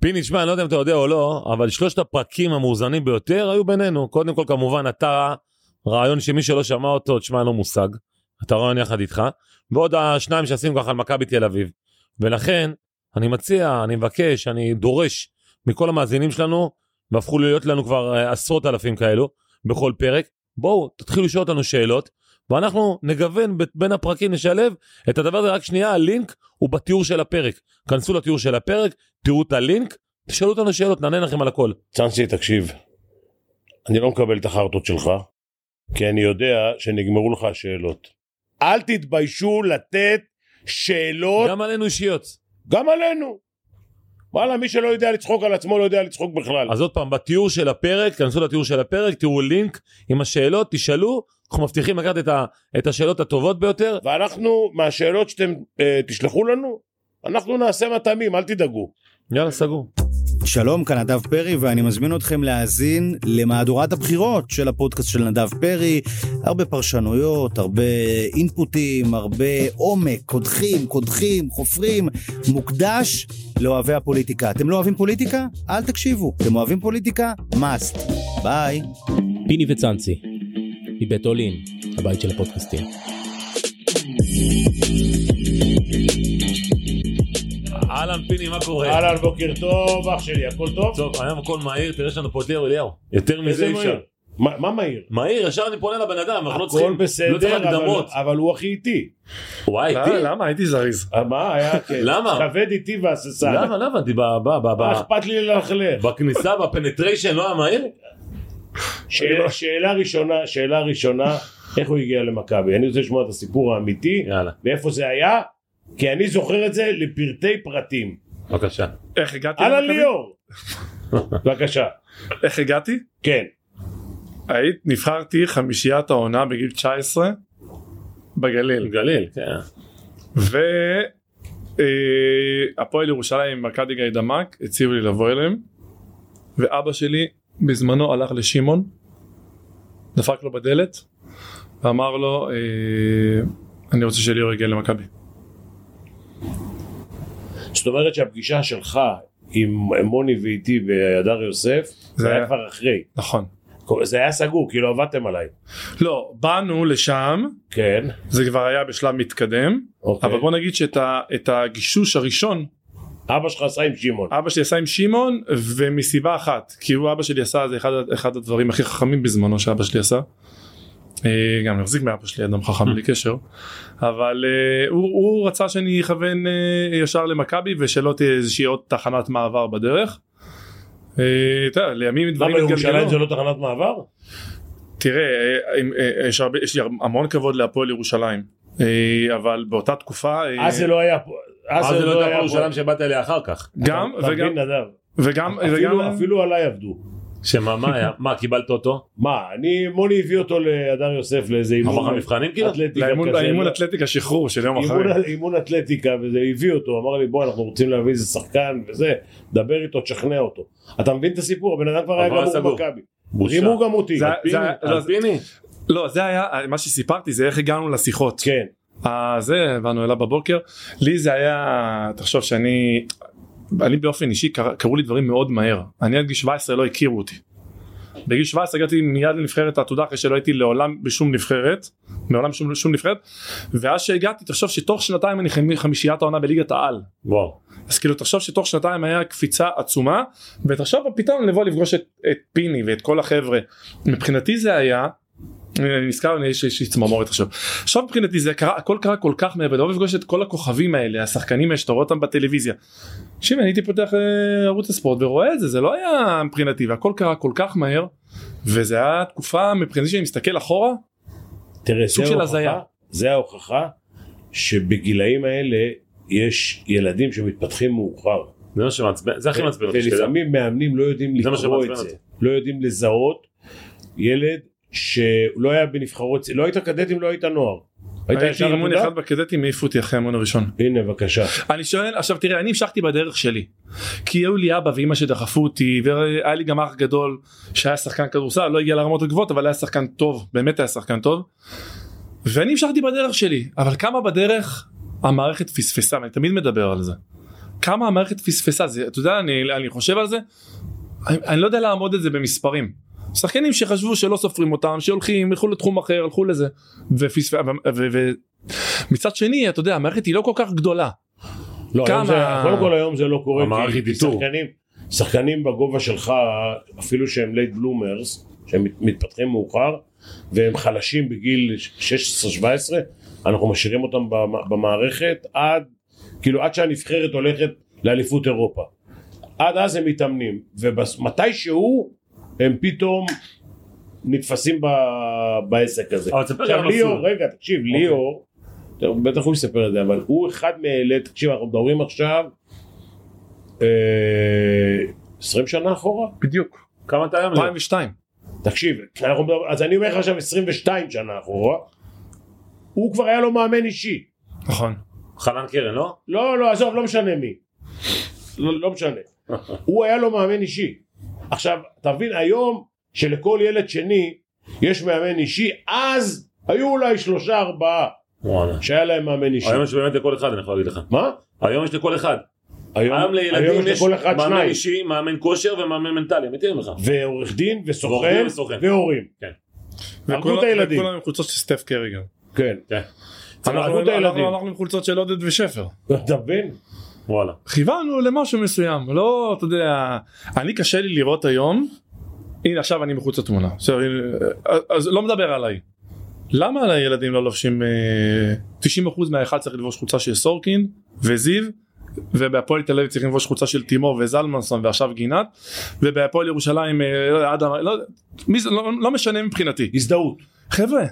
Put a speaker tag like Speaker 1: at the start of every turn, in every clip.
Speaker 1: פיני, שמע, אני לא יודע אם אתה יודע או לא, אבל שלושת הפרקים המאוזנים ביותר היו בינינו. קודם כל, כמובן, אתה, רעיון שמי שלא שמע אותו, תשמע, אין לו מושג. אתה רעיון יחד איתך. ועוד השניים שעשינו ככה על מכבי תל אביב. ולכן, אני מציע, אני מבקש, אני דורש מכל המאזינים שלנו, והפכו להיות לנו כבר אה, עשרות אלפים כאלו, בכל פרק, בואו, תתחילו לשאול אותנו שאלות, ואנחנו נגוון ב- בין הפרקים, נשלב את הדבר הזה, רק שנייה, הלינק הוא בתיאור של הפרק. כנסו לתיאור של הפרק, תראו את הלינק, תשאלו אותנו שאלות, נענה לכם על הכל.
Speaker 2: צאנסי, תקשיב, אני לא מקבל את החרטות שלך, כי אני יודע שנגמרו לך השאלות. אל תתביישו לתת שאלות גם,
Speaker 1: גם עלינו אישיות.
Speaker 2: גם עלינו. וואלה, מי שלא יודע לצחוק על עצמו לא יודע לצחוק בכלל.
Speaker 1: אז עוד פעם, בתיאור של הפרק, כנסו לתיאור של הפרק, תראו לינק עם השאלות, תשאלו, אנחנו מבטיחים לקחת את, ה, את השאלות הטובות ביותר.
Speaker 2: ואנחנו, מהשאלות שאתם אה, תשלחו לנו, אנחנו נעשה מטעמים, אל תדאגו.
Speaker 1: יאללה, סגור.
Speaker 3: שלום, כאן נדב פרי, ואני מזמין אתכם להאזין למהדורת הבחירות של הפודקאסט של נדב פרי. הרבה פרשנויות, הרבה אינפוטים, הרבה עומק, קודחים, קודחים, חופרים, מוקדש לאוהבי הפוליטיקה. אתם לא אוהבים פוליטיקה? אל תקשיבו. אתם אוהבים פוליטיקה? must. ביי.
Speaker 4: פיני וצאנצי, מבית אולין, הבית של הפודקאסטים.
Speaker 1: אהלן פיני, מה קורה?
Speaker 2: אהלן, בוקר טוב, אח שלי, הכל טוב?
Speaker 1: טוב, היום הכל מהיר, תראה יש לנו פה את ליאור אליהו. יותר מזה
Speaker 2: איזה
Speaker 1: אי אפשר.
Speaker 2: מהיר? מה מה מהיר?
Speaker 1: מהיר, ישר אני פונה לבן אדם, אנחנו לא
Speaker 2: הכל
Speaker 1: צריכים, לא צריך
Speaker 2: בסדר, אבל-
Speaker 1: הקדמות.
Speaker 2: אבל הוא הכי איטי.
Speaker 1: וואי, איתי?
Speaker 5: למה? הייתי זריז.
Speaker 2: אה, מה היה? כן.
Speaker 1: למה?
Speaker 2: כבד איטי והססן.
Speaker 1: למה, למה? די- ב- ב- ב- ב-
Speaker 2: מה אכפת לי ללכלך?
Speaker 1: בכניסה, בפנטריישן, לא המהיר?
Speaker 5: לא-
Speaker 2: שאלה- שאלה ראשונה, שאלה ראשונה, איך הוא הגיע למכבי? אני רוצה לשמוע את הסיפור האמיתי,
Speaker 1: יאללה,
Speaker 2: ואיפה זה היה, כי אני זוכר את זה לפרטי פרטים.
Speaker 1: בבקשה.
Speaker 5: איך הגעתי?
Speaker 2: אהלן
Speaker 5: למכבי?
Speaker 2: ליאור! בבקשה.
Speaker 5: איך הגעתי?
Speaker 2: כן.
Speaker 5: היית, נבחרתי חמישיית העונה בגיל 19 בגליל.
Speaker 1: גליל, כן.
Speaker 5: והפועל אה, ירושלים, מכבי גיידמק, הציעו לי לבוא אליהם. ואבא שלי בזמנו הלך לשמעון, דפק לו בדלת, ואמר לו, אה, אני רוצה שליאור יגיע למכבי.
Speaker 2: זאת אומרת שהפגישה שלך עם מוני ואיתי בהדר יוסף, זה
Speaker 5: זה
Speaker 2: היה
Speaker 5: היה-
Speaker 2: כבר אחרי.
Speaker 5: נכון.
Speaker 2: זה היה סגור, כאילו עבדתם עליי.
Speaker 5: לא, באנו לשם,
Speaker 2: כן,
Speaker 5: זה כבר היה בשלב מתקדם,
Speaker 2: אוקיי.
Speaker 5: אבל בוא נגיד שאת ה, את הגישוש הראשון
Speaker 2: אבא שלך עשה עם שמעון.
Speaker 5: אבא שלי עשה עם שמעון ומסיבה אחת כי הוא אבא שלי עשה זה אחד, אחד הדברים הכי חכמים בזמנו שאבא שלי עשה. אה, גם אני מחזיק מאבא שלי אדם חכם
Speaker 2: Mm.
Speaker 5: בלי קשר אבל אה, הוא, הוא רצה שאני אכוון אה, ישר למכבי ושלא תהיה איזושהי עוד תחנת מעבר בדרך. אה, אתה יודע, לימים
Speaker 2: למה
Speaker 5: דברים
Speaker 2: ירושלים לא-
Speaker 5: התגלגלו.
Speaker 2: זה לא תחנת מעבר?
Speaker 5: תראה, אה, אם, אה, יש הרבה- יש לי המון כבוד להפועל ירושלים אה, אבל באותה תקופה אה,
Speaker 2: אז זה לא היה פה.
Speaker 1: אז זה לא
Speaker 2: היה
Speaker 1: היה
Speaker 2: פה.
Speaker 1: ירושלים שבאת אליה אחר כך.
Speaker 5: גם
Speaker 2: לא- אתה
Speaker 5: וגם
Speaker 2: מבין, נדב?
Speaker 5: וגם
Speaker 2: אפילו-
Speaker 5: וגם-
Speaker 2: אפילו עליי עבדו.
Speaker 1: שמה, מה היה? מה, קיבלת אותו?
Speaker 2: מה, אני, מוני הביא אותו להדר יוסף לאיזה
Speaker 1: אמר
Speaker 2: אימון
Speaker 1: המבחנים כאילו?
Speaker 2: אתלטיקה
Speaker 5: לאימון
Speaker 2: כזה.
Speaker 5: לאימון
Speaker 2: לא?
Speaker 5: אתלטיקה שחרור של יום אחרי.
Speaker 2: אימון- אימון אתלטיקה וזה הביא אותו אמר לי בוא אנחנו רוצים להביא איזה שחקן וזה דבר איתו תשכנע אותו אתה מבין את הסיפור הבן אדם כבר היה
Speaker 1: אבל היה
Speaker 2: גמור
Speaker 1: סגור.
Speaker 2: במכבי
Speaker 1: בושה.
Speaker 2: רימו גם אותי
Speaker 5: זה-
Speaker 1: פיני,
Speaker 5: זה היה- לא,
Speaker 1: אז פיני.
Speaker 5: לא זה היה מה שסיפרתי זה איך הגענו לשיחות.
Speaker 2: כן
Speaker 5: אה, זה באנו אליו בבוקר לי זה היה תחשוב שאני אני באופן אישי קר- קרו לי דברים מאוד מהר אני עד גיל 17 לא הכירו אותי. בגיל 17 הגעתי מיד לנבחרת העתודה אחרי שלא הייתי לעולם בשום נבחרת מעולם בשום שום נבחרת ואז שהגעתי תחשוב שתוך שנתיים אני חמי- חמישיית העונה בליגת העל
Speaker 1: וואו.
Speaker 5: אז כאילו תחשוב שתוך שנתיים היה קפיצה עצומה ותחשוב פתאום לבוא לפגוש את, את פיני ואת כל החבר'ה מבחינתי זה היה אני נזכר אני- יש יש לי צמרמורת עכשיו עכשיו מבחינתי זה קרה הכל קרה כל כך מהר ולבוא לפגוש את כל הכוכבים האלה השחקנים האלה שאתה רואה אותם בטלוויזיה. תקשיב אני הייתי פותח אה, ערוץ הספורט ורואה את זה זה לא היה מבחינתי והכל קרה כל כך מהר וזה היה תקופה מבחינתי שאני מסתכל אחורה
Speaker 2: תראה
Speaker 5: סוג
Speaker 2: זה
Speaker 5: של
Speaker 2: ההוכחה-
Speaker 5: הזיה.
Speaker 2: זה ההוכחה שבגילאים האלה יש ילדים שמתפתחים מאוחר
Speaker 1: זה מה שמעצבן,
Speaker 2: אה,
Speaker 1: זה הכי מעצבן אותי. שתדע.
Speaker 2: ולפעמים מאמנים לא יודעים
Speaker 1: זה מה
Speaker 2: לקרוא
Speaker 1: שמעצבן
Speaker 2: את זה,
Speaker 1: אותי.
Speaker 2: לא יודעים לזהות ילד שלא היה בנבחרות, לא היית קדטים, לא היית נוער. היית
Speaker 5: הייתי
Speaker 2: ישר
Speaker 5: אימון
Speaker 2: עתודה?
Speaker 5: אחד בקדטים העיפו אותי אחרי האימון הראשון.
Speaker 2: הנה בבקשה.
Speaker 5: אני שואל עכשיו תראה אני המשכתי בדרך שלי כי היו לי אבא ואימא שדחפו אותי והיה לי גם אח גדול שהיה שחקן כדורסל לא הגיע לרמות הגבוהות אבל היה שחקן טוב באמת היה שחקן טוב ואני המשכתי בדרך שלי אבל כמה בדרך המערכת פספסה ואני תמיד מדבר על זה כמה המערכת פספסה זה אתה יודע אני, אני חושב על זה אני, אני לא יודע לעמוד את זה במספרים. שחקנים שחשבו שלא סופרים אותם שהולכים ילכו לתחום אחר הלכו לזה ופספ... ו, ו, ו, מצד שני אתה יודע המערכת היא לא כל כך גדולה.
Speaker 2: לא, היום
Speaker 5: כמה-
Speaker 2: זה, קודם כל היום זה לא קורה,
Speaker 1: המערכת
Speaker 2: כי
Speaker 1: איתור.
Speaker 2: שחקנים, שחקנים בגובה שלך, אפילו שהם לייט בלומרס, שהם מת- מתפתחים מאוחר, והם חלשים בגיל 16-17, אנחנו משאירים אותם במ- במערכת עד, כאילו עד שהנבחרת הולכת לאליפות אירופה. עד אז הם מתאמנים, ומתישהו הם פתאום נתפסים ב, בעסק הזה.
Speaker 1: אבל תספר
Speaker 2: עכשיו
Speaker 1: על המסלול.
Speaker 2: ליאור, רגע, תקשיב, ליאור, טוב, בטח הוא יספר את זה, אבל הוא אחד מאלה, תקשיב, אנחנו מדברים עכשיו אה, 20 שנה אחורה?
Speaker 5: בדיוק.
Speaker 1: כמה אתה היום?
Speaker 5: 2002.
Speaker 2: תקשיב, אנחנו מדברים, אז אני אומר לך עכשיו 22 שנה אחורה, הוא כבר היה לו מאמן אישי.
Speaker 5: נכון.
Speaker 1: חנן קרן, לא?
Speaker 2: לא, לא, עזוב, לא משנה מי. לא, לא משנה. הוא היה לו מאמן אישי. עכשיו, תבין, היום שלכל ילד שני יש מאמן אישי, אז היו אולי שלושה ארבעה
Speaker 1: וואלה.
Speaker 2: שהיה להם מאמן אישי.
Speaker 1: היום יש באמת לכל אחד, אני יכול להגיד לך.
Speaker 2: מה?
Speaker 1: היום יש לכל אחד. היום לילדים
Speaker 2: היום יש
Speaker 1: יש
Speaker 2: לכל אחד
Speaker 1: מאמן
Speaker 2: שניים.
Speaker 1: אישי, מאמן כושר ומאמן מנטלי, אמיתי אני אומר לך.
Speaker 2: ועורך דין
Speaker 1: ועורך
Speaker 2: וסוכן
Speaker 1: דין וסוכן. כן.
Speaker 2: והורים. הרגו
Speaker 5: וכולם-
Speaker 2: את הילדים.
Speaker 5: לא- וכולם עם חולצות של סטף קרי גם.
Speaker 2: כן.
Speaker 5: אנחנו
Speaker 2: הרגו את הילדים.
Speaker 5: אנחנו הלכנו עם חולצות של עודד ושפר.
Speaker 1: כן.
Speaker 2: אתה מבין?
Speaker 1: וואלה.
Speaker 5: כיוונו למשהו מסוים לא אתה יודע אני קשה לי לראות היום הנה עכשיו אני מחוץ לתמונה עכשיו, הנה, אז לא מדבר עליי למה על הילדים לא לובשים אה, 90% מהאחד צריך ללבוש חולצה של סורקין וזיו ובהפועל תל אביב צריכים ללבוש חולצה של תימור וזלמנסון ועכשיו גינת ובהפועל ירושלים אה, לא יודע, אדם לא, יודע, מי זה, לא, לא משנה מבחינתי
Speaker 2: הזדהות.
Speaker 5: חבר'ה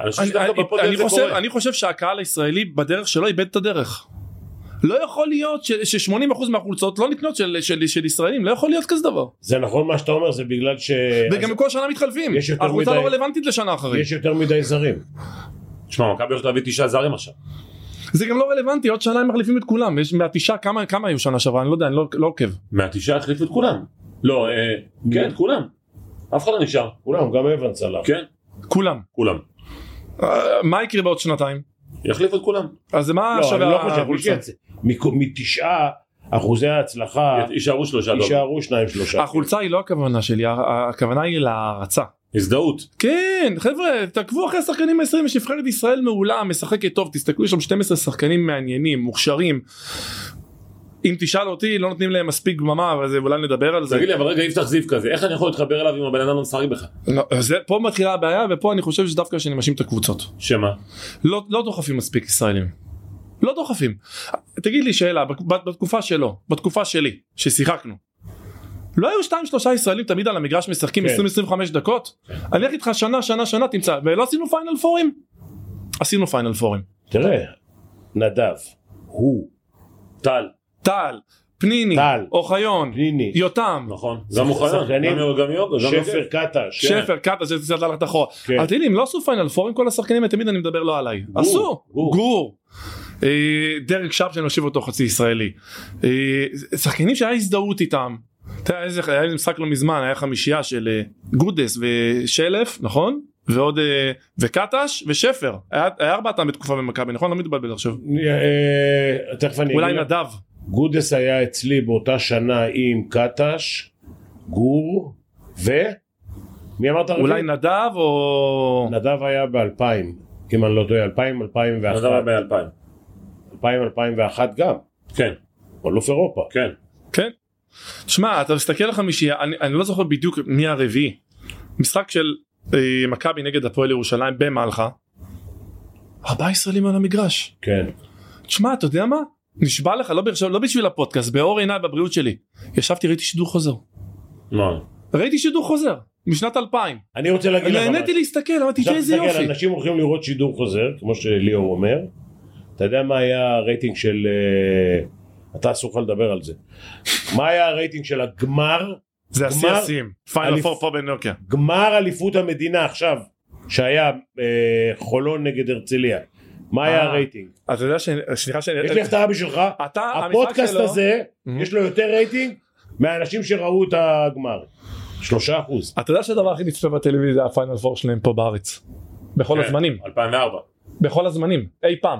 Speaker 1: אני חושב
Speaker 5: אני-
Speaker 1: שדווקא
Speaker 5: אני-
Speaker 1: בפודקאסט
Speaker 5: אני
Speaker 1: זה
Speaker 5: חושב-
Speaker 1: קורה.
Speaker 5: אני חושב שהקהל הישראלי בדרך שלו איבד את הדרך. לא יכול להיות ש-80% מהחולצות לא נקנות של, של, של ישראלים, לא יכול להיות כזה דבר.
Speaker 2: זה נכון מה שאתה אומר, זה בגלל שיש
Speaker 5: וגם כל שנה מתחלפים.
Speaker 2: יש יותר
Speaker 5: החולצה
Speaker 2: מדי-
Speaker 5: לא רלוונטית לשנה אחרי.
Speaker 2: יותר מדי זרים.
Speaker 1: תשמע, מכבי הולכת להביא תשעה זרים עכשיו.
Speaker 5: זה גם לא רלוונטי, עוד שנה הם מחליפים את כולם. יש מהתשעה, כמה, כמה היו שנה שעברה? אני לא יודע, אני לא, לא עוקב.
Speaker 1: מהתשעה החליפו את כולם. לא, אה, כן, את כולם. אף אחד לא נשאר.
Speaker 2: כולם, גם אבנס הלך.
Speaker 1: כן,
Speaker 5: כולם.
Speaker 1: כולם.
Speaker 5: אה, מה יקרה בעוד שנתיים?
Speaker 1: יחליפו את כולם.
Speaker 5: אז מה
Speaker 2: לא, אני
Speaker 5: שווה
Speaker 2: לא חושב,
Speaker 5: החולצה?
Speaker 2: מיקי, מכ- מתשעה אחוזי ההצלחה
Speaker 1: יישארו שלושה דולר.
Speaker 2: יישארו שניים שלושה.
Speaker 5: החולצה היא לא הכוונה שלי, ה- הכוונה היא להערצה.
Speaker 1: הזדהות.
Speaker 5: כן חבר'ה תעקבו אחרי השחקנים הישראלים יש נבחרת ישראל מעולה משחקת טוב תסתכלו יש שם 12 שחקנים מעניינים מוכשרים. אם תשאל אותי לא נותנים להם מספיק גממה אבל זה אולי נדבר על זה.
Speaker 1: תגיד לי, אבל רגע, יפתח זיו כזה, איך אני יכול להתחבר אליו אם הבן אדם לא משחק בך?
Speaker 5: לא, זה פה מתחילה הבעיה ופה אני חושב שדווקא שאני מאשים את הקבוצות
Speaker 1: שמה?
Speaker 5: לא, לא דוחפים מספיק ישראלים. לא דוחפים. תגיד לי שאלה בת- בתקופה שלו בתקופה שלי ששיחקנו. לא היו שתיים שלושה ישראלים תמיד על המגרש משחקים
Speaker 2: כן.
Speaker 5: 20-25 דקות? אני אלך איתך שנה שנה שנה תמצא ולא עשינו פיינל פורים? עשינו פיינל פורים.
Speaker 2: תראה, נדב, הוא,
Speaker 1: טל,
Speaker 5: טל, פניני,
Speaker 2: טל. לא.
Speaker 5: אוחיון,
Speaker 2: פניני,
Speaker 5: יותם,
Speaker 1: נכון. גם אוחיון,
Speaker 2: שחקנים.
Speaker 1: גם יוג- גם יוג, גם
Speaker 2: שפר
Speaker 1: יוגב.
Speaker 2: קטש,
Speaker 5: שפר, קאטה, שזה קצת הלכת אחורה.
Speaker 2: כן.
Speaker 5: אבל תגיד לי, אם לא עשו פיינל פורים כל השחקנים האלה, תמיד אני מדבר לא עליי. עשו,
Speaker 1: גור.
Speaker 5: גור. אה, דרק שפ שאני מושיב אותו חצי ישראלי. אה, שחקנים שהיה הזדהות איתם. אתה יודע, איזה- היה לי משחק לא מזמן, היה חמישייה של אה, גודס ושלף, נכון? ועוד אה, וקטש ושפר. היה היה ארבעתם בתקופה במכבי, נכון? לא מתבלבל עכשיו.
Speaker 2: אה, תכף אני
Speaker 5: אולי
Speaker 2: אגיד לך.
Speaker 5: נדב.
Speaker 2: גודס היה אצלי באותה שנה עם קטש, גור, ו... מי אמרת?
Speaker 5: אולי
Speaker 2: הרביעי?
Speaker 5: נדב או...
Speaker 2: נדב היה ב-2000, אם אני לא טועה, 2000,
Speaker 1: אז זה היה
Speaker 2: 2001,
Speaker 1: ב-2000.
Speaker 2: 2000, 2001 גם,
Speaker 1: כן,
Speaker 2: אלוף אירופה.
Speaker 1: כן.
Speaker 5: כן. שמע, אתה מסתכל על החמישייה, אני, אני לא זוכר בדיוק מי הרביעי. משחק של אה, מכבי נגד הפועל ירושלים במלחה. ארבעה ישראלים על המגרש.
Speaker 2: כן.
Speaker 5: תשמע, אתה יודע מה? נשבע לך, לא, ברשב, לא בשביל הפודקאסט, באור עיניי בבריאות שלי. ישבתי, ראיתי שידור חוזר.
Speaker 1: מה?
Speaker 5: ראיתי שידור חוזר, משנת 2000.
Speaker 2: אני רוצה להגיד לך
Speaker 5: נהניתי להסתכל, אמרתי,
Speaker 2: עכשיו
Speaker 5: תראה איזה
Speaker 2: תסתכל,
Speaker 5: יופי.
Speaker 2: אנשים הולכים לראות שידור חוזר, כמו שליאור אומר. אתה יודע מה היה הרייטינג של... אה, אתה אסור לך לדבר על זה. מה היה הרייטינג של הגמר,
Speaker 5: זה השיא
Speaker 2: גמר-
Speaker 5: השיאים, פיינל
Speaker 2: אליפ-
Speaker 5: פור פה בנוקיה.
Speaker 2: גמר אליפות המדינה עכשיו, שהיה אה, חולון נגד הרצליה? מה היה
Speaker 5: אה.
Speaker 2: הרייטינג?
Speaker 5: אתה יודע ש... סליחה שאני...
Speaker 2: יש לי הפתעה בשבילך,
Speaker 5: אתה, המשחק
Speaker 2: הפודקאסט
Speaker 5: שלו...
Speaker 2: הזה,
Speaker 5: Mhm.
Speaker 2: יש לו יותר רייטינג מהאנשים שראו את הגמר. שלושה אחוז.
Speaker 5: אתה יודע שהדבר הכי נצפה בטלוויזיה זה הפיינל פור שלהם פה בארץ. בכל
Speaker 1: כן,
Speaker 5: הזמנים,
Speaker 1: 2004.
Speaker 5: בכל הזמנים, אי פעם.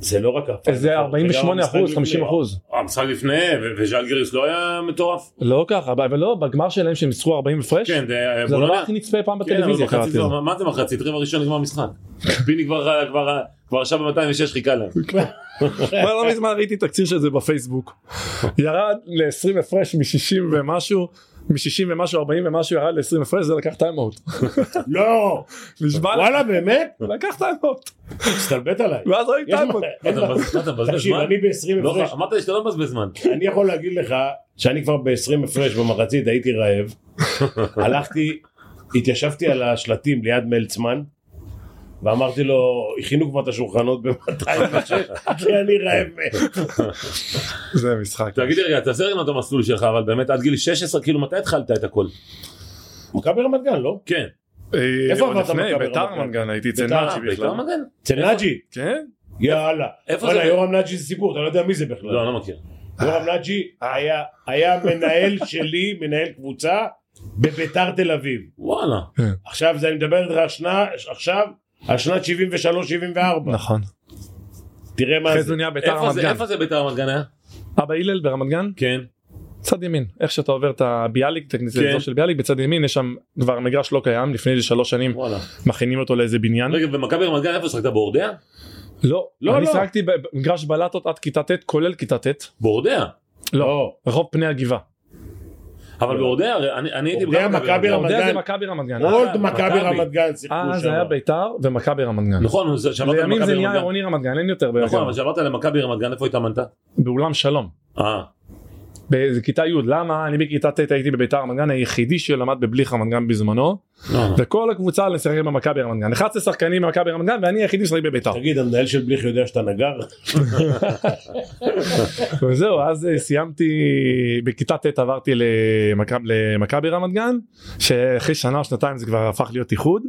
Speaker 2: זה לא רק הפעם.
Speaker 5: זה 48 אחוז, 50 אחוז.
Speaker 1: המשחק לפני, ו- וז'לגיריס לא היה מטורף?
Speaker 5: לא ככה, אבל לא, בגמר שלהם שהם ניצחו 40 הפרש,
Speaker 1: כן, זה היה
Speaker 5: זה הדבר
Speaker 1: בולוניה.
Speaker 5: הכי נצפה פעם
Speaker 1: כן, אבל
Speaker 5: בטלוויזיה
Speaker 1: מחצית,
Speaker 5: קראתי
Speaker 1: זה-
Speaker 5: לו.
Speaker 1: מה זה מחצית? רבע ראשון נגמר המשחק. פיני כבר כבר- כבר עכשיו ב-206 חיכה להם.
Speaker 5: אבל לא מזמן ראיתי תקציר של זה בפייסבוק. ירד ל-20 הפרש מ-60 ומשהו, מ-60 ומשהו 40 ומשהו ירד ל-20 הפרש, זה לקח טיימאוט.
Speaker 2: לא,
Speaker 5: נשבע לך,
Speaker 2: וואלה באמת?
Speaker 5: לקח טיימאוט.
Speaker 2: הסתלבט עליי.
Speaker 5: ואז ראיתי
Speaker 2: יש מה-
Speaker 5: טיימאוט.
Speaker 2: אין
Speaker 1: אתה
Speaker 2: מה-
Speaker 1: מבז- אתה מבזבז
Speaker 2: כן. תקשיב,
Speaker 1: זמן?
Speaker 2: אני ב-20
Speaker 1: לא,
Speaker 2: הפרש,
Speaker 1: אמרת לי שאתה לא מבזבז זמן.
Speaker 2: אני יכול להגיד לך שאני כבר ב-20 הפרש במחצית הייתי רעב, הלכתי, התיישבתי על השלטים ליד מלצמן, ואמרתי לו, הכינו כבר את השולחנות ב-206, כי אני רעב.
Speaker 5: זה משחק.
Speaker 1: תגיד לי רגע, תעשה רגע את המסלול שלך, אבל באמת עד גיל 16, כאילו מתי התחלת את הכל?
Speaker 2: מכבי רמת גן, לא?
Speaker 1: כן.
Speaker 5: אה,
Speaker 2: איפה
Speaker 5: עוד
Speaker 2: עברת
Speaker 5: לפני,
Speaker 2: מכבי
Speaker 5: ביתר
Speaker 2: רמת גן?
Speaker 5: רמת גן, הייתי אצל
Speaker 2: ביתר,
Speaker 5: נאצ'י
Speaker 1: בעיקר
Speaker 5: בכלל.
Speaker 1: אה, מגן?
Speaker 2: אצל נג'י,
Speaker 5: כן?
Speaker 2: יאללה.
Speaker 1: איפה
Speaker 2: וואלה,
Speaker 1: זה?
Speaker 2: יורם נג'י זה סיפור, אתה לא יודע מי זה בכלל.
Speaker 1: לא, אני לא מכיר.
Speaker 2: יורם נג'י היה- היה מנהל שלי, מנהל קבוצה, בביתר תל אביב.
Speaker 1: וואלה.
Speaker 2: עכשיו זה אני מדבר איתך על שנה, עכשיו, על שנת 73-74.
Speaker 5: נכון.
Speaker 2: תראה מה
Speaker 5: אחרי
Speaker 2: זה.
Speaker 5: זה נהיה ביתר
Speaker 1: איפה
Speaker 5: רמת
Speaker 1: זה-
Speaker 5: גן.
Speaker 1: איפה זה ביתר רמת גן היה?
Speaker 5: אבא הלל ברמת גן,
Speaker 1: כן.
Speaker 5: צד ימין. איך שאתה עובר את הביאליק, את הכניסה
Speaker 1: כן.
Speaker 5: לאזור של ביאליק, בצד ימין יש שם כבר מגרש לא קיים, לפני איזה שלוש שנים
Speaker 1: וואלה.
Speaker 5: מכינים אותו לאיזה בניין.
Speaker 1: רגע, במכבי רמת גן איפה שחקת? בורדיה?
Speaker 5: לא,
Speaker 2: לא,
Speaker 5: אני
Speaker 2: לא.
Speaker 5: שיחקתי במגרש בלטות עד כיתה ט', כולל כיתה ט',
Speaker 1: בורדיה.
Speaker 5: לא, רחוב פני הגבעה.
Speaker 1: אבל בורדיה, הרי אני אני הייתי...
Speaker 2: בורדיה,
Speaker 1: גם
Speaker 2: מכבי רמת
Speaker 5: אתה יודע,
Speaker 2: גן.
Speaker 5: זה לא. מכבי רמת גן.
Speaker 2: עוד
Speaker 1: אה,
Speaker 2: מכבי
Speaker 1: מכבי.
Speaker 2: רמת גן שיחקו
Speaker 5: אה, זה היה
Speaker 2: שם.
Speaker 5: ביתר ומכבי רמת גן.
Speaker 1: נכון, זה- שעברת
Speaker 5: לימים זה
Speaker 1: למכבי
Speaker 5: נהיה
Speaker 1: רמת גן.
Speaker 5: עירוני רמת גן, אין יותר
Speaker 1: נכון,
Speaker 5: ביותר.
Speaker 1: אבל שעברת למכבי רמת גן, איפה התאמנת?
Speaker 5: באולם שלום.
Speaker 1: אה,
Speaker 5: באיזה כיתה י', למה? אני בכיתה ט' הייתי בביתר רמת גן, היחידי שלמד בבליך רמת גן בזמנו,
Speaker 1: אה.
Speaker 5: וכל הקבוצה לשחק במכבי רמת גן. 11 שחקנים במכבי רמת גן, ואני היחידי שחק בביתר.
Speaker 2: תגיד, המנהל של בליך יודע שאתה נגר?
Speaker 1: כן.
Speaker 5: וזהו, אז אה, סיימתי, בכיתה ט' עברתי למכב- למכבי רמת גן, שאחרי שנה או שנתיים זה כבר הפך להיות איחוד.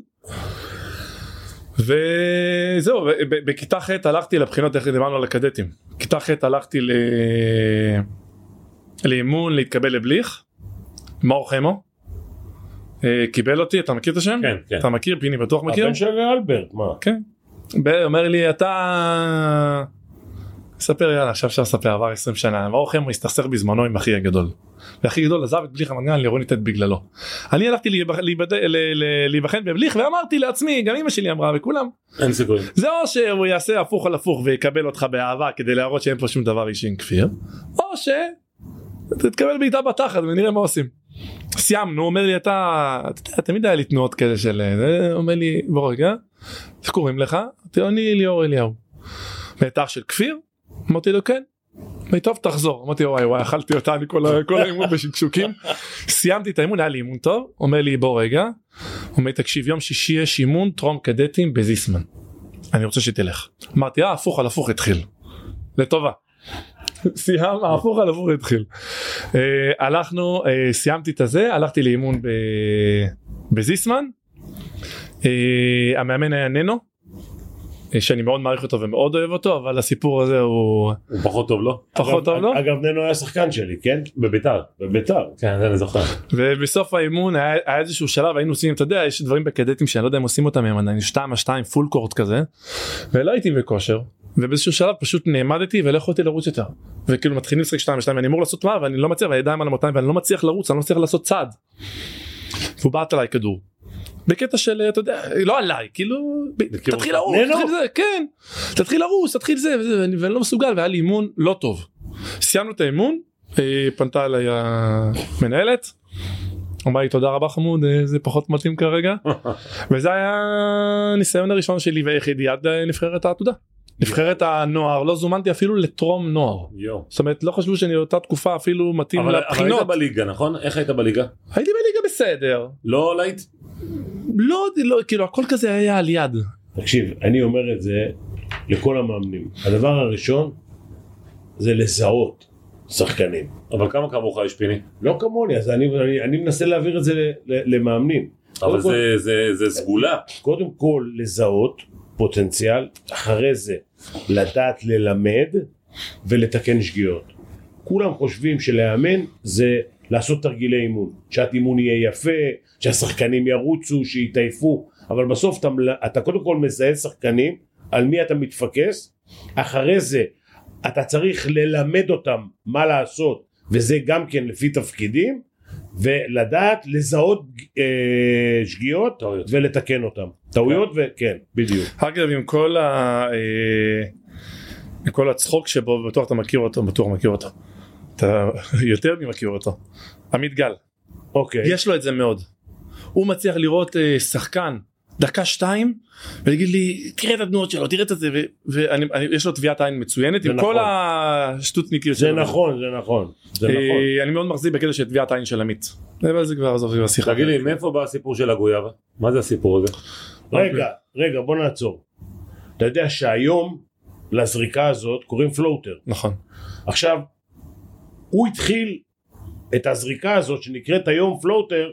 Speaker 5: וזהו, ו- ב- בכיתה ח' הלכתי לבחינות, איך דיברנו על הקדטים. בכיתה ח' הלכתי ל... לאימון, להתקבל לבליך, מאור חמו. אה, קיבל אותי, אתה מכיר את השם?
Speaker 1: כן, כן.
Speaker 5: אתה מכיר? פיני בטוח מכיר?
Speaker 2: הבן של אלברט, מה?
Speaker 5: ב- אומר לי אתה ספר יאללה עכשיו אפשר לספר עבר 20 שנה ברוך הוא הסתכסך בזמנו עם אחי הגדול. ואחי גדול עזב את בליך המנגן לירוני ט' בגללו. אני הלכתי להיבח- להיבד- ל- ל- להיבחן בבליך ואמרתי לעצמי גם אמא שלי אמרה וכולם
Speaker 1: אין סיכוי.
Speaker 5: זה או שהוא יעשה הפוך על הפוך ויקבל אותך באהבה כדי להראות שאין פה שום דבר אישי עם כפיר או ש... תתקבל בעיטה בתחת ונראה מה עושים. סיימנו אומר לי אתה, אתה יודע, תמיד היה לי תנועות כאלה של אה, זה", אומר לי בוא רגע איך קוראים לך? אמרתי לו אני ליאור אליהו. בטח של כפיר? אמרתי לו כן. אמר לי, טוב תחזור אמרתי וואי וואי אכלתי אותה אני כל ה- כל האימון בשקשוקים סיימתי את האימון היה לי אימון טוב אומר לי בוא רגע. אומר לי תקשיב יום שישי יש אימון טרום קדטים בזיסמן. אני רוצה שתלך. אמרתי אה הפוך על הפוך התחיל. לטובה. סיימנו הפוך על הפוך התחיל. אה, הלכנו אה, סיימתי את הזה הלכתי לאימון ב... בזיסמן. אה, המאמן היה ננו. אה, שאני מאוד מעריך אותו ומאוד אוהב אותו אבל הסיפור הזה הוא
Speaker 1: הוא פחות טוב, לא?
Speaker 5: פחות
Speaker 2: אגב-
Speaker 5: טוב לו.
Speaker 2: אגב, ננו היה שחקן שלי, כן?
Speaker 1: בביתר.
Speaker 2: בביתר.
Speaker 1: כן, זה אני זוכר.
Speaker 5: ובסוף האימון היה, היה איזשהו שלב היינו עושים אתה יודע יש דברים בקדטים שאני לא יודע אם עושים אותם הם עדיין 2 2 פול קורט כזה ולא הייתי בכושר ובאיזשהו שלב פשוט נעמדתי ולא יכולתי לרוץ יותר וכאילו מתחילים לשחק 2 2 ואני אמור לעשות מה ואני לא מצליח והידיים על המותניים ואני לא מצליח לרוץ אני לא מצליח לעשות צעד. והוא בעט עליי כדור. בקטע של אתה יודע לא עליי כאילו ב-
Speaker 1: כאילו,
Speaker 5: תתחיל לרוץ
Speaker 2: נהנו.
Speaker 5: תתחיל זה כן תתחיל לרוץ תתחיל זה וזה ואני ואני לא מסוגל והיה לי אימון לא טוב. סיימנו את האימון אה, פנתה אליי המנהלת אמרה לי תודה רבה חמוד אה, זה פחות מתאים כרגע וזה היה הניסיון הראשון שלי והיחידי עד אה, נבחרת העתודה. נבחרת הנוער לא זומנתי אפילו לטרום נוער.
Speaker 1: יואו.
Speaker 5: זאת אומרת לא חשבו שאני אותה תקופה אפילו מתאים
Speaker 1: אבל אבל היית
Speaker 5: לבחינות.
Speaker 1: בליגה, נכון? איך היית בליגה?
Speaker 5: הייתי בליגה בסדר.
Speaker 1: לא להיט?
Speaker 5: לא, לא כאילו הכל כזה היה על יד.
Speaker 2: תקשיב, אני אומר את זה לכל המאמנים. הדבר הראשון זה לזהות שחקנים.
Speaker 1: אבל כמה כמוך יש פיני?
Speaker 2: לא כמוני, אז אני, אני, אני מנסה להעביר את זה ל, ל, למאמנים.
Speaker 1: אבל
Speaker 2: קודם כל-
Speaker 1: זה- זה- זה סגולה.
Speaker 2: קודם כל לזהות פוטנציאל, אחרי זה לדעת ללמד ולתקן שגיאות. כולם חושבים שלאמן זה לעשות תרגילי אימון, שהאימון יהיה יפה, שהשחקנים ירוצו, שיתעייפו, אבל בסוף אתה, מל- אתה קודם כל מזהה שחקנים, על מי אתה מתפקס אחרי זה אתה צריך ללמד אותם מה לעשות וזה גם כן לפי תפקידים ולדעת לזהות אה, שגיאות
Speaker 1: טעויות.
Speaker 2: ולתקן אותם טעויות וכן בדיוק
Speaker 5: אגב עם כל ה... אה, עם כל הצחוק שבו בטוח אתה מכיר אותו בטוח מכיר אותו. אתה יותר ממכיר אותו. עמית גל
Speaker 2: אוקיי
Speaker 5: יש לו את זה מאוד. הוא מצליח לראות אה, שחקן דקה שתיים ולהגיד לי תראה את התנועות שלו תראה את זה ויש לו טביעת עין מצוינת
Speaker 2: זה
Speaker 5: עם כל
Speaker 2: נכון.
Speaker 5: השטותניקיות
Speaker 2: זה
Speaker 5: שלו.
Speaker 2: נכון זה נכון זה
Speaker 5: אה,
Speaker 2: נכון
Speaker 5: אני מאוד מחזיק בקטע של טביעת עין של עמית. אבל זה כבר עזוב בשיחה.
Speaker 1: תגיד לי, מאיפה בא הסיפור של הגויאבה? מה זה הסיפור הזה?
Speaker 2: רגע, רגע, בוא נעצור. אתה יודע שהיום לזריקה הזאת קוראים פלוטר.
Speaker 5: נכון.
Speaker 2: עכשיו, הוא התחיל את הזריקה הזאת שנקראת היום פלוטר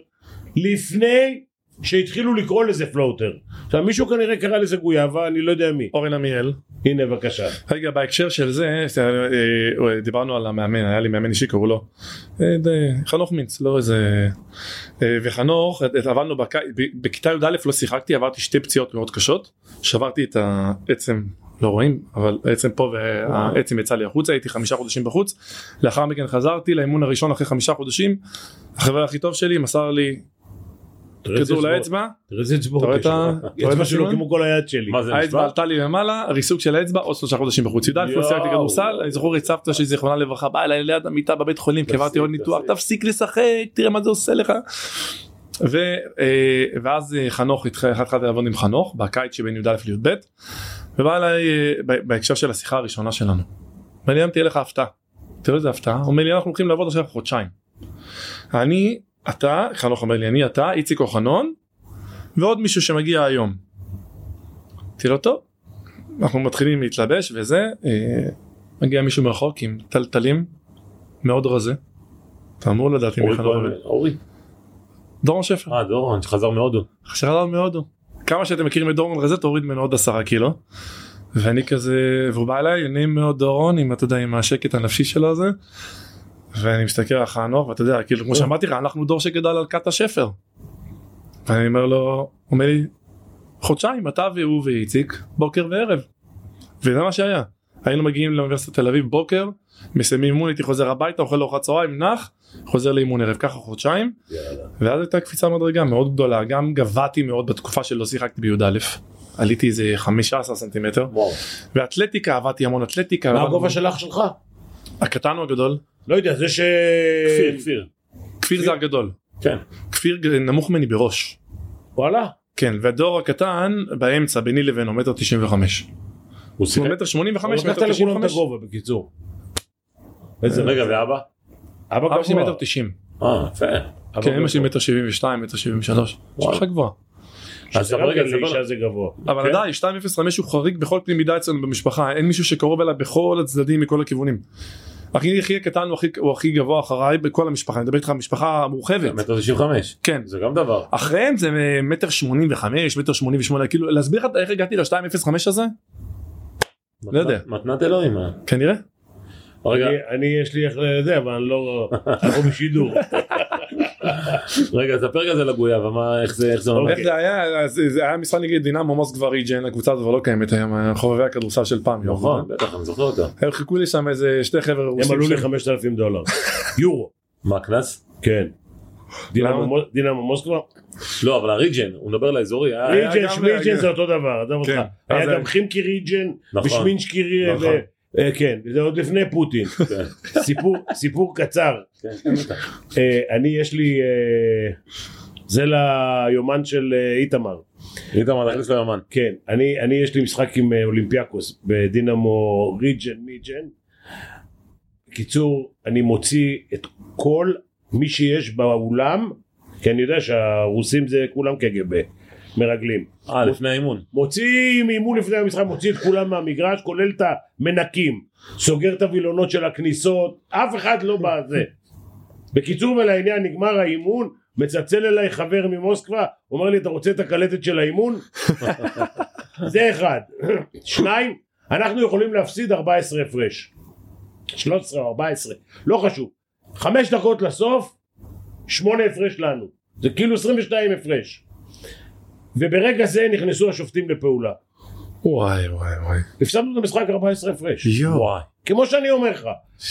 Speaker 2: לפני שהתחילו לקרוא לזה פלוטר. עכשיו מישהו כנראה קרא לזה גויאבה, אני לא יודע מי.
Speaker 5: אורן עמיאל.
Speaker 2: הנה בבקשה.
Speaker 5: רגע בהקשר של זה אה, אה, דיברנו על המאמן היה לי מאמן אישי קראו לו אה, ד- חנוך מינץ לא איזה אה, וחנוך אה, עבדנו בק... ב- בכיתה י"א לא שיחקתי עברתי שתי פציעות מאוד קשות שברתי את העצם לא רואים אבל העצם פה והעצם יצא לי החוצה הייתי חמישה חודשים בחוץ לאחר מכן חזרתי לאימון הראשון אחרי חמישה חודשים החבר הכי טוב שלי מסר לי
Speaker 2: תראה איזה
Speaker 5: כדור
Speaker 2: אצבעות.
Speaker 5: לאצבע
Speaker 2: תראה איזה
Speaker 5: אתה
Speaker 2: אצבעות
Speaker 5: רואה
Speaker 2: יש
Speaker 5: את ה-
Speaker 2: לו.
Speaker 5: אתה רואה את
Speaker 2: אצבע שלו
Speaker 5: הסימן?
Speaker 2: כמו כל היד שלי.
Speaker 1: מה זה
Speaker 5: האצבע
Speaker 1: נשבע?
Speaker 5: עלתה לי למעלה, ריסוק של האצבע, עוד שלושה חודשים בחוץ. י"א לא
Speaker 2: יואו.
Speaker 5: סיימתי כדורסל, אני זוכר את סבתא שלי זיכרונה לברכה, באה אליי ליד המיטה בבית חולים,
Speaker 1: תפסיק,
Speaker 5: קבעתי עוד ניתוח,
Speaker 1: תפסיק.
Speaker 5: תפסיק לשחק, תראה מה זה עושה לך. ו- אה, ואז אה, חנוך, התח- התחלתי לעבוד עם חנוך, בקיץ שבין י"א לי"ב, ובא אליי אה, ב- בהקשר של השיחה הראשונה שלנו. ואני אמרתי לך הפתעה. תראה איזה הפתעה, הוא אומר לי אנחנו הולכים לעבוד עכשיו חודשיים. אני, אתה, חנוך אומר לי, אני, אתה, איציק אוחנון, ועוד מישהו שמגיע היום. אמרתי לו טוב, אנחנו מתחילים להתלבש וזה, אה, מגיע מישהו מרחוק עם טלטלים מאוד רזה. אתה אמור לדעת אם
Speaker 1: אורי
Speaker 5: איך אני
Speaker 1: כהן,
Speaker 5: עובד.
Speaker 1: אורי.
Speaker 5: דורון שפר,
Speaker 1: אה, דורון שחזר מהודו.
Speaker 5: שחזר מהודו. כמה שאתם מכירים את דורון רזה תוריד ממנו עוד עשרה קילו. ואני כזה, והוא בא אליי, נעים מאוד דורון, עם אתה יודע, עם השקט הנפשי שלו הזה. ואני מסתכל על חנוך, ואתה יודע, כאילו, כמו שאמרתי לך, אנחנו דור שגדל על כת השפר. ואני אומר לו, הוא אומר לי, חודשיים, אתה והוא ואיציק, בוקר וערב. וזה מה שהיה. היינו מגיעים לאוניברסיטת תל אביב בוקר, מסיימים אימון, הייתי חוזר הביתה, אוכל לארוחת צהריים, נח, חוזר לאימון ערב, ככה חודשיים. ואז הייתה קפיצה מדרגה מאוד גדולה, גם גבהתי מאוד בתקופה שלא שיחקתי בי"א. עליתי איזה 15 סנטימטר,
Speaker 2: וואו.
Speaker 5: ואתלטיקה, עבדתי המון אתלטיקה.
Speaker 2: מה
Speaker 5: עבדנו-
Speaker 2: הגובה של אח שלך?
Speaker 5: הקטן או הגדול?
Speaker 2: לא יודע, זה ש...
Speaker 5: אה,
Speaker 1: כפיר, כפיר.
Speaker 5: כפיר זה הגדול.
Speaker 1: כן.
Speaker 5: כפיר ג- נמוך ממני בראש.
Speaker 2: וואלה.
Speaker 5: כן, והדור הקטן באמצע ביני לבינו מטר 95.
Speaker 1: הוא
Speaker 5: הוא
Speaker 1: שיחק.
Speaker 5: מטר 85,
Speaker 2: לקחת
Speaker 5: מטר
Speaker 2: אוקיי. לכולם את
Speaker 5: 95.
Speaker 2: הגובה בקיצור.
Speaker 1: איזה רגע, ואבא?
Speaker 2: אבא
Speaker 5: אבא שלי
Speaker 2: גבוה.
Speaker 5: מטר 90.
Speaker 1: אה, יפה.
Speaker 2: אבא
Speaker 5: כן, אמא שלי
Speaker 2: גבוה.
Speaker 5: מטר 72, מטר 73.
Speaker 1: וואו.
Speaker 5: שלך גבוהה.
Speaker 1: אז
Speaker 2: שזה
Speaker 1: אתה
Speaker 2: גם
Speaker 1: רגע,
Speaker 2: כן
Speaker 1: סבבה.
Speaker 2: לאישה זה גבוה.
Speaker 5: אבל
Speaker 1: כן.
Speaker 5: עדיין 205 הוא חריג בכל קנה מידה אצלנו במשפחה אין מישהו שקרוב אליו בכל הצדדים מכל הכיוונים. הכי הכי קטן הוא הכי, הוא הכי גבוה אחריי בכל המשפחה אני מדבר איתך על משפחה מורחבת
Speaker 1: מטר תשעים וחמש.
Speaker 5: כן
Speaker 1: זה גם דבר.
Speaker 5: אחריהם זה מטר 85 מטר 88 כאילו להסביר לך איך הגעתי ל-205 הזה לא יודע. אה.
Speaker 1: מתנת- מתנת אלוהים. אה.
Speaker 5: כנראה
Speaker 1: רגע,
Speaker 2: אני- אני יש לי איך לזה אבל אני לא אנחנו בשידור
Speaker 1: רגע, אז הפרק הזה לגויאבה, מה- איך זה איך זה
Speaker 2: אוקיי.
Speaker 1: ממש?
Speaker 5: איך זה היה אז זה היה משחק נגד דינמו מוסקבה ריג'ן הקבוצה הזו כבר לא קיימת היום חובבי הכדורסל של פעם
Speaker 1: נכון, בטח, אני זוכר אותה.
Speaker 5: הם חיכו לי שם איזה שתי חבר'ה
Speaker 2: הם
Speaker 5: רוסים
Speaker 2: עלו לי
Speaker 5: שם.
Speaker 2: 5,000 דולר יורו
Speaker 1: מה, קנס?
Speaker 2: כן דינמו
Speaker 5: למה?
Speaker 2: מו- דינמו מוסקבה
Speaker 1: לא, אבל הריג'ן, הוא מדבר לאזורי. אה,
Speaker 5: היה
Speaker 2: ריג'ן
Speaker 5: גם-
Speaker 2: שמיג'ן
Speaker 5: היה-
Speaker 2: זה אותו דבר עזוב אותך.
Speaker 5: כן. אז
Speaker 2: היה
Speaker 5: היה-
Speaker 2: גם חימקי ריג'ן
Speaker 1: נכון.
Speaker 2: ושמינסקי ריג'ן
Speaker 1: נכון.
Speaker 2: כן זה עוד לפני פוטין
Speaker 1: כן,
Speaker 2: סיפור סיפור קצר
Speaker 1: כן, כן, בטח.
Speaker 2: אה, אני יש לי אה, זה ליומן של אה, איתמר
Speaker 1: איתמר, תכניס לו יומן.
Speaker 2: כן, אני, אני יש לי משחק עם אה, אולימפיאקוס בדינמו ריג'ן מיג'ן. קיצור, אני מוציא את כל מי שיש באולם, כי אני יודע שהרוסים זה כולם קג"ב, מרגלים.
Speaker 1: אה, לפני האימון.
Speaker 2: מוציא מאימון לפני המשחק, מוציא את כולם מהמגרש, כולל את המנקים, סוגר את הווילונות של הכניסות, אף אחד לא בזה. בקיצור ולעניין, נגמר האימון, מצלצל אליי חבר ממוסקבה, אומר לי, אתה רוצה את הקלטת של האימון? זה אחד. שניים, אנחנו יכולים להפסיד 14 הפרש. 13 או 14, לא חשוב. חמש דקות לסוף, שמונה הפרש לנו. זה כאילו 22 הפרש. וברגע זה נכנסו השופטים לפעולה.
Speaker 5: וואי וואי וואי.
Speaker 2: הפסדנו את המשחק 14 הפרש.
Speaker 5: יואו.
Speaker 1: וואי.
Speaker 2: כמו שאני אומר לך.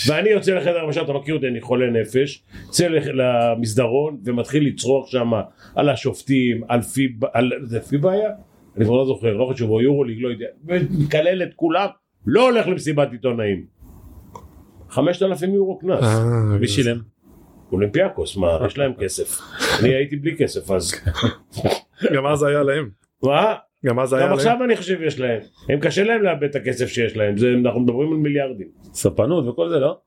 Speaker 2: ואני יוצא לחדר המשל, אתה מכיר אותי, אני חולה נפש, יוצא לח- למסדרון ומתחיל לצרוח שם על השופטים, על פי, על, זה פי בעיה? אני כבר לא זוכר, לא חשוב, יורוליג, לא יודע, ומקלל את כולם, לא הולך למסיבת עיתונאים. 5,000 יורו קנס.
Speaker 5: אה,
Speaker 1: מי שילם?
Speaker 2: אולימפיאקוס, מה, יש להם כסף. אני הייתי בלי כסף אז.
Speaker 5: גם אז היה להם.
Speaker 2: מה?
Speaker 5: גם
Speaker 1: לא
Speaker 5: אז היה
Speaker 2: גם
Speaker 5: להם.
Speaker 2: עכשיו אני חושב יש להם. הם קשה להם לאבד את הכסף שיש להם, זה- אנחנו מדברים על מיליארדים.
Speaker 1: ספנות וכל זה, לא?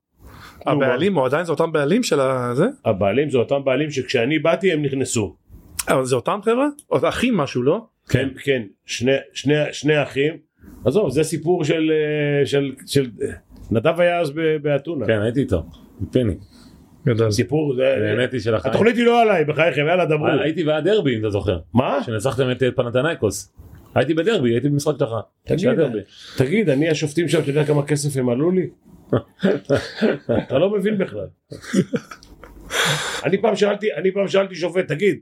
Speaker 5: הבעלים או עדיין זה אותם בעלים של ה- זה?
Speaker 2: הבעלים זה אותם בעלים שכשאני באתי הם נכנסו.
Speaker 5: אה, אבל זה אותם חבר'ה? או- אחים משהו לא?
Speaker 2: כן, כן, שני, שני, שני אחים. עזוב, זה סיפור של... אה, של, של נדב היה אז ב- באתונה.
Speaker 1: כן, הייתי איתו. פיני.
Speaker 5: גדל.
Speaker 2: סיפור, זה...
Speaker 5: אה,
Speaker 1: באמת אה, היא של החיים.
Speaker 2: התוכנית היא לא עליי, בחייכם, יאללה דברו.
Speaker 1: הייתי בדרבי, אם אתה זוכר.
Speaker 2: מה?
Speaker 1: כשניצחתם את אה, פנתנייקוס. הייתי בדרבי, הייתי במשחק שלך. של הדרבי.
Speaker 2: תגיד, אני השופטים שם, אתה יודע כמה כסף הם עלו לי? אתה לא מבין בכלל. אני פעם שאלתי, אני פעם שאלתי שופט, תגיד,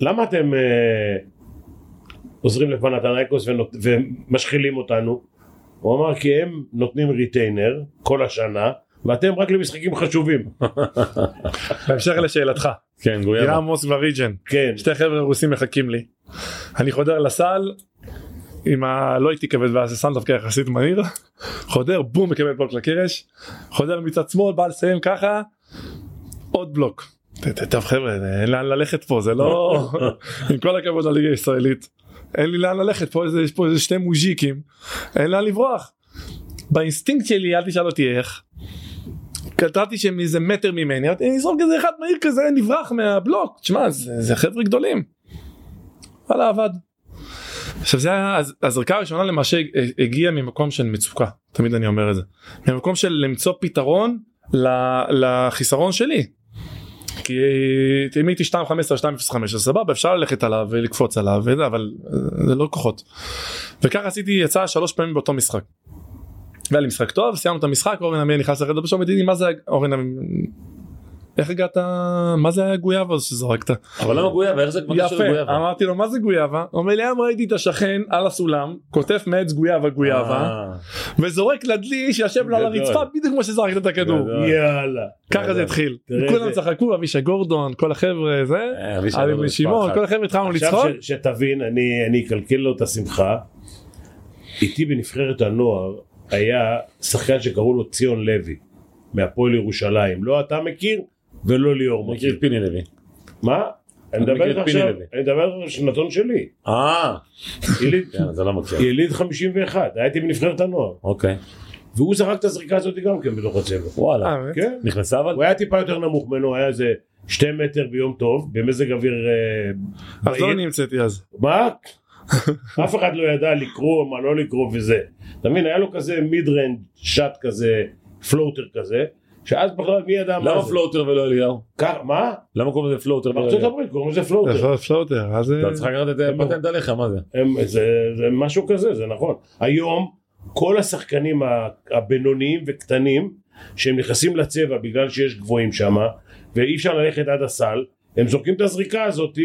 Speaker 2: למה אתם אה, עוזרים לפנתנייקוס ונות- ומשחילים אותנו? הוא אמר כי הם נותנים ריטיינר כל השנה ואתם רק למשחקים חשובים.
Speaker 5: בהמשך לשאלתך.
Speaker 1: כן, גויאבה.
Speaker 5: רמוס וריג'ן.
Speaker 2: כן.
Speaker 5: שתי חבר'ה רוסים מחכים לי. אני חודר לסל עם ה... לא הייתי כבד והססן דווקא יחסית מהיר. חודר בום מקבל בלוק לקרש. חודר מצד שמאל בא לסיים ככה. עוד בלוק. ט- ט- טוב חבר'ה אין לאן ללכת פה זה לא עם כל הכבוד לליגה הישראלית. אין לי לאן ללכת פה איזה- יש פה איזה שני מוז'יקים. אין לאן לברוח. באינסטינקט שלי אל תשאל אותי איך. קלטתי שהם איזה מטר ממני, אמרתי אני אזרוק איזה אחד מהיר כזה נברח מהבלוק, תשמע זה, זה חבר'ה גדולים. וואלה עבד. עכשיו זה היה, הז- הזריקה הראשונה למעשה הג- הגיעה ממקום של מצוקה, תמיד אני אומר את זה. ממקום של למצוא פתרון ל- לחיסרון שלי. כי אם הייתי 2.15 2.05 אז סבבה אפשר ללכת עליו ולקפוץ עליו וזה אבל אה, זה לא כוחות. וככה עשיתי יצאה שלוש פעמים באותו משחק. והיה לי משחק טוב סיימנו את המשחק אורן עמיר נכנס לחדר בשום ותגידי מה זה הג- אורן עמיר איך הגעת מה זה היה גויאבה שזרקת
Speaker 1: אבל למה גויאבה? איך זה כבר קשור
Speaker 5: יפה
Speaker 1: לגויאבה?
Speaker 5: אמרתי לו מה זה גויאבה הוא אומר לי היום ראיתי את השכן על הסולם כותף מעץ גויאבה גויאבה
Speaker 1: אה,
Speaker 5: וזורק לדלי שישב לו על
Speaker 1: גדול.
Speaker 5: הרצפה בדיוק כמו שזרקת את הכדור
Speaker 1: גדול.
Speaker 2: יאללה.
Speaker 5: ככה זה התחיל
Speaker 2: תראה
Speaker 5: כולם
Speaker 2: איזה-
Speaker 5: צחקו אבישי גורדון כל החבר'ה זה
Speaker 1: אה, אבישי
Speaker 5: אבי
Speaker 1: גורדון,
Speaker 5: שמעון
Speaker 1: מספר
Speaker 5: כל החבר'ה התחלנו לצחוק
Speaker 2: עכשיו ש, שתבין, אני, אני אקלקל לו את השמחה. איתי בנבחרת הנוער היה שחקן שקראו לו ציון לוי, מהפועל ירושלים. לא אתה מכיר ולא ליאור
Speaker 1: הוא
Speaker 2: מכיר.
Speaker 1: מכיר את פיני לוי.
Speaker 2: מה? אני
Speaker 1: אני
Speaker 2: מדבר
Speaker 1: מכיר
Speaker 2: איתך
Speaker 1: את פיני
Speaker 2: עכשיו,
Speaker 1: לוי.
Speaker 2: אני מדבר על שנתון שלי.
Speaker 1: אה,
Speaker 2: יליד-
Speaker 1: כן, זה לא מכיר.
Speaker 2: יליד 51, הייתי בנבחרת הנוער.
Speaker 1: אוקיי.
Speaker 2: והוא זרק את הזריקה הזאת גם כן בתוך הצבע.
Speaker 1: וואלה.
Speaker 5: אה, באמת?
Speaker 2: כן.
Speaker 1: נכנסה אבל?
Speaker 2: הוא היה טיפה יותר נמוך ממנו, היה איזה שתי מטר ביום טוב, במזג אוויר... אה,
Speaker 5: אז לא
Speaker 2: בעיר.
Speaker 5: נמצאתי אז
Speaker 2: מה? אף אחד לא ידע לקרוא, מה לא לקרוא וזה. אתה מבין, היה לו כזה מיד רנד שאט כזה, פלוטר כזה, שאז בכלל מי ידע מה
Speaker 1: למה
Speaker 2: זה.
Speaker 1: פלוטר ולא אליהו?
Speaker 2: כך, מה?
Speaker 1: למה קוראים לזה פלוטר
Speaker 5: לא
Speaker 1: ולא
Speaker 2: בארצות
Speaker 1: אליהו?
Speaker 2: הברית קוראים לזה
Speaker 1: אוקיי.
Speaker 2: פלוטר.
Speaker 5: איפה פלוטר אז אה,
Speaker 1: אתה צריך לקחת את
Speaker 2: הם לא.
Speaker 1: הפטנט עליך, מה זה?
Speaker 2: הם- זה זה משהו כזה, זה נכון. היום כל השחקנים ה- הבינוניים וקטנים, שהם נכנסים לצבע בגלל שיש גבוהים שם, ואי אפשר ללכת עד הסל, הם זורקים את הזריקה הזאת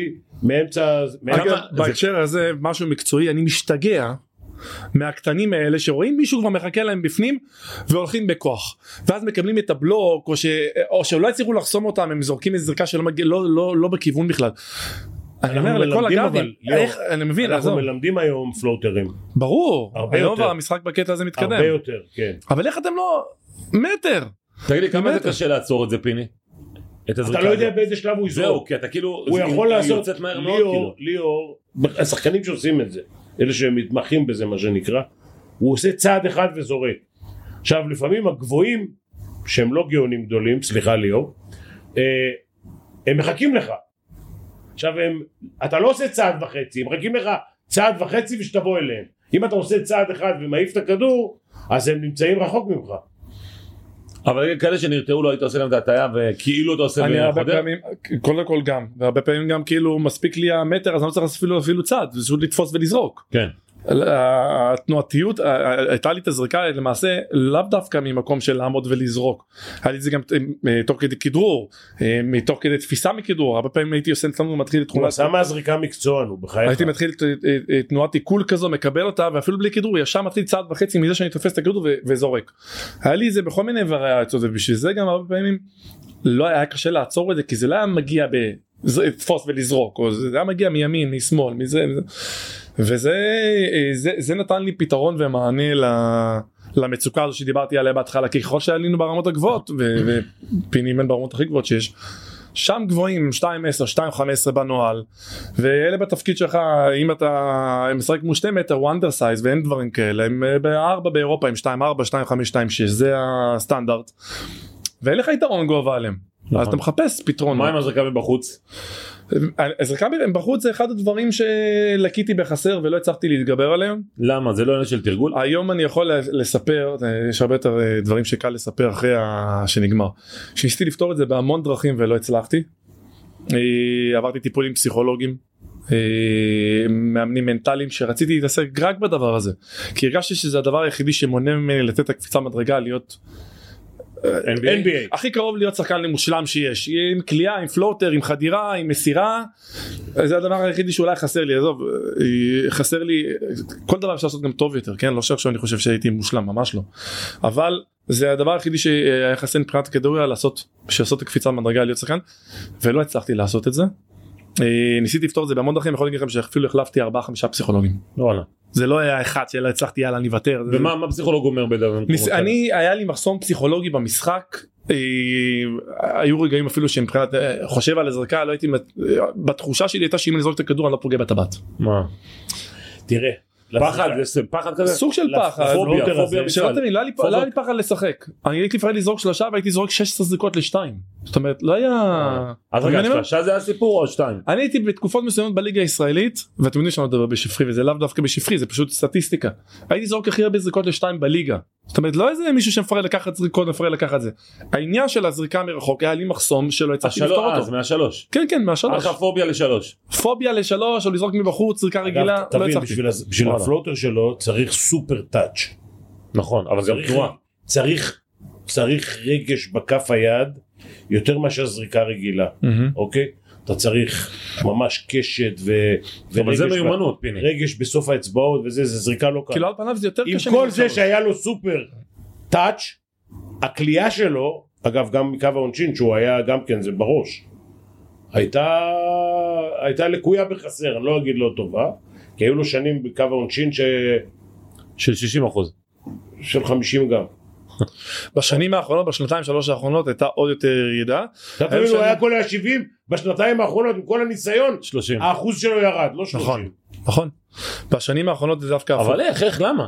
Speaker 2: מאמצע... מאמצע-
Speaker 5: אגב, בהקשר הזה משהו מקצועי אני משתגע מהקטנים האלה שרואים מישהו כבר מחכה להם בפנים והולכים בכוח ואז מקבלים את הבלוק או, ש... או שלא הצליחו לחסום אותם הם זורקים איזה זריקה שלא מגיע לא, לא, לא בכיוון בכלל. אני אומר לכל
Speaker 2: מלמדים,
Speaker 5: הגארדים,
Speaker 2: אבל, ליאור,
Speaker 5: איך, אני מבין,
Speaker 2: אנחנו
Speaker 5: עזוב,
Speaker 2: מלמדים היום פלוטרים.
Speaker 5: ברור,
Speaker 2: הרבה
Speaker 5: היום
Speaker 2: יותר.
Speaker 5: כבר המשחק בקטע הזה מתקדם,
Speaker 2: הרבה יותר, כן.
Speaker 5: אבל איך אתם לא, מטר,
Speaker 1: תגיד לי, כמה
Speaker 5: באמת?
Speaker 1: זה קשה לעצור את זה, פיני? את הזריקה
Speaker 2: אתה לא יודע
Speaker 1: הזאת?
Speaker 2: באיזה שלב הוא
Speaker 1: זהו,
Speaker 2: יזרוק.
Speaker 1: כי אתה כאילו...
Speaker 2: הוא
Speaker 1: זה-
Speaker 2: יכול לעשות,
Speaker 1: יוצאת מהר מאוד,
Speaker 2: ליאור,
Speaker 1: כאילו.
Speaker 2: ליאור, השחקנים שעושים את זה, אלה שמתמחים בזה מה שנקרא, הוא עושה צעד אחד וזורק. עכשיו לפעמים הגבוהים, שהם לא גאונים גדולים, סליחה ליאור, אה, הם מחכים לך. עכשיו הם, אתה לא עושה צעד וחצי, הם מחכים לך צעד וחצי ושתבוא אליהם. אם אתה עושה צעד אחד ומעיף את הכדור, אז הם נמצאים רחוק ממך.
Speaker 1: כאילו. אבל כאלה שנרתעו לא היית עושה להם את ההטעיה וכאילו אתה עושה
Speaker 5: אני הרבה
Speaker 1: בחודר?
Speaker 5: פעמים, קודם כל גם, והרבה פעמים גם כאילו מספיק לי המטר אז אני לא צריך לעשות אפילו- אפילו צעד, זה פשוט לתפוס ולזרוק,
Speaker 1: כן.
Speaker 5: התנועתיות ה- ה- הייתה לי את הזריקה למעשה לאו דווקא ממקום של לעמוד ולזרוק היה לי את זה גם אה, תוך כדי כדרור אה, מתוך כדי תפיסה מכדרור הרבה פעמים הייתי עושה סתם מתחיל את
Speaker 2: הוא
Speaker 5: תכולת
Speaker 2: עשה מהזריקה מקצוען, הוא בחייך.
Speaker 5: הייתי מתחיל ת- אה, אה, תנועת עיכול כזו מקבל אותה ואפילו בלי כדרור ישר מתחיל צעד וחצי מזה שאני תופס את הכדרור ו- וזורק. היה לי את זה בכל מיני וריאציות ובשביל זה גם הרבה פעמים לא היה קשה לעצור את זה כי זה לא היה מגיע ב... זה- לתפוס ולזרוק או זה היה מגיע מימין משמאל מזה מזה. וזה אה, זה, זה נתן לי פתרון ומענה ל... למצוקה הזו שדיברתי עליה בהתחלה כי ככל שעלינו ברמות הגבוהות ו- ופינים הן ברמות הכי גבוהות שיש שם גבוהים 2.10 2.15 בנוהל ואלה בתפקיד שלך אם אתה משחק כמו שתי מטר הוא אנדרסייז ואין דברים כאלה הם אה, בארבע באירופה עם 2.4 2.5 2.6 זה הסטנדרט ואין לך יתרון גובה עליהם אז אתה מחפש פתרון
Speaker 1: נכון. מה עם הזריקה מבחוץ?
Speaker 5: הזריקה בחוץ זה אחד הדברים שלקיתי בחסר ולא הצלחתי להתגבר עליהם
Speaker 1: למה? זה לא עניין של תרגול?
Speaker 5: היום אני יכול לספר אה, יש הרבה יותר אה, דברים שקל לספר אחרי ה- שנגמר שניסיתי לפתור את זה בהמון דרכים ולא הצלחתי אה, עברתי טיפולים פסיכולוגיים. אה, מאמנים מנטליים שרציתי להתעסק רק בדבר הזה כי הרגשתי שזה הדבר היחידי שמונע ממני לתת את הקפיצה מדרגה להיות
Speaker 2: NBA.
Speaker 5: הכי קרוב להיות שחקן למושלם שיש עם קליעה עם פלוטר עם חדירה עם מסירה זה הדבר היחידי שאולי חסר לי עזוב אה, חסר לי כל דבר אפשר לעשות גם טוב יותר כן לא שעכשיו אני חושב שהייתי מושלם ממש לא אבל זה הדבר היחידי שהיה חסר מבחינת כדוריה לעשות שעשות את הקפיצה במדרגה להיות שחקן ולא הצלחתי לעשות את זה. אה, ניסיתי לפתור את זה בהמון דרכים יכול להגיד לכם שאפילו החלפתי 4-5 פסיכולוגים
Speaker 1: וואלה.
Speaker 5: זה לא היה אחד שלא הצלחתי יאללה אני אוותר. זה-
Speaker 1: ומה מה פסיכולוג אומר בדבר?
Speaker 5: ניס... אני היה לי מחסום פסיכולוגי במשחק אה, היו רגעים אפילו שמבחינת אה, חושב על הזריקה לא הייתי מת- אה, בתחושה שלי הייתה שאם אני זורק את הכדור אני לא פוגע בטבעת.
Speaker 1: מה?
Speaker 2: תראה.
Speaker 1: פחד? זה פחד כזה?
Speaker 5: סוג של
Speaker 1: לפ-
Speaker 5: פחד.
Speaker 1: פוביה,
Speaker 2: לפלוטר הזה.
Speaker 1: פוביה
Speaker 5: שלא
Speaker 1: בכלל.
Speaker 5: תבין, לא היה לי פ-
Speaker 1: פחות.
Speaker 5: לא היה לי פחד לשחק אני הייתי לפעמים לזרוק שלושה והייתי זורק 16 זריקות לשתיים זאת אומרת לא היה.
Speaker 1: אה, אז
Speaker 5: אני
Speaker 1: רגע,
Speaker 5: אומר,
Speaker 1: שלושה זה הסיפור או שתיים?
Speaker 5: אני הייתי בתקופות מסוימות בליגה הישראלית ואתם יודעים שאני לא מדבר בשפרי וזה לאו דווקא בשפרי זה פשוט סטטיסטיקה. הייתי זורק הכי הרבה זריקות לשתיים בליגה. זאת אומרת לא איזה מישהו שמפרד לקחת זריקות מפרד לקחת זה. העניין של הזריקה מרחוק היה לי מחסום שלא הצלחתי
Speaker 1: השלוש,
Speaker 2: אה,
Speaker 5: לפתור
Speaker 1: אז
Speaker 5: אותו.
Speaker 1: מהשלוש.
Speaker 5: כן כן מהשלוש.
Speaker 1: עכשיו פוביה לשלוש.
Speaker 5: פוביה לשלוש או לזרוק מבחוץ זריקה רגילה
Speaker 2: אגב,
Speaker 5: לא
Speaker 2: תבין,
Speaker 5: הצלחתי.
Speaker 2: בשביל הז- בשביל
Speaker 1: וואלה.
Speaker 2: הפלוטר שלו צריך סופר טאץ'.
Speaker 1: נכון, אבל זה
Speaker 2: צריך-
Speaker 1: תנועה.
Speaker 2: צריך, צריך רגש בכף היד יותר מאשר זריקה רגילה,
Speaker 5: מהמם.
Speaker 2: אוקיי? אתה צריך ממש קשת ו...
Speaker 1: אבל
Speaker 2: ורגש
Speaker 1: זה
Speaker 2: ב-
Speaker 1: מיומנות, פיני.
Speaker 2: רגש בסוף האצבעות וזה, זה זריקה לא קלה.
Speaker 5: כאילו על פניו זה יותר
Speaker 2: עם
Speaker 5: קשה.
Speaker 2: כל
Speaker 5: ממה
Speaker 2: זה
Speaker 5: שאתה אומר.
Speaker 2: שהיה לו סופר טאץ', הכלייה שלו, אגב גם מקו העונשין שהוא היה גם כן זה בראש, הייתה, הייתה לקויה בחסר, אני לא אגיד לא טובה, כי היו לו שנים בקו העונשין ש...
Speaker 1: של 60 אחוז.
Speaker 2: של 50 גם.
Speaker 5: בשנים האחרונות בשנתיים שלוש האחרונות הייתה עוד יותר ירידה.
Speaker 2: אתה
Speaker 5: היו
Speaker 2: מבין, הוא
Speaker 5: שנים-
Speaker 2: היה כל היה 70, בשנתיים האחרונות עם כל הניסיון,
Speaker 1: 30.
Speaker 2: האחוז שלו ירד, לא 30.
Speaker 5: נכון נכון. בשנים האחרונות זה דווקא הפוך.
Speaker 1: אבל איך, איך, למה?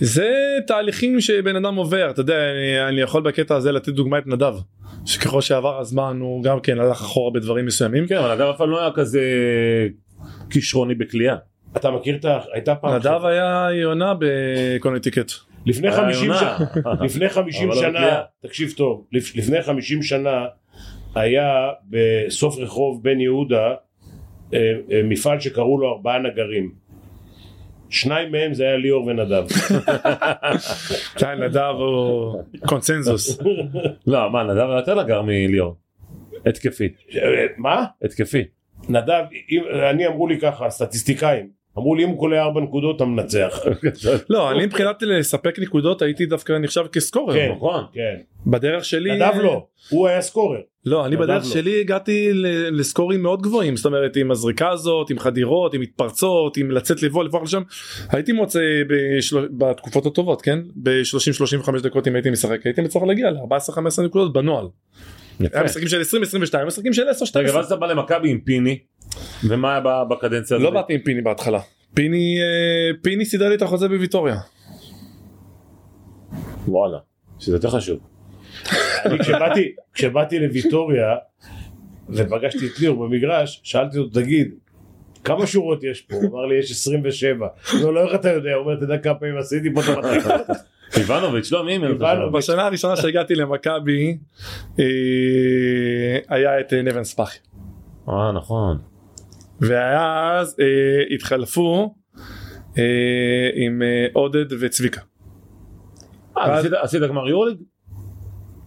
Speaker 5: זה תהליכים שבן אדם עובר אתה יודע אני, אני יכול בקטע הזה לתת דוגמא את נדב שככל שעבר הזמן הוא גם כן הלך אחורה בדברים
Speaker 2: אה,
Speaker 5: מסוימים.
Speaker 1: כן, אבל אדם אף פעם לא היה כזה כישרוני בכלייה.
Speaker 2: אתה מכיר את ה... הייתה פעם...
Speaker 5: נדב היה יונה בקונטיקט.
Speaker 2: לפני
Speaker 1: היה
Speaker 2: 50
Speaker 1: יונה.
Speaker 2: שנה, לפני 50
Speaker 1: אבל לא
Speaker 2: שנה,
Speaker 1: בקליעה.
Speaker 2: תקשיב טוב, לפ- לפני 50 שנה היה בסוף רחוב בן יהודה אה, אה, מפעל שקראו לו ארבעה נגרים. שניים מהם זה היה ליאור ונדב. אה,
Speaker 5: כן נדב הוא קונצנזוס.
Speaker 1: לא, מה, נדב היה יותר נגר מליאור. התקפי,
Speaker 2: אה, מה?
Speaker 1: התקפי.
Speaker 2: נדב, אם- אני אמרו לי ככה, הסטטיסטיקאים, אמרו לי אם הוא קולע ארבע נקודות אתה מנצח.
Speaker 5: לא אני מבחינת לספק נקודות הייתי דווקא נחשב כסקורר.
Speaker 2: כן.
Speaker 1: נכון.
Speaker 2: כן.
Speaker 5: בדרך שלי.
Speaker 2: נדב לא, הוא היה סקורר.
Speaker 5: לא אני
Speaker 2: נדב
Speaker 5: בדרך
Speaker 2: לא.
Speaker 5: שלי הגעתי ל- לסקורים מאוד גבוהים זאת אומרת עם הזריקה הזאת עם חדירות עם מתפרצות עם לצאת לבוא לברוח לשם הייתי מוצא בשל... בתקופות הטובות כן ב-30-35 דקות אם הייתי משחק הייתי מצליח להגיע ל-14-15 נקודות בנוהל.
Speaker 1: יפה.
Speaker 5: היה משחקים של 20-22 משחקים של 10-12.
Speaker 1: רגע, ואז אתה בא למכבי עם פיני, ומה היה ב- בקדנציה הזאת?
Speaker 5: לא באתי עם פיני בהתחלה פיני אה, פיני סידר לי את החוזה בוויטוריה.
Speaker 1: אה, וואלה, שזה יותר חשוב.
Speaker 2: אני כשבאתי, כשבאתי לוויטוריה ופגשתי את ליאור במגרש, שאלתי אותו, תגיד, כמה שורות יש פה? הוא אמר לי, יש 27. לא, לא, איך אתה יודע? הוא אומר, אתה יודע כמה פעמים עשיתי פה את המחלקה?
Speaker 1: איבנוביץ', לא, מי אם
Speaker 2: איבנוביץ'.
Speaker 5: בשנה הראשונה שהגעתי למכבי אה, היה את אה, נבן ספאחי.
Speaker 1: אה, נכון.
Speaker 5: ואז אה, התחלפו אה, עם אה, עודד וצביקה
Speaker 1: אה, אז עשית- עשית גמר יורליג?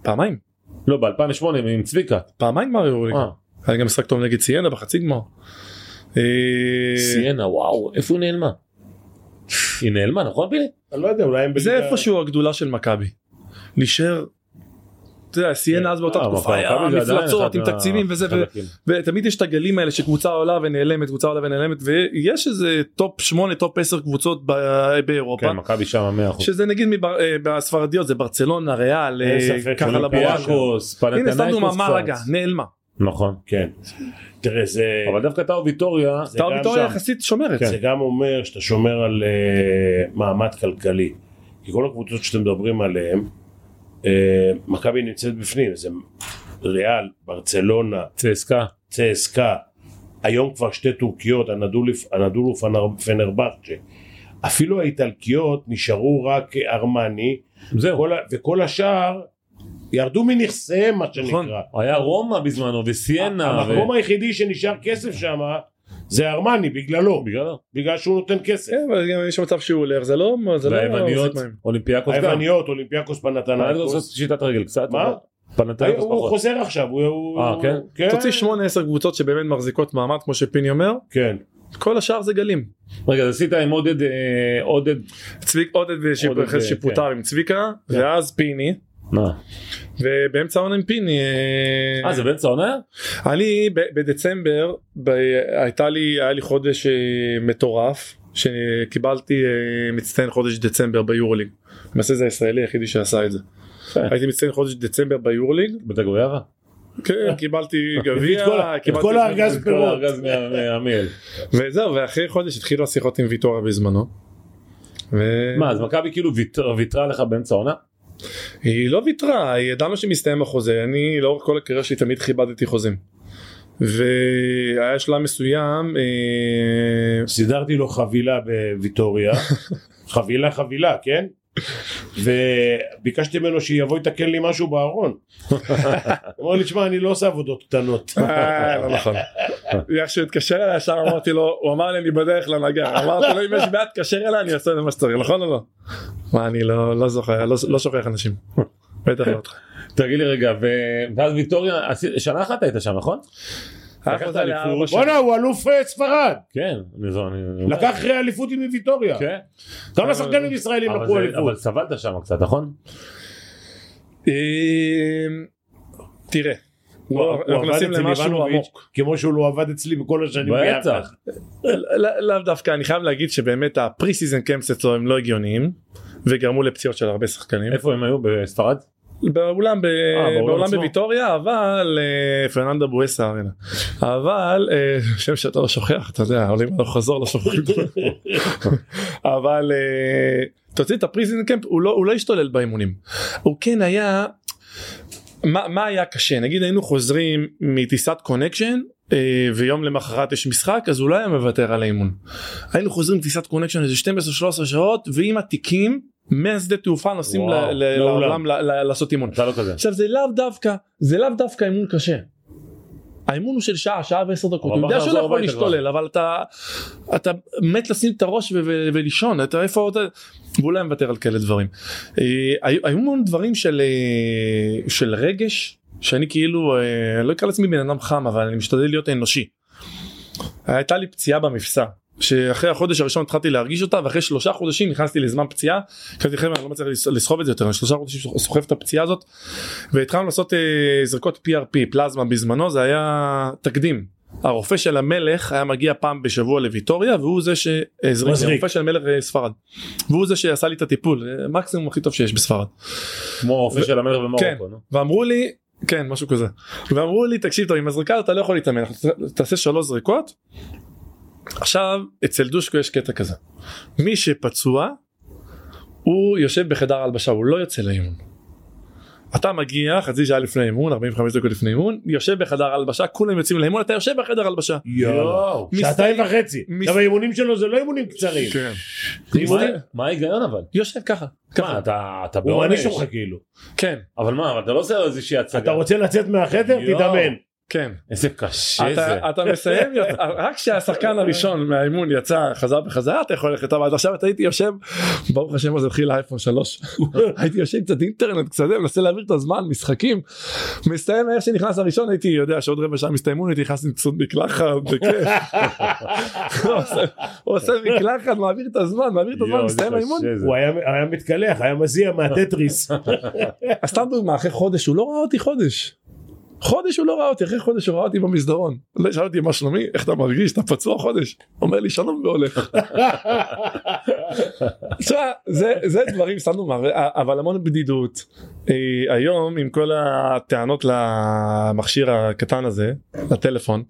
Speaker 5: פעמיים
Speaker 1: לא, ב-2008 עם צביקה.
Speaker 5: פעמיים מריו יורו ליגה.
Speaker 1: אה,
Speaker 5: היה גם משחק טוב נגד סיינה בחצי גמר. אה,
Speaker 1: סיינה, וואו, איפה היא נעלמה? היא נעלמה, נכון פילי?
Speaker 2: אני לא יודע, אולי הם
Speaker 5: זה איפשהו הגדולה של מכבי. להישאר. אתה יודע, סיינה כן, אז באותה
Speaker 1: אה,
Speaker 5: תקופה
Speaker 1: מכבי זה
Speaker 5: היה
Speaker 1: עדיין
Speaker 5: מפלצות
Speaker 1: אחד
Speaker 5: עם
Speaker 1: מה-
Speaker 5: תקציבים וזה ו-
Speaker 1: חלקים.
Speaker 5: ותמיד יש את הגלים האלה שקבוצה עולה ונעלמת קבוצה עולה ונעלמת ויש איזה טופ 8 טופ 10 קבוצות ב- באירופה
Speaker 1: כן, מכבי שם 100%.
Speaker 5: שזה נגיד מבר- אה, בספרדיות זה ברצלונה ריאל
Speaker 2: אין
Speaker 5: אה,
Speaker 2: ספק,
Speaker 5: ככה לבורש.
Speaker 1: אולימפיאקוס,
Speaker 5: הנה סתם דוגמה
Speaker 1: פנתנאיקוס
Speaker 5: מה רגע
Speaker 1: קצת.
Speaker 5: נעלמה.
Speaker 1: נכון.
Speaker 2: כן. תראה, זה...
Speaker 1: אבל דווקא טאו ויטוריה,
Speaker 2: זה גם
Speaker 5: טאו ויטוריה
Speaker 2: שם.
Speaker 5: יחסית
Speaker 1: כן,
Speaker 5: שומרת.
Speaker 2: זה גם אומר שאתה שומר על uh, מעמד כלכלי. כי כל הקבוצות שאתם מדברים עליהן, uh, מכבי נמצאת בפנים, זה ריאל, ברצלונה,
Speaker 1: צסקה,
Speaker 2: צסקה, היום כבר שתי טורקיות, אנדולו- אנדולו פנר- פנרבחצ'ה. אפילו האיטלקיות נשארו רק ארמני,
Speaker 5: נכון.
Speaker 1: זהו.
Speaker 2: כל ה- וכל השאר ירדו מנכסיהם מה
Speaker 5: נכון.
Speaker 2: שנקרא.
Speaker 1: היה רומא בזמנו
Speaker 5: אה,
Speaker 1: וסיינה. ו-
Speaker 2: המקום היחידי שנשאר כסף שם זה ארמני בגללו,
Speaker 1: בגללו.
Speaker 2: בגלל שהוא נותן כסף.
Speaker 5: כן, אבל גם יש מצב שהוא הולך זה לא זה לא
Speaker 1: והיווניות,
Speaker 5: מחזיק מים.
Speaker 1: אולימפיאקוס גם.
Speaker 2: היווניות, אולימפיאקוס
Speaker 1: פנתנאיקוס
Speaker 2: פנתנאיקוס.
Speaker 1: עושה שיטת רגל קצת.
Speaker 2: מה?
Speaker 1: אבל פנתנאיקוס
Speaker 2: הוא
Speaker 1: פחות.
Speaker 2: חוזר עכשיו, הוא- הוא...
Speaker 1: אה, כן?
Speaker 5: תוציא 8-10 קבוצות שבאמת מחזיקות מעמד כמו שפיני אומר
Speaker 2: כן.
Speaker 5: כל השאר זה גלים.
Speaker 1: רגע, אז עשית עם עודד, אה, עודד,
Speaker 5: צביק עודד ושיפ-
Speaker 1: עודד, כן.
Speaker 5: אחרי
Speaker 1: אה,
Speaker 5: שפוטר עם צביקה ואז פיני
Speaker 1: מה?
Speaker 5: ובאמצע העונה עם פיני. אה,
Speaker 1: אה, זה באמצע העונה?
Speaker 5: אני ב- בדצמבר ב- הייתה לי היה לי חודש אה, מטורף שקיבלתי אה, מצטיין חודש דצמבר ביורוליג. למעשה זה הישראלי היחידי שעשה את זה. הייתי מצטיין חודש דצמבר ביורוליג
Speaker 1: בדגויאבה?
Speaker 5: כן, קיבלתי
Speaker 1: את כל ה-
Speaker 5: גביע
Speaker 1: את
Speaker 5: קיבלתי
Speaker 2: כל הארגז
Speaker 5: לא.
Speaker 1: כל
Speaker 2: פירות.
Speaker 1: הארגז מה- מהמיל.
Speaker 5: וזהו ואחרי חודש התחילו השיחות עם ויטורה בזמנו. ו-
Speaker 1: מה, אז מכבי כאילו ויתר- ויתרה לך באמצע העונה?
Speaker 5: היא לא ויתרה, היא ידענו שמסתיים החוזה, אני לאורך כל הקריירה שלי תמיד כיבדתי חוזים. והיה שלב מסוים, אה,
Speaker 2: סידרתי לו חבילה בוויטוריה. חבילה חבילה, כן? וביקשתי ממנו שיבוא יתקן לי משהו בארון. הוא אמר לי, תשמע, אני לא עושה עבודות קטנות.
Speaker 5: אה, לא נכון. איך שהוא התקשר אליי ישר אמרתי לו, הוא אמר לי אני בדרך לנגר, אמרתי לו אם יש בעיה תקשר אליי אני אעשה את מה שצריך, נכון או לא? מה אני לא לא זוכר, לא- לא שוכח אנשים. בטח לא אותך.
Speaker 1: תגיד לי רגע, ו- ואז ויקטוריה, עשית- שנה אחת היית שם, נכון?
Speaker 5: היה
Speaker 1: לקחת
Speaker 5: חוזה לארבע
Speaker 1: אליפות.
Speaker 5: שנים.
Speaker 2: בואנה, הוא אלוף אה, ספרד.
Speaker 1: כן, אני זו- אני...
Speaker 2: לקח אחרי אליפות עם ויטוריה.
Speaker 1: כן.
Speaker 2: כמה שחקנים ישראלים
Speaker 1: אבל
Speaker 2: לקחו
Speaker 1: זה-
Speaker 2: אליפות?
Speaker 1: אבל סבלת שם קצת, נכון?
Speaker 5: אה, תראה,
Speaker 2: הוא-
Speaker 5: בוא,
Speaker 2: הוא
Speaker 5: אנחנו
Speaker 2: עבד
Speaker 5: נכנסים
Speaker 2: אצל
Speaker 5: למשהו
Speaker 2: איבנוביץ',
Speaker 5: עמוק.
Speaker 2: כמו שהוא לא עבד אצלי בכל השנים ביחד.
Speaker 1: בטח.
Speaker 5: לא- לאו דווקא אני חייב להגיד שבאמת הפרי סיזן קמפס אצלו הם לא הגיוניים וגרמו לפציעות של הרבה שחקנים
Speaker 1: איפה הם היו? בספרד?
Speaker 5: באולם ב-
Speaker 1: אה, באולם
Speaker 5: באולם
Speaker 1: עצמו.
Speaker 5: בוויטוריה אבל אה, פרננדה בואסה ארנה אבל אה, שם שאתה לא שוכח אתה יודע עולים הלוך חזור לא שוכחים אבל אה, תוציא את הפרי סיזן קמפ הוא לא הוא לא השתולל באימונים הוא כן היה מה, מה היה קשה נגיד היינו חוזרים מטיסת קונקשן אה, ויום למחרת יש משחק אז הוא לא היה מוותר על האימון. היינו חוזרים מטיסת קונקשן איזה 12-13 שעות ועם התיקים מהשדה תעופה נוסעים
Speaker 1: וואו,
Speaker 5: ל- ל-
Speaker 1: לעולם.
Speaker 5: לעולם ל- ל- לעשות אימון.
Speaker 1: אתה לא כזה.
Speaker 5: עכשיו זה לאו דווקא זה לאו דווקא אימון קשה. האימון הוא של שעה שעה ועשר דקות
Speaker 1: אבל
Speaker 5: הוא יודע
Speaker 1: בכר
Speaker 5: שהוא לא
Speaker 1: זה
Speaker 5: יכול
Speaker 1: הביתה כבר.
Speaker 5: להשתולל אבל אתה אתה מת לשים את הראש ו- ו- ולישון אתה איפה אתה והוא לא היה מוותר על כאלה דברים. אה, היו היו המון דברים של אה, של רגש שאני כאילו אה, לא אקרא לעצמי בן אדם חם אבל אני משתדל להיות אנושי. הייתה לי פציעה במפסע שאחרי החודש הראשון התחלתי להרגיש אותה ואחרי שלושה חודשים נכנסתי לזמן פציעה. חשבתי חבר'ה אני לא מצליח לס- לסחוב את זה יותר אני שלושה חודשים סוחב את הפציעה הזאת והתחלנו לעשות אה, זריקות PRP פלזמה בזמנו זה היה תקדים. הרופא של המלך היה מגיע פעם בשבוע לוויטוריה והוא זה שהזריק,
Speaker 2: מזריק.
Speaker 5: הרופא של המלך אה, ספרד. והוא זה שעשה לי את הטיפול אה, מקסימום הכי טוב שיש בספרד.
Speaker 1: כמו הרופא
Speaker 5: ו-
Speaker 1: של המלך
Speaker 5: כן.
Speaker 1: במרוקו, נו.
Speaker 5: ואמרו לי כן משהו כזה ואמרו לי תקשיב טוב עם הזריקה הזאת אתה לא יכול להתאמן אנחנו תעשה שלוש זריקות. עכשיו אצל דושקו יש קטע כזה מי שפצוע הוא יושב בחדר הלבשה הוא לא יוצא לאימון. אתה מגיע חצי שעה לפני אימון 45 דקות לפני אימון יושב בחדר הלבשה כולם יוצאים לאימון אתה יושב בחדר הלבשה.
Speaker 2: יואו,
Speaker 5: מס-
Speaker 2: שעתיים וחצי.
Speaker 5: מס-
Speaker 2: עכשיו האימונים שלו זה לא אימונים קצרים.
Speaker 5: כן.
Speaker 2: אימונים-
Speaker 1: מה- מה ההיגיון אבל?
Speaker 5: יושב ככה.
Speaker 1: מה,
Speaker 5: ככה.
Speaker 1: אתה אתה
Speaker 2: הוא
Speaker 1: בעונש?
Speaker 2: מעניש אותך כאילו.
Speaker 5: כן.
Speaker 1: אבל מה, אבל אתה לא עושה איזושהי הצגה.
Speaker 2: אתה רוצה לצאת מהחדר?
Speaker 1: יואו.
Speaker 2: תתאמן.
Speaker 5: כן.
Speaker 1: איזה קשה זה.
Speaker 5: אתה, אתה מסיים, יוצא- רק כשהשחקן הראשון מהאימון יצא, חזר בחזרה, אתה יכול ללכת הביתה. עכשיו אתה הייתי יושב, ברוך השם אז התחיל האייפון 3. הייתי יושב קצת אינטרנט, קצת זה, מנסה להעביר את הזמן, משחקים. מסתיים איך שנכנס הראשון, הייתי יודע שעוד רבע שעה מסתיימו, הייתי נכנס עם קצת מקלחת, בכיף. הוא עושה- הוא עושה מקלחת, מעביר את הזמן, מעביר את הזמן,
Speaker 1: יואו,
Speaker 5: מסתיים
Speaker 1: איזה כן.
Speaker 5: האימון.
Speaker 1: קשה זה.
Speaker 2: הוא היה היה מתקלח, היה מזיע מהטטריס.
Speaker 5: אז סתם דוגמא, אחרי חודש הוא לא ראה אותי חודש. חודש הוא לא ראה אותי, אחרי חודש הוא ראה אותי במסדרון. לא, שאל אותי מה שלומי, איך אתה מרגיש, אתה פצוע חודש? אומר לי שלום והולך. תשמע, זה, זה דברים סתם דוגמא, אבל המון בדידות. אה, היום עם כל הטענות למכשיר הקטן הזה, לטלפון,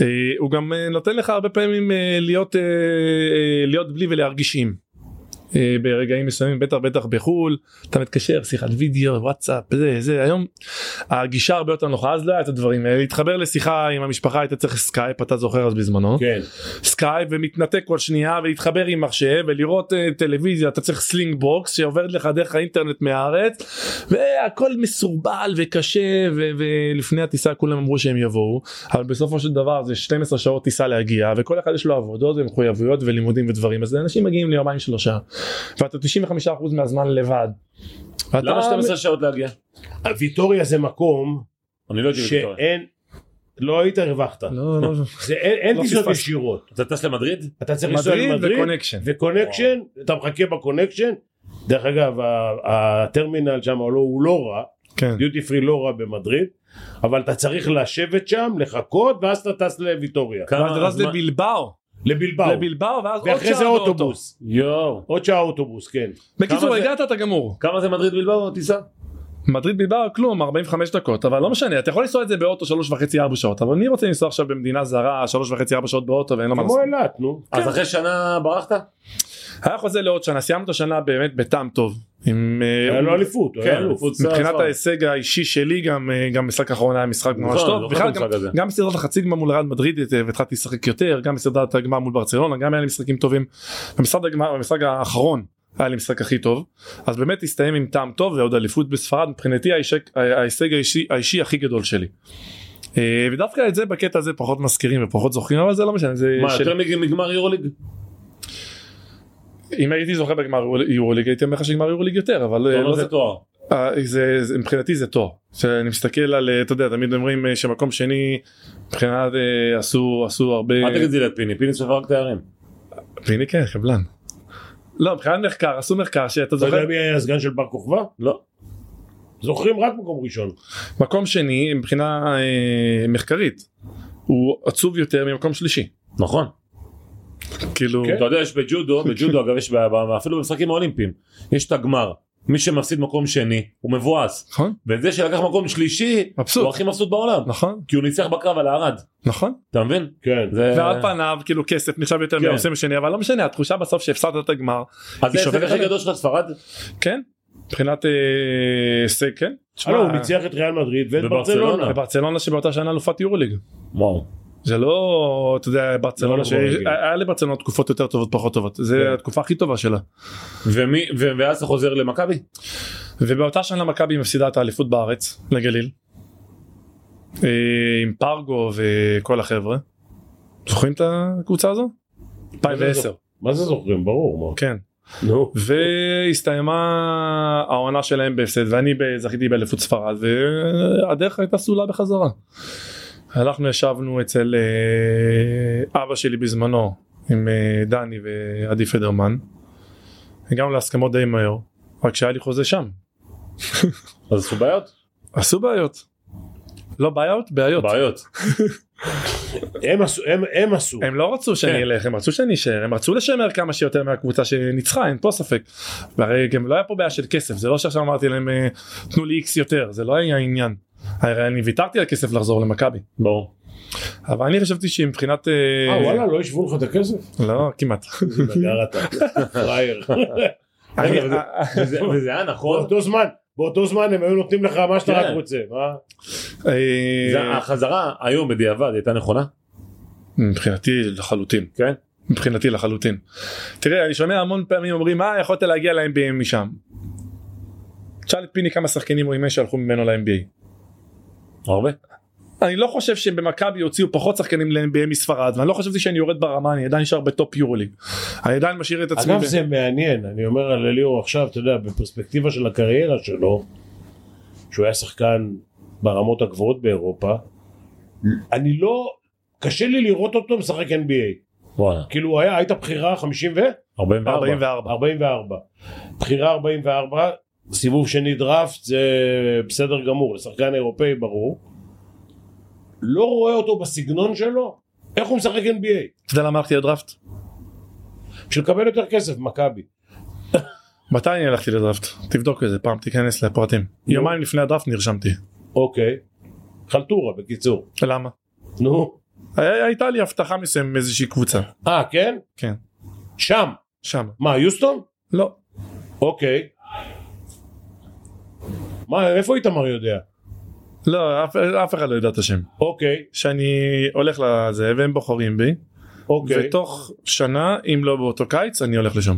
Speaker 5: אה, הוא גם אה, נותן לך הרבה פעמים אה, להיות, אה, אה, להיות בלי ולהרגיש עם. אה, ברגעים מסוימים בטח בטח בחול אתה מתקשר שיחת וידאו וואטסאפ זה זה היום הגישה הרבה יותר נוחה אז לא היה את הדברים האלה להתחבר לשיחה עם המשפחה היית צריך סקייפ אתה זוכר אז בזמנו
Speaker 2: כן.
Speaker 5: סקייפ ומתנתק כל שנייה ולהתחבר עם מחשב ולראות אה, טלוויזיה אתה צריך סלינג בוקס שעוברת לך דרך האינטרנט מהארץ והכל מסורבל וקשה ו- ולפני הטיסה כולם אמרו שהם יבואו אבל בסופו של דבר זה 12 שעות טיסה להגיע וכל אחד יש לו עבודות ומחויבויות ולימודים ודברים אז אנשים מגיעים ליומיים שלושה ואתה 95% מהזמן לבד. ואתה-
Speaker 1: למה 12 שעות להגיע?
Speaker 2: ויטוריה זה מקום
Speaker 1: אני לא יודע. אם זה
Speaker 2: שאין, לא היית הרווחת.
Speaker 5: לא, לא,
Speaker 2: זה אין- אין
Speaker 5: לא
Speaker 2: טיסות
Speaker 5: פספסתי.
Speaker 2: ישירות.
Speaker 1: אתה טס למדריד?
Speaker 2: אתה צריך לנסוע
Speaker 5: מדריד
Speaker 2: למדריד,
Speaker 5: וקונקשן.
Speaker 2: וקונקשן, אתה מחכה בקונקשן. דרך אגב, ה- הטרמינל שם הוא לא- הוא לא רע,
Speaker 5: כן.
Speaker 2: דיוטי פרי לא רע במדריד, אבל אתה צריך לשבת שם, לחכות, ואז אתה טס לוויטוריה,
Speaker 1: כמה
Speaker 5: ואתה טס
Speaker 1: הזמן?
Speaker 5: לבלבאו.
Speaker 2: לבלבאו,
Speaker 5: לבלבאו ואז עוד
Speaker 2: ואחרי
Speaker 5: שעה
Speaker 2: זה
Speaker 5: באוטו.
Speaker 2: אוטובוס,
Speaker 1: יואו.
Speaker 2: עוד שעה אוטובוס, כן.
Speaker 5: בקיצור
Speaker 1: כמה זה-
Speaker 5: הגעת אתה גמור.
Speaker 1: כמה זה מדריד בלבאו טיסה?
Speaker 5: מדריד בלבאו כלום 45 דקות אבל לא משנה אתה יכול לנסוע את זה באוטו שלוש וחצי ארבע שעות אבל מי רוצה לנסוע עכשיו במדינה זרה שלוש וחצי ארבע שעות באוטו ואין לו מה
Speaker 2: כמו
Speaker 5: לעשות.
Speaker 2: אילת, נו. כן.
Speaker 5: כן.
Speaker 1: אז אחרי שנה ברחת?
Speaker 5: היה חוזה לעוד שנה סיימנו את השנה באמת בטעם טוב. עם, אה,
Speaker 2: היה לו אליפות, הוא היה
Speaker 1: כן,
Speaker 2: אלוף.
Speaker 1: אליפות צה"ל,
Speaker 5: מבחינת
Speaker 1: צה"ל.
Speaker 5: ההישג האישי שלי גם אה, גם משחק אחרון היה משחק ממש
Speaker 1: נכון,
Speaker 5: טוב
Speaker 1: זוכר
Speaker 5: בכלל
Speaker 1: את
Speaker 5: גם-
Speaker 1: המשחק הזה.
Speaker 5: גם בסדרת החצי גמר מול רד מדריד אה, והתחלתי לשחק יותר גם בסדרת הגמר מול ברצלונה גם היה לי משחקים טובים. במשחק הגמר במשחק האחרון היה לי משחק הכי טוב אז באמת הסתיים עם טעם טוב ועוד אליפות בספרד מבחינתי ההישג- ההישג האישי- האישי הכי גדול שלי. אה, ודווקא את זה בקטע הזה פחות מזכירים ופחות זוכרים אבל זה לא משנה זה
Speaker 1: מה,
Speaker 5: שלי.
Speaker 1: יותר מג- מגמר יורוליג?
Speaker 5: אה, אם הייתי זוכר בגמר יורוליג הייתי אומר לך שגמר יורוליג יותר אבל
Speaker 1: אתה
Speaker 5: אה,
Speaker 1: אומר
Speaker 5: לא
Speaker 1: זה תואר.
Speaker 5: אה, זה, זה מבחינתי זה תואר שאני מסתכל על אה, אתה יודע תמיד אומרים אה, שמקום שני מבחינת אה, עשו עשו הרבה
Speaker 1: אל תגיד את זה לפיני, פיני סופר רק תארים.
Speaker 5: פיני כן חבלן. לא מבחינת מחקר עשו מחקר
Speaker 2: אתה
Speaker 5: שאתה
Speaker 2: יודע
Speaker 5: זוכר
Speaker 2: מי היה הסגן של בר כוכבא?
Speaker 1: לא.
Speaker 2: זוכרים רק מקום ראשון.
Speaker 5: מקום שני מבחינה אה, מחקרית הוא עצוב יותר ממקום שלישי
Speaker 1: נכון.
Speaker 5: כאילו
Speaker 1: אתה יודע, יש בג'ודו, בג'ודו אגב, יש ב- ב- אפילו במשחקים האולימפיים, יש את הגמר. מי שמפסיד מקום שני, הוא מבואס.
Speaker 5: נכון
Speaker 1: וזה שלקח מקום שלישי,
Speaker 5: מבסוט.
Speaker 1: הוא הכי מבסוט בעולם.
Speaker 5: נכון
Speaker 1: כי הוא ניצח בקרב על הערד.
Speaker 5: נכון
Speaker 1: אתה מבין?
Speaker 2: כן.
Speaker 1: זה...
Speaker 5: ועל פניו כאילו כסף נחשב יותר
Speaker 1: כן.
Speaker 5: מהנושא השני אבל לא משנה התחושה בסוף שהפסדת את הגמר
Speaker 1: אז זה
Speaker 5: היא
Speaker 1: ההישג
Speaker 5: שוברת
Speaker 1: הכי
Speaker 5: עליו.
Speaker 1: גדול שלך ספרד?
Speaker 5: כן מבחינת אה, הישג כן.
Speaker 2: הלו, לא, הוא ניצח את ריאל מדריד ואת
Speaker 1: וברצלונה.
Speaker 2: ברצלונה.
Speaker 5: ברצלונה שבאותה שנה אלופת יורוליג.
Speaker 1: וואו.
Speaker 5: זה לא אתה יודע ברצלונה
Speaker 2: לא
Speaker 5: ש...
Speaker 2: ברגל.
Speaker 5: היה לברצלונה תקופות יותר טובות פחות טובות זה התקופה הכי טובה שלה
Speaker 1: ומי, ו- ואז אתה חוזר למכבי?
Speaker 5: ובאותה שנה מכבי מפסידה את האליפות בארץ לגליל. אה, עם פרגו וכל החבר'ה. זוכרים את הקבוצה הזו? 2010
Speaker 2: מה זה זוכרים? ברור. מה.
Speaker 5: כן
Speaker 2: נו.
Speaker 5: והסתיימה העונה שלהם בהפסד ואני ב- זכיתי באליפות ספרד והדרך הייתה סלולה בחזרה. אנחנו ישבנו אצל אה, אבא שלי בזמנו עם אה, דני ועדי פדרמן. הגענו להסכמות די מהר רק שהיה לי חוזה שם
Speaker 1: אז עשו בעיות?
Speaker 5: עשו בעיות. לא בעיות בעיות
Speaker 1: בעיות.
Speaker 2: הם עשו, הם- הם עשו.
Speaker 5: הם לא רצו שאני
Speaker 1: כן.
Speaker 5: אלך הם רצו שאני אשאר הם רצו לשמר כמה שיותר מהקבוצה שניצחה אין פה ספק. והרי גם לא היה פה בעיה של כסף זה לא שעכשיו אמרתי להם אה, תנו לי איקס יותר זה לא היה העניין. הרי אני ויתרתי על כסף לחזור למכבי
Speaker 1: ברור.
Speaker 5: אבל אני חשבתי שמבחינת אה,
Speaker 2: אה וואלה, לא השוו לך את הכסף?
Speaker 5: לא כמעט
Speaker 2: נגר אתה, פראייר.
Speaker 5: אני- אה,
Speaker 1: אבל זה- וזה- וזה היה נכון?
Speaker 2: באותו זמן, באותו זמן הם היו נותנים לך מה שאתה
Speaker 1: כן.
Speaker 2: רק רוצה. מה?
Speaker 5: אה,
Speaker 1: זה- החזרה היום בדיעבד הייתה נכונה?
Speaker 5: מבחינתי לחלוטין
Speaker 1: כן.
Speaker 5: מבחינתי לחלוטין. תראה אני שומע המון פעמים אומרים מה יכולת להגיע ל-NBA משם. תשאל את פיני כמה שחקנים הוא אימן שהלכו ממנו ל-NBA.
Speaker 1: הרבה?
Speaker 5: אני לא חושב שבמכבי יוציאו פחות שחקנים ל-NBA מספרד ואני לא חשבתי שאני יורד ברמה אני עדיין נשאר בטופ יורוליג. אני עדיין משאיר את עצמי.
Speaker 2: אגב
Speaker 5: ב-
Speaker 2: זה מעניין, אני אומר על אליאור עכשיו, אתה יודע, בפרספקטיבה של הקריירה שלו, שהוא היה שחקן ברמות הגבוהות באירופה, אני לא, קשה לי לראות אותו משחק NBA.
Speaker 1: וואלה.
Speaker 2: כאילו הוא היה, הייתה בחירה 50 ו?
Speaker 1: 44.
Speaker 5: 44.
Speaker 2: 44. בחירה 44, סיבוב שני דראפט, זה בסדר גמור, לשחקן אירופאי ברור. לא רואה אותו בסגנון שלו, איך הוא משחק NBA?
Speaker 5: אתה יודע למה הלכתי לדראפט?
Speaker 2: בשביל לקבל יותר כסף, מכבי.
Speaker 5: מתי אני הלכתי לדראפט? תבדוק את זה פעם תיכנס לפרטים. יומיים לפני הדראפט נרשמתי.
Speaker 2: אוקיי. חלטורה בקיצור.
Speaker 5: למה?
Speaker 2: נו.
Speaker 5: היה- הייתה לי הבטחה מסוים מאיזושהי קבוצה.
Speaker 2: אה, כן?
Speaker 5: כן.
Speaker 2: שם.
Speaker 5: שם.
Speaker 2: מה, יוסטון?
Speaker 5: לא.
Speaker 2: אוקיי. מה, איפה איתמר יודע?
Speaker 5: לא אף, אף אחד לא יודע את השם.
Speaker 2: אוקיי,
Speaker 5: שאני הולך לזה והם בוחרים בי.
Speaker 2: אוקיי,
Speaker 5: ותוך שנה אם לא באותו קיץ אני הולך לשם.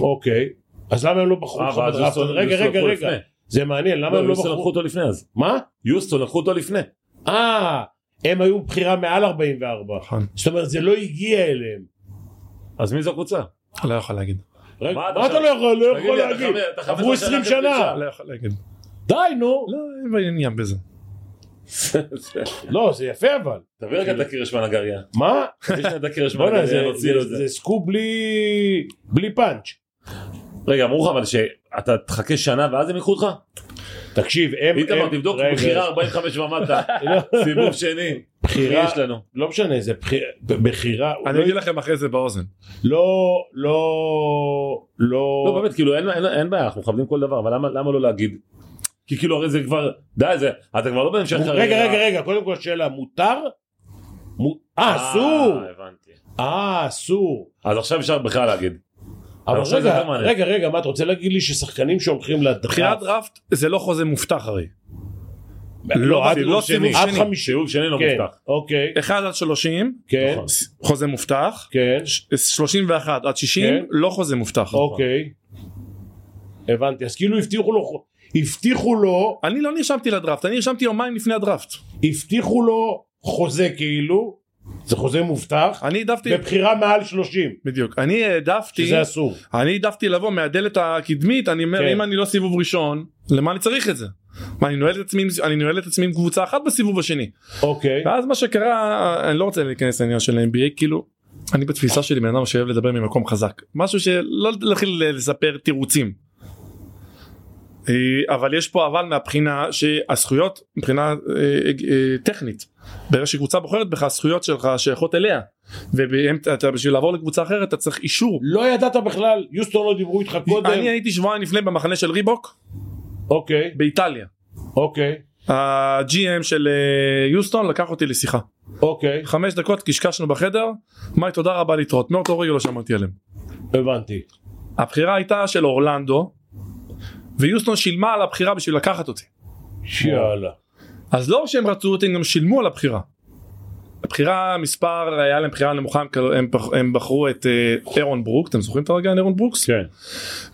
Speaker 2: אוקיי. אז למה הם לא בחרו
Speaker 1: אה,
Speaker 2: אותך
Speaker 1: ואז
Speaker 2: בדראפט?
Speaker 1: יוסטון-
Speaker 2: רגע,
Speaker 1: יוסטון
Speaker 2: רגע,
Speaker 1: לקחו
Speaker 2: רגע.
Speaker 1: לפני.
Speaker 2: זה מעניין, למה
Speaker 1: למה
Speaker 2: הם לא
Speaker 1: יוסטון לקחו
Speaker 2: בחרו?
Speaker 1: אותו לפני אז?
Speaker 2: מה?
Speaker 1: יוסטון לקחו אותו לפני.
Speaker 2: אה, הם היו בחירה מעל 44.
Speaker 5: נכון.
Speaker 2: זאת אומרת, זה לא הגיע אליהם.
Speaker 1: אז מי זו הקבוצה?
Speaker 5: לא יכול להגיד.
Speaker 2: רגע,
Speaker 1: מה אתה
Speaker 2: מה אתה
Speaker 1: עכשיו-
Speaker 2: לא יכול לא
Speaker 1: תגיד
Speaker 2: יכול
Speaker 1: לי, אתה
Speaker 2: להגיד?
Speaker 1: חמש- אתה חמש
Speaker 2: עברו
Speaker 1: עשרה
Speaker 2: 20
Speaker 1: שנה
Speaker 2: שנה.
Speaker 5: לא יכול להגיד.
Speaker 2: די, נו.
Speaker 5: לא אין בעניין בזה.
Speaker 2: לא, זה יפה אבל.
Speaker 1: תביא רגע את הקירשמן הגריה.
Speaker 2: מה?
Speaker 1: תביא שנייה את הקירשמן
Speaker 2: בוא'נה, זה-
Speaker 1: הגריה, נוציא לו את
Speaker 2: זה-
Speaker 1: זה.
Speaker 2: זה סקופ בלי- בלי פאנץ'.
Speaker 1: רגע, אמרו לך אבל שאתה תחכה שנה ואז הם יקחו אותך?
Speaker 2: תקשיב, הם...
Speaker 1: איתמר
Speaker 2: הם-
Speaker 1: תבדוק
Speaker 2: רגע, לא.
Speaker 1: בחירה 45 ומטה, סיבוב שני.
Speaker 2: בחירה-
Speaker 1: מי יש לנו?
Speaker 2: לא משנה, זה בחיר- ב- בחירה, הוא
Speaker 5: אני
Speaker 2: לא-
Speaker 5: אגיד לכם אחרי זה באוזן.
Speaker 2: לא, לא,
Speaker 1: לא
Speaker 2: לא,
Speaker 1: באמת כאילו אין, אין, אין בעיה אנחנו מכבדים כל דבר אבל למה, למה לא להגיד? כי כאילו הרי זה כבר די זה אתה כבר לא בהמשך
Speaker 2: הוא- רגע, רגע, רגע, קודם כל שאלה, מותר? מו- אה, אסור,
Speaker 1: אה, הבנתי.
Speaker 2: אה, אסור.
Speaker 1: אז עכשיו אפשר בכלל להגיד.
Speaker 2: אבל
Speaker 1: עכשיו זה
Speaker 2: רגע,
Speaker 1: יותר מעניין.
Speaker 2: רגע, רגע, מה אתה רוצה להגיד לי ששחקנים שהולכים
Speaker 5: בחירת
Speaker 2: לדראפט,
Speaker 5: דראפט זה לא חוזה מובטח הרי.
Speaker 2: לא, עד
Speaker 5: לא
Speaker 2: לא
Speaker 5: סיבוב
Speaker 2: עד
Speaker 5: שני.
Speaker 2: חמישי,
Speaker 1: שיעור שני לא
Speaker 2: כן,
Speaker 1: מובטח.
Speaker 2: אוקיי,
Speaker 5: 1 עד 30
Speaker 2: כן,
Speaker 1: נכון.
Speaker 5: חוזה מובטח.
Speaker 2: כן,
Speaker 5: ש- 31 עד 60
Speaker 2: כן.
Speaker 5: לא חוזה מובטח.
Speaker 2: אוקיי, הבנתי, אז כאילו הבטיחו לו, הבטיחו לו,
Speaker 5: אני לא נרשמתי לדראפט אני נרשמתי יומיים לפני הדראפט.
Speaker 2: הבטיחו לו חוזה כאילו, זה חוזה מובטח,
Speaker 5: אני העדפתי
Speaker 2: בבחירה מעל 30,
Speaker 5: בדיוק אני העדפתי
Speaker 2: שזה אסור.
Speaker 5: אני העדפתי לבוא מהדלת הקדמית אני אומר
Speaker 2: כן.
Speaker 5: אם אני לא סיבוב ראשון למה אני צריך את זה. מה, אני נועל את עצמי עם- אני נועל את עצמי עם קבוצה אחת בסיבוב השני
Speaker 2: אוקיי.
Speaker 5: ואז מה שקרה אני לא רוצה להיכנס לעניין של NBA כאילו אני בתפיסה שלי בן אדם שאוהב לדבר ממקום חזק משהו שלא להתחיל לספר תירוצים. אה, אבל יש פה אבל מהבחינה שהזכויות מבחינה אה, אה, טכנית ברגע שקבוצה בוחרת בך הזכויות שלך שייכות אליה ובשביל לעבור לקבוצה אחרת אתה צריך אישור.
Speaker 2: לא ידעת בכלל, יוסטון לא דיברו איתך קודם.
Speaker 5: אני הייתי שבועיים לפני במחנה של ריבוק
Speaker 2: אוקיי,
Speaker 5: באיטליה.
Speaker 2: אוקיי,
Speaker 5: ה-GM של אה, יוסטון לקח אותי לשיחה.
Speaker 2: אוקיי,
Speaker 5: חמש דקות קשקשנו בחדר, מאי תודה רבה להתראות, מאותו רגע לא שמעתי עליהם.
Speaker 2: הבנתי.
Speaker 5: הבחירה הייתה של אורלנדו, ויוסטון שילמה על הבחירה בשביל לקחת אותי.
Speaker 2: יאללה.
Speaker 5: אז לא שהם רצו אותי, הם גם שילמו על הבחירה. הבחירה מספר, היה להם בחירה נמוכה, הם, כל- הם, בח- הם בחרו את אה, אירון ברוק, אתם זוכרים את הרגע על אירון ברוקס?
Speaker 2: כן.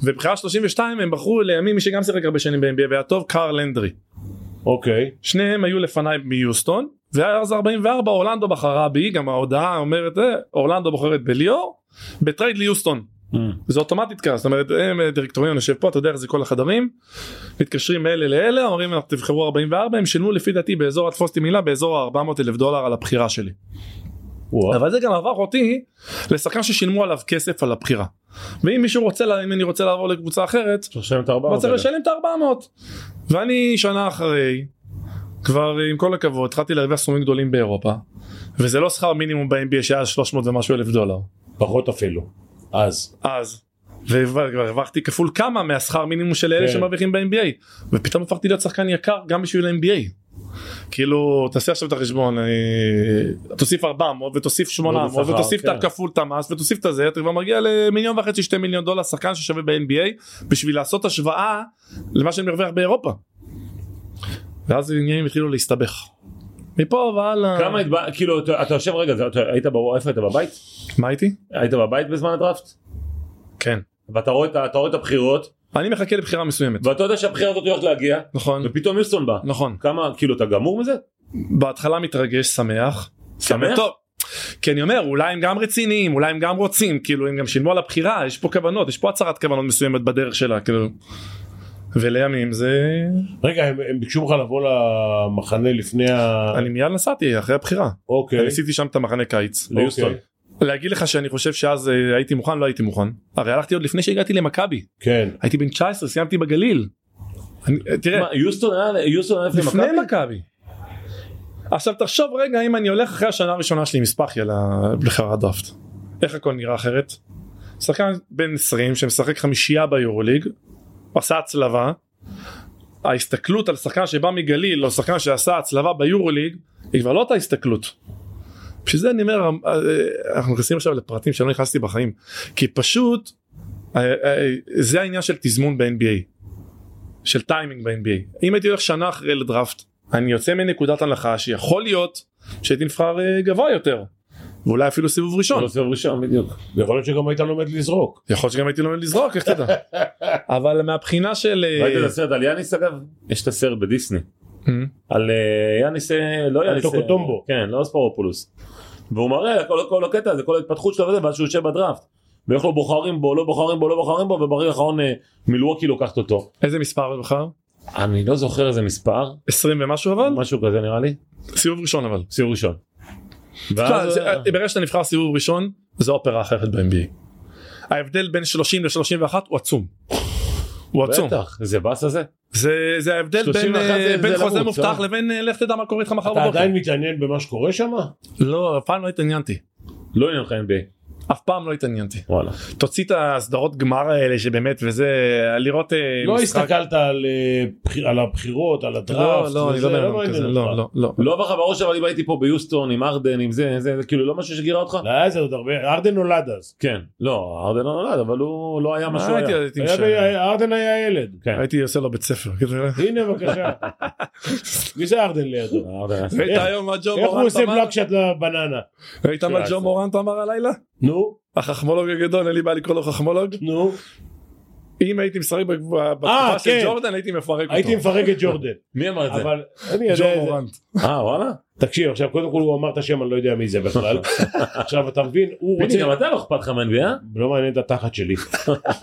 Speaker 5: ובבחירה 32 הם בחרו לימים מי שגם שיחק הרבה שנים ב-NBA והיה טוב, קארל הנדרי.
Speaker 2: אוקיי,
Speaker 5: שניהם היו לפניי מיוסטון ואז 44 אורלנדו בחרה בי גם ההודעה אומרת אה, אורלנדו בוחרת בליאור בטרייד ליוסטון. זה אוטומטית ככה זאת אומרת הם אה, דירקטוריון יושב פה אתה יודע איך זה כל החדרים מתקשרים מאלה לאלה אומרים "אנחנו תבחרו 44 הם שילמו לפי דעתי באזור התפוס אותי מילה באזור ה-400 אלף דולר על הבחירה שלי.
Speaker 2: וואו.
Speaker 5: אבל זה גם הפך אותי לשחקן ששילמו עליו כסף על הבחירה. ואם מישהו רוצה לה- אם אני רוצה לעבור לקבוצה אחרת
Speaker 1: שלושים את ארבעה.
Speaker 5: לא צריך לשלם את ה-400. ואני שנה אחרי, כבר עם כל הכבוד, התחלתי להרוויח סכומים גדולים באירופה, וזה לא שכר מינימום ב-NBA שהיה 300 ומשהו אלף דולר.
Speaker 2: פחות אפילו. אז.
Speaker 5: אז. וכבר כבר הרווחתי כפול כמה מהשכר מינימום של אלה
Speaker 2: כן.
Speaker 5: שמרוויחים ב-NBA ופתאום הפכתי להיות שחקן יקר גם בשביל ה-NBA. כאילו תעשה עכשיו את החשבון אה, תוסיף 400 ותוסיף 800
Speaker 1: שכר,
Speaker 5: ותוסיף את
Speaker 1: כן.
Speaker 5: הכפול את המס ותוסיף את הזה אתה כבר מגיע למיליון וחצי שתי מיליון דולר שחקן ששווה ב-NBA בשביל לעשות השוואה למה שאני מרוויח באירופה. ואז העניינים התחילו להסתבך. מפה והלאה.
Speaker 1: כמה התבא- כאילו אתה אתה יושב רגע זה- אתה- היית בו- איפה היית בבית?
Speaker 5: מה הייתי?
Speaker 1: היית בבית בזמן הדראפט?
Speaker 5: כן.
Speaker 1: ואתה רואה את ה- אתה רואה את הבחירות
Speaker 5: אני מחכה לבחירה מסוימת
Speaker 1: ואתה יודע שהבחירה הזאת הולכת להגיע,
Speaker 5: נכון
Speaker 1: ופתאום יוסטון בא.
Speaker 5: נכון
Speaker 1: כמה, כאילו, אתה גמור מזה?
Speaker 5: כן, בהתחלה מתרגש שמח
Speaker 1: שמח?
Speaker 5: טוב. כי אני אומר אולי הם גם רציניים אולי הם גם רוצים כאילו הם גם שילמו על הבחירה יש פה כוונות יש פה הצהרת כוונות מסוימת בדרך שלה כאילו. ולימים זה
Speaker 2: רגע, הם, הם ביקשו ממך לבוא למחנה לפני ה...
Speaker 5: אני מיד נסעתי אחרי הבחירה
Speaker 2: אוקיי.
Speaker 5: אני עשיתי שם את המחנה קיץ
Speaker 2: אוקיי.
Speaker 5: ליוסטון. להגיד לך שאני חושב שאז אה, הייתי מוכן לא הייתי מוכן הרי הלכתי עוד לפני שהגעתי למכבי
Speaker 2: כן.
Speaker 5: הייתי בן 19 סיימתי בגליל. אני, אה, תראה
Speaker 1: מה, יוסטון היה יוסטון היה
Speaker 5: לפני
Speaker 1: לפני מכבי?
Speaker 5: מכבי. עכשיו תחשוב רגע אם אני הולך אחרי השנה הראשונה שלי עם ספאחי לבחירת דראפט. איך הכל נראה אחרת? שחקן בן 20 שמשחק חמישייה ביורוליג, עשה הצלבה. ההסתכלות על שחקן שבא מגליל או שחקן שעשה הצלבה ביורוליג היא כבר לא אותה הסתכלות. בשביל זה אני אומר אה, אה, אנחנו נכנסים עכשיו לפרטים שלא נכנסתי בחיים כי פשוט אה, אה, זה העניין של תזמון ב-NBA. של טיימינג ב-NBA. אם הייתי הולך שנה אחרי לדראפט, אני יוצא מנקודת הנחה שיכול להיות שהייתי נבחר אה, גבוה יותר. ואולי אפילו סיבוב ראשון.
Speaker 1: לא, סיבוב ראשון, בדיוק.
Speaker 5: אה.
Speaker 2: יכול להיות שגם היית לומד לזרוק.
Speaker 5: יכול להיות שגם הייתי לומד לזרוק, איך תדע. אבל מהבחינה של... אה,
Speaker 1: ראית את הסרט על יאניס אגב? יש את הסרט בדיסני.
Speaker 5: אה,
Speaker 1: על אה, יאניס, אה, לא יאניס, אה,
Speaker 2: טוקוטומבו.
Speaker 1: כן, לא ספורופולוס. והוא מראה כל, כל הקטע הזה, כל ההתפתחות שלו וזה, ואז שהוא יושב בדראפט. ואיך לא בוחרים בו, לא בוחרים בו, לא בוחרים בו, וברגע האחרון אה, מילווקי לוקחת אותו.
Speaker 5: איזה מספר בחר?
Speaker 1: אני לא זוכר איזה מספר,
Speaker 5: 20 ומשהו אבל?
Speaker 1: משהו כזה נראה לי,
Speaker 5: סיבוב ראשון אבל.
Speaker 1: סיבוב ראשון.
Speaker 5: תשמע,
Speaker 1: ואז... אה,
Speaker 5: זה- אה, ברגע שאתה נבחר סיבוב ראשון, זו אופרה אחרת ב-NBA. ההבדל בין 30 ל-31 הוא עצום. הוא עצום.
Speaker 1: בטח, זה באס הזה.
Speaker 5: זה זה ההבדל
Speaker 1: 31
Speaker 5: בין, אה,
Speaker 1: זה-
Speaker 5: בין
Speaker 1: זה
Speaker 5: חוזה
Speaker 1: לרוץ,
Speaker 5: מובטח
Speaker 1: אה?
Speaker 5: לבין אה, לך תדע מה קורה איתך מחר
Speaker 2: אתה
Speaker 5: בבוקר.
Speaker 2: עדיין מתעניין במה שקורה שם?
Speaker 5: לא, אף פעם לא התעניינתי.
Speaker 1: לא עניין לך NBA.
Speaker 5: אף פעם לא התעניינתי.
Speaker 1: וואלה.
Speaker 5: תוציא את הסדרות גמר האלה שבאמת וזה לראות אה,
Speaker 2: לא
Speaker 5: משחק-
Speaker 2: הסתכלת על, אה, בחיר- על הבחירות, על
Speaker 5: לא
Speaker 2: הדראפט?
Speaker 5: לא אני
Speaker 2: וזה,
Speaker 5: לא בן אדם
Speaker 2: מעניין
Speaker 5: כזה
Speaker 2: אותך.
Speaker 5: לא לא לא.
Speaker 1: לא עבר לך בראש אבל אם הייתי פה ביוסטון עם ארדן עם זה זה זה כאילו לא משהו שגירה אותך?
Speaker 2: לא, זה עוד הרבה, ארדן נולד אז.
Speaker 1: כן. לא ארדן לא נולד אבל הוא לא היה מה
Speaker 5: מה
Speaker 1: שהוא
Speaker 5: הייתי-
Speaker 1: היה.
Speaker 5: הייתי
Speaker 2: היה
Speaker 5: משנה?
Speaker 2: ב- ארדן היה ילד.
Speaker 1: כן.
Speaker 5: הייתי עושה לו בית ספר.
Speaker 2: הנה בבקשה. מי זה ארדן לידו?
Speaker 1: ארדן היה-
Speaker 5: ראית
Speaker 2: איך-
Speaker 5: היום מה ג'ו
Speaker 2: איך הוא
Speaker 5: מורנט
Speaker 2: עושה
Speaker 5: אמר?
Speaker 2: בלוקשט לבננה?
Speaker 5: ראית מה
Speaker 2: שהוא
Speaker 5: ג'ו
Speaker 2: עשה.
Speaker 5: מורנט אמר הלילה?
Speaker 2: נו,
Speaker 5: החכמולוג הגדול אין לי בעיה לקרוא לו חכמולוג.
Speaker 2: נו.
Speaker 5: אם הייתי משחק בגב- בתקופה של
Speaker 2: כן.
Speaker 5: ג'ורדן הייתי מפרק אותו.
Speaker 2: הייתי מפרק את ג'ורדן.
Speaker 1: מי אמר את זה?
Speaker 2: אבל אני יודע...
Speaker 5: ג'ו
Speaker 2: איזה-
Speaker 5: מורנט.
Speaker 1: אה וואלה?
Speaker 2: תקשיב, עכשיו קודם כל הוא אמר את השם, אני לא יודע מי זה בכלל. עכשיו אתה מבין, הוא
Speaker 1: פיני
Speaker 2: רוצה...
Speaker 1: גם אתה לא אכפת לך מהNBA? אה?
Speaker 2: לא מעניין את התחת שלי.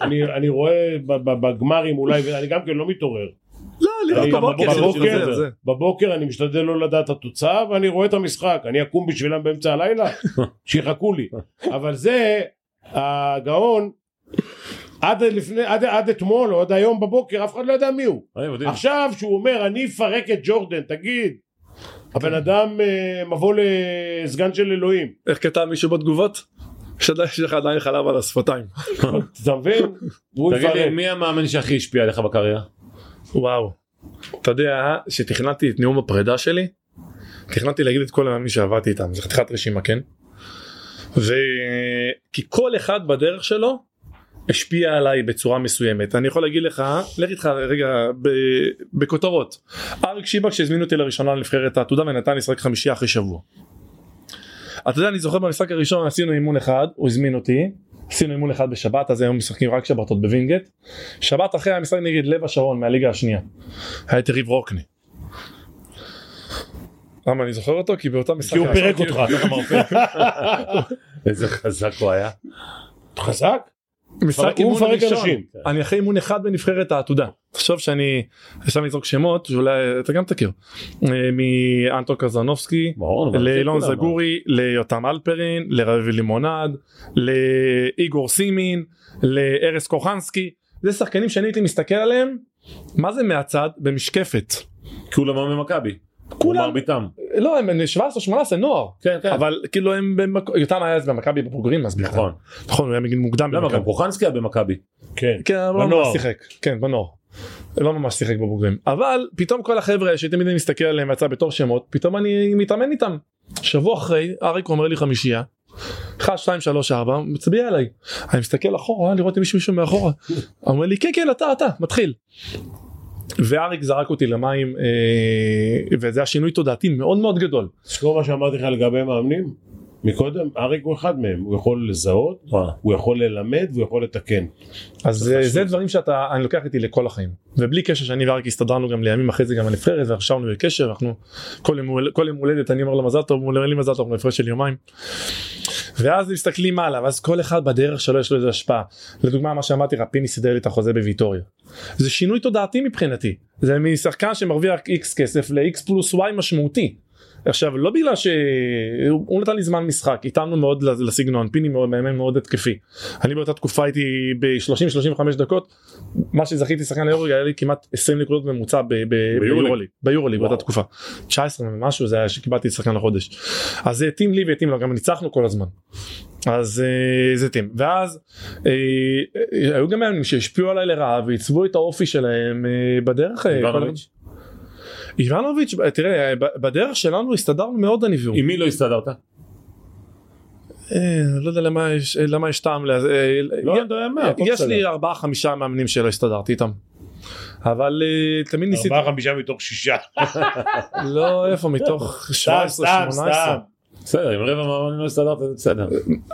Speaker 2: אני, אני רואה ב- ב- בגמרים אולי, ואני גם כן לא מתעורר.
Speaker 5: לא
Speaker 2: אני
Speaker 5: לראות בבוקר.
Speaker 2: בבוקר-
Speaker 5: זה- זה- זה-
Speaker 2: בבוקר אני משתדל לא לדעת את התוצאה, ואני רואה את המשחק. אני אקום בשבילם באמצע הלילה, שיחכו לי. אבל זה, הגאון, עד, לפני, עד, עד אתמול או עד היום בבוקר, אף אחד לא יודע מי הוא.
Speaker 1: אני מדהים.
Speaker 2: עכשיו שהוא אומר, אני אפרק את ג'ורדן, תגיד. הבן אדם אה, מבוא לסגן של אלוהים.
Speaker 5: איך כתב מישהו בתגובות? שדאי שיש לך עדיין חלב על השפתיים.
Speaker 2: אתה מבין? הוא
Speaker 1: תגיד לי
Speaker 2: יפרק.
Speaker 1: מי המאמן שהכי השפיע עליך בקריירה?
Speaker 5: וואו. אתה יודע שתכננתי את נאום הפרידה שלי תכננתי להגיד את כל המאמנים שעבדתי איתם זה חתיכת רשימה כן. וכי כל אחד בדרך שלו השפיע עליי בצורה מסוימת אני יכול להגיד לך לך איתך רגע ב... בכותרות אריק שיבק שהזמין אותי לראשונה לנבחרת העתודה ונתן לי לשחק חמישייה אחרי שבוע. אתה יודע אני זוכר במשחק הראשון עשינו אימון אחד הוא הזמין אותי עשינו אימון אחד בשבת אז היום משחקים רק שבתות בווינגייט שבת אחרי המשחק נגד לב השרון מהליגה השנייה היה את יריב רוקני. למה אני זוכר אותו? כי באותה משחק...
Speaker 2: כי הוא פירק
Speaker 5: כאילו-
Speaker 2: אותך, אתה מרפא.
Speaker 1: איזה חזק הוא היה.
Speaker 2: חזק?
Speaker 5: משחק
Speaker 2: הוא
Speaker 5: אימון
Speaker 2: מפרק
Speaker 5: ראשון.
Speaker 2: אנשים.
Speaker 5: אני אחרי אימון אחד בנבחרת העתודה. תחשוב שאני... עכשיו אני אזרוק שמות שאולי אתה גם תכיר. אה, מאנטון קרזנובסקי.
Speaker 1: ברור. אבל
Speaker 5: לאילון
Speaker 1: כולם,
Speaker 5: זגורי, ליותם אלפרין, לרביב לימונד, לאיגור סימין, לארז קוחנסקי, זה שחקנים שאני הייתי מסתכל עליהם, מה זה מהצד? במשקפת.
Speaker 1: אבל כולם היו ממכבי.
Speaker 5: כולם.
Speaker 1: מרביתם.
Speaker 5: לא, הם 17-18 נוער,
Speaker 1: כן כן.
Speaker 5: אבל כאילו הם במק... יותם היה אז במכבי בבוגרים אז בכלל.
Speaker 1: נכון.
Speaker 5: נכון, הוא היה מגיל מוקדם
Speaker 1: למה גם
Speaker 5: במכבי.
Speaker 1: קוחנסקי היה במכבי.
Speaker 2: כן.
Speaker 5: כן, אבל לא
Speaker 2: בנוער.
Speaker 5: ממש שיחק. כן, בנוער. לא ממש שיחק בבוגרים. אבל פתאום כל החבר'ה שתמיד אני מסתכל עליהם יצא בתור שמות, פתאום אני מתאמן איתם. שבוע אחרי, אריק אומר לי חמישייה. 1, 2, 3, 4, מצביע עליי. אני מסתכל אחורה, לראות אם יש מישהו מאחורה. הוא אומר לי, כן, כן, אתה, אתה, מתחיל. ואריק זרק אותי למים, אה, וזה היה שינוי תודעתי מאוד מאוד גדול.
Speaker 2: זכור מה שאמרתי לך לגבי מאמנים? מקודם, אריק הוא אחד מהם, הוא יכול לזהות,
Speaker 1: וואלה.
Speaker 2: הוא יכול ללמד והוא יכול לתקן.
Speaker 5: אז אה, זה דברים שאתה אני לוקח איתי לכל החיים ובלי קשר שאני ואריק הסתדרנו גם לימים אחרי זה גם הנבחרת ועכשיו אנחנו בקשר אנחנו כל יום הול- כל יום הולדת אני אומר לו מזל טוב הוא אומר לי מזל טוב אנחנו בהפרש של יומיים. ואז מסתכלים הלאה ואז כל אחד בדרך שלו יש לו איזה השפעה לדוגמה מה שאמרתי לך פיני סידר לי את החוזה בוויטוריה זה שינוי תודעתי מבחינתי זה משחקן שמרוויח x כסף ל-x פלוס y משמעותי. עכשיו לא בגלל שהוא הוא נתן לי זמן משחק התאמנו מאוד לסגנון פיני מאוד מאמן מאוד התקפי אני באותה תקופה הייתי ב-30-35 דקות מה שזכיתי שחקן ליורו היה לי כמעט 20 נקודות ממוצע ב- ב- ביורולי ביורולי באותה תקופה 19 ומשהו זה היה שקיבלתי את שחקן לחודש אז זה התאים לי והתאים לו גם ניצחנו כל הזמן אז אה, זה התאים ואז אה, אה, היו גם מאמנים שהשפיעו עליי לרעה ועיצבו את האופי שלהם אה, בדרך אה, כל-
Speaker 1: איבנוביץ'?
Speaker 5: איבנוביץ' תראה אה, ב- בדרך שלנו הסתדרנו מאוד אני והוא.
Speaker 1: עם מי לא הסתדרת?
Speaker 5: אה, לא יודע למה יש, למה יש טעם לזה. אה,
Speaker 2: לא,
Speaker 5: י-
Speaker 2: אתה יודע, הכל
Speaker 5: יש
Speaker 2: בסדר.
Speaker 5: לי ארבעה חמישה מאמנים שלא הסתדרתי איתם. אבל אה, תמיד ניסיתי,
Speaker 2: ארבעה חמישה מתוך שישה.
Speaker 5: לא איפה מתוך
Speaker 2: סתם,
Speaker 5: 17-18.
Speaker 2: סתם, סתם.
Speaker 1: בסדר, עם רבע מהמאמנים לא הסתדרת, זה בסדר.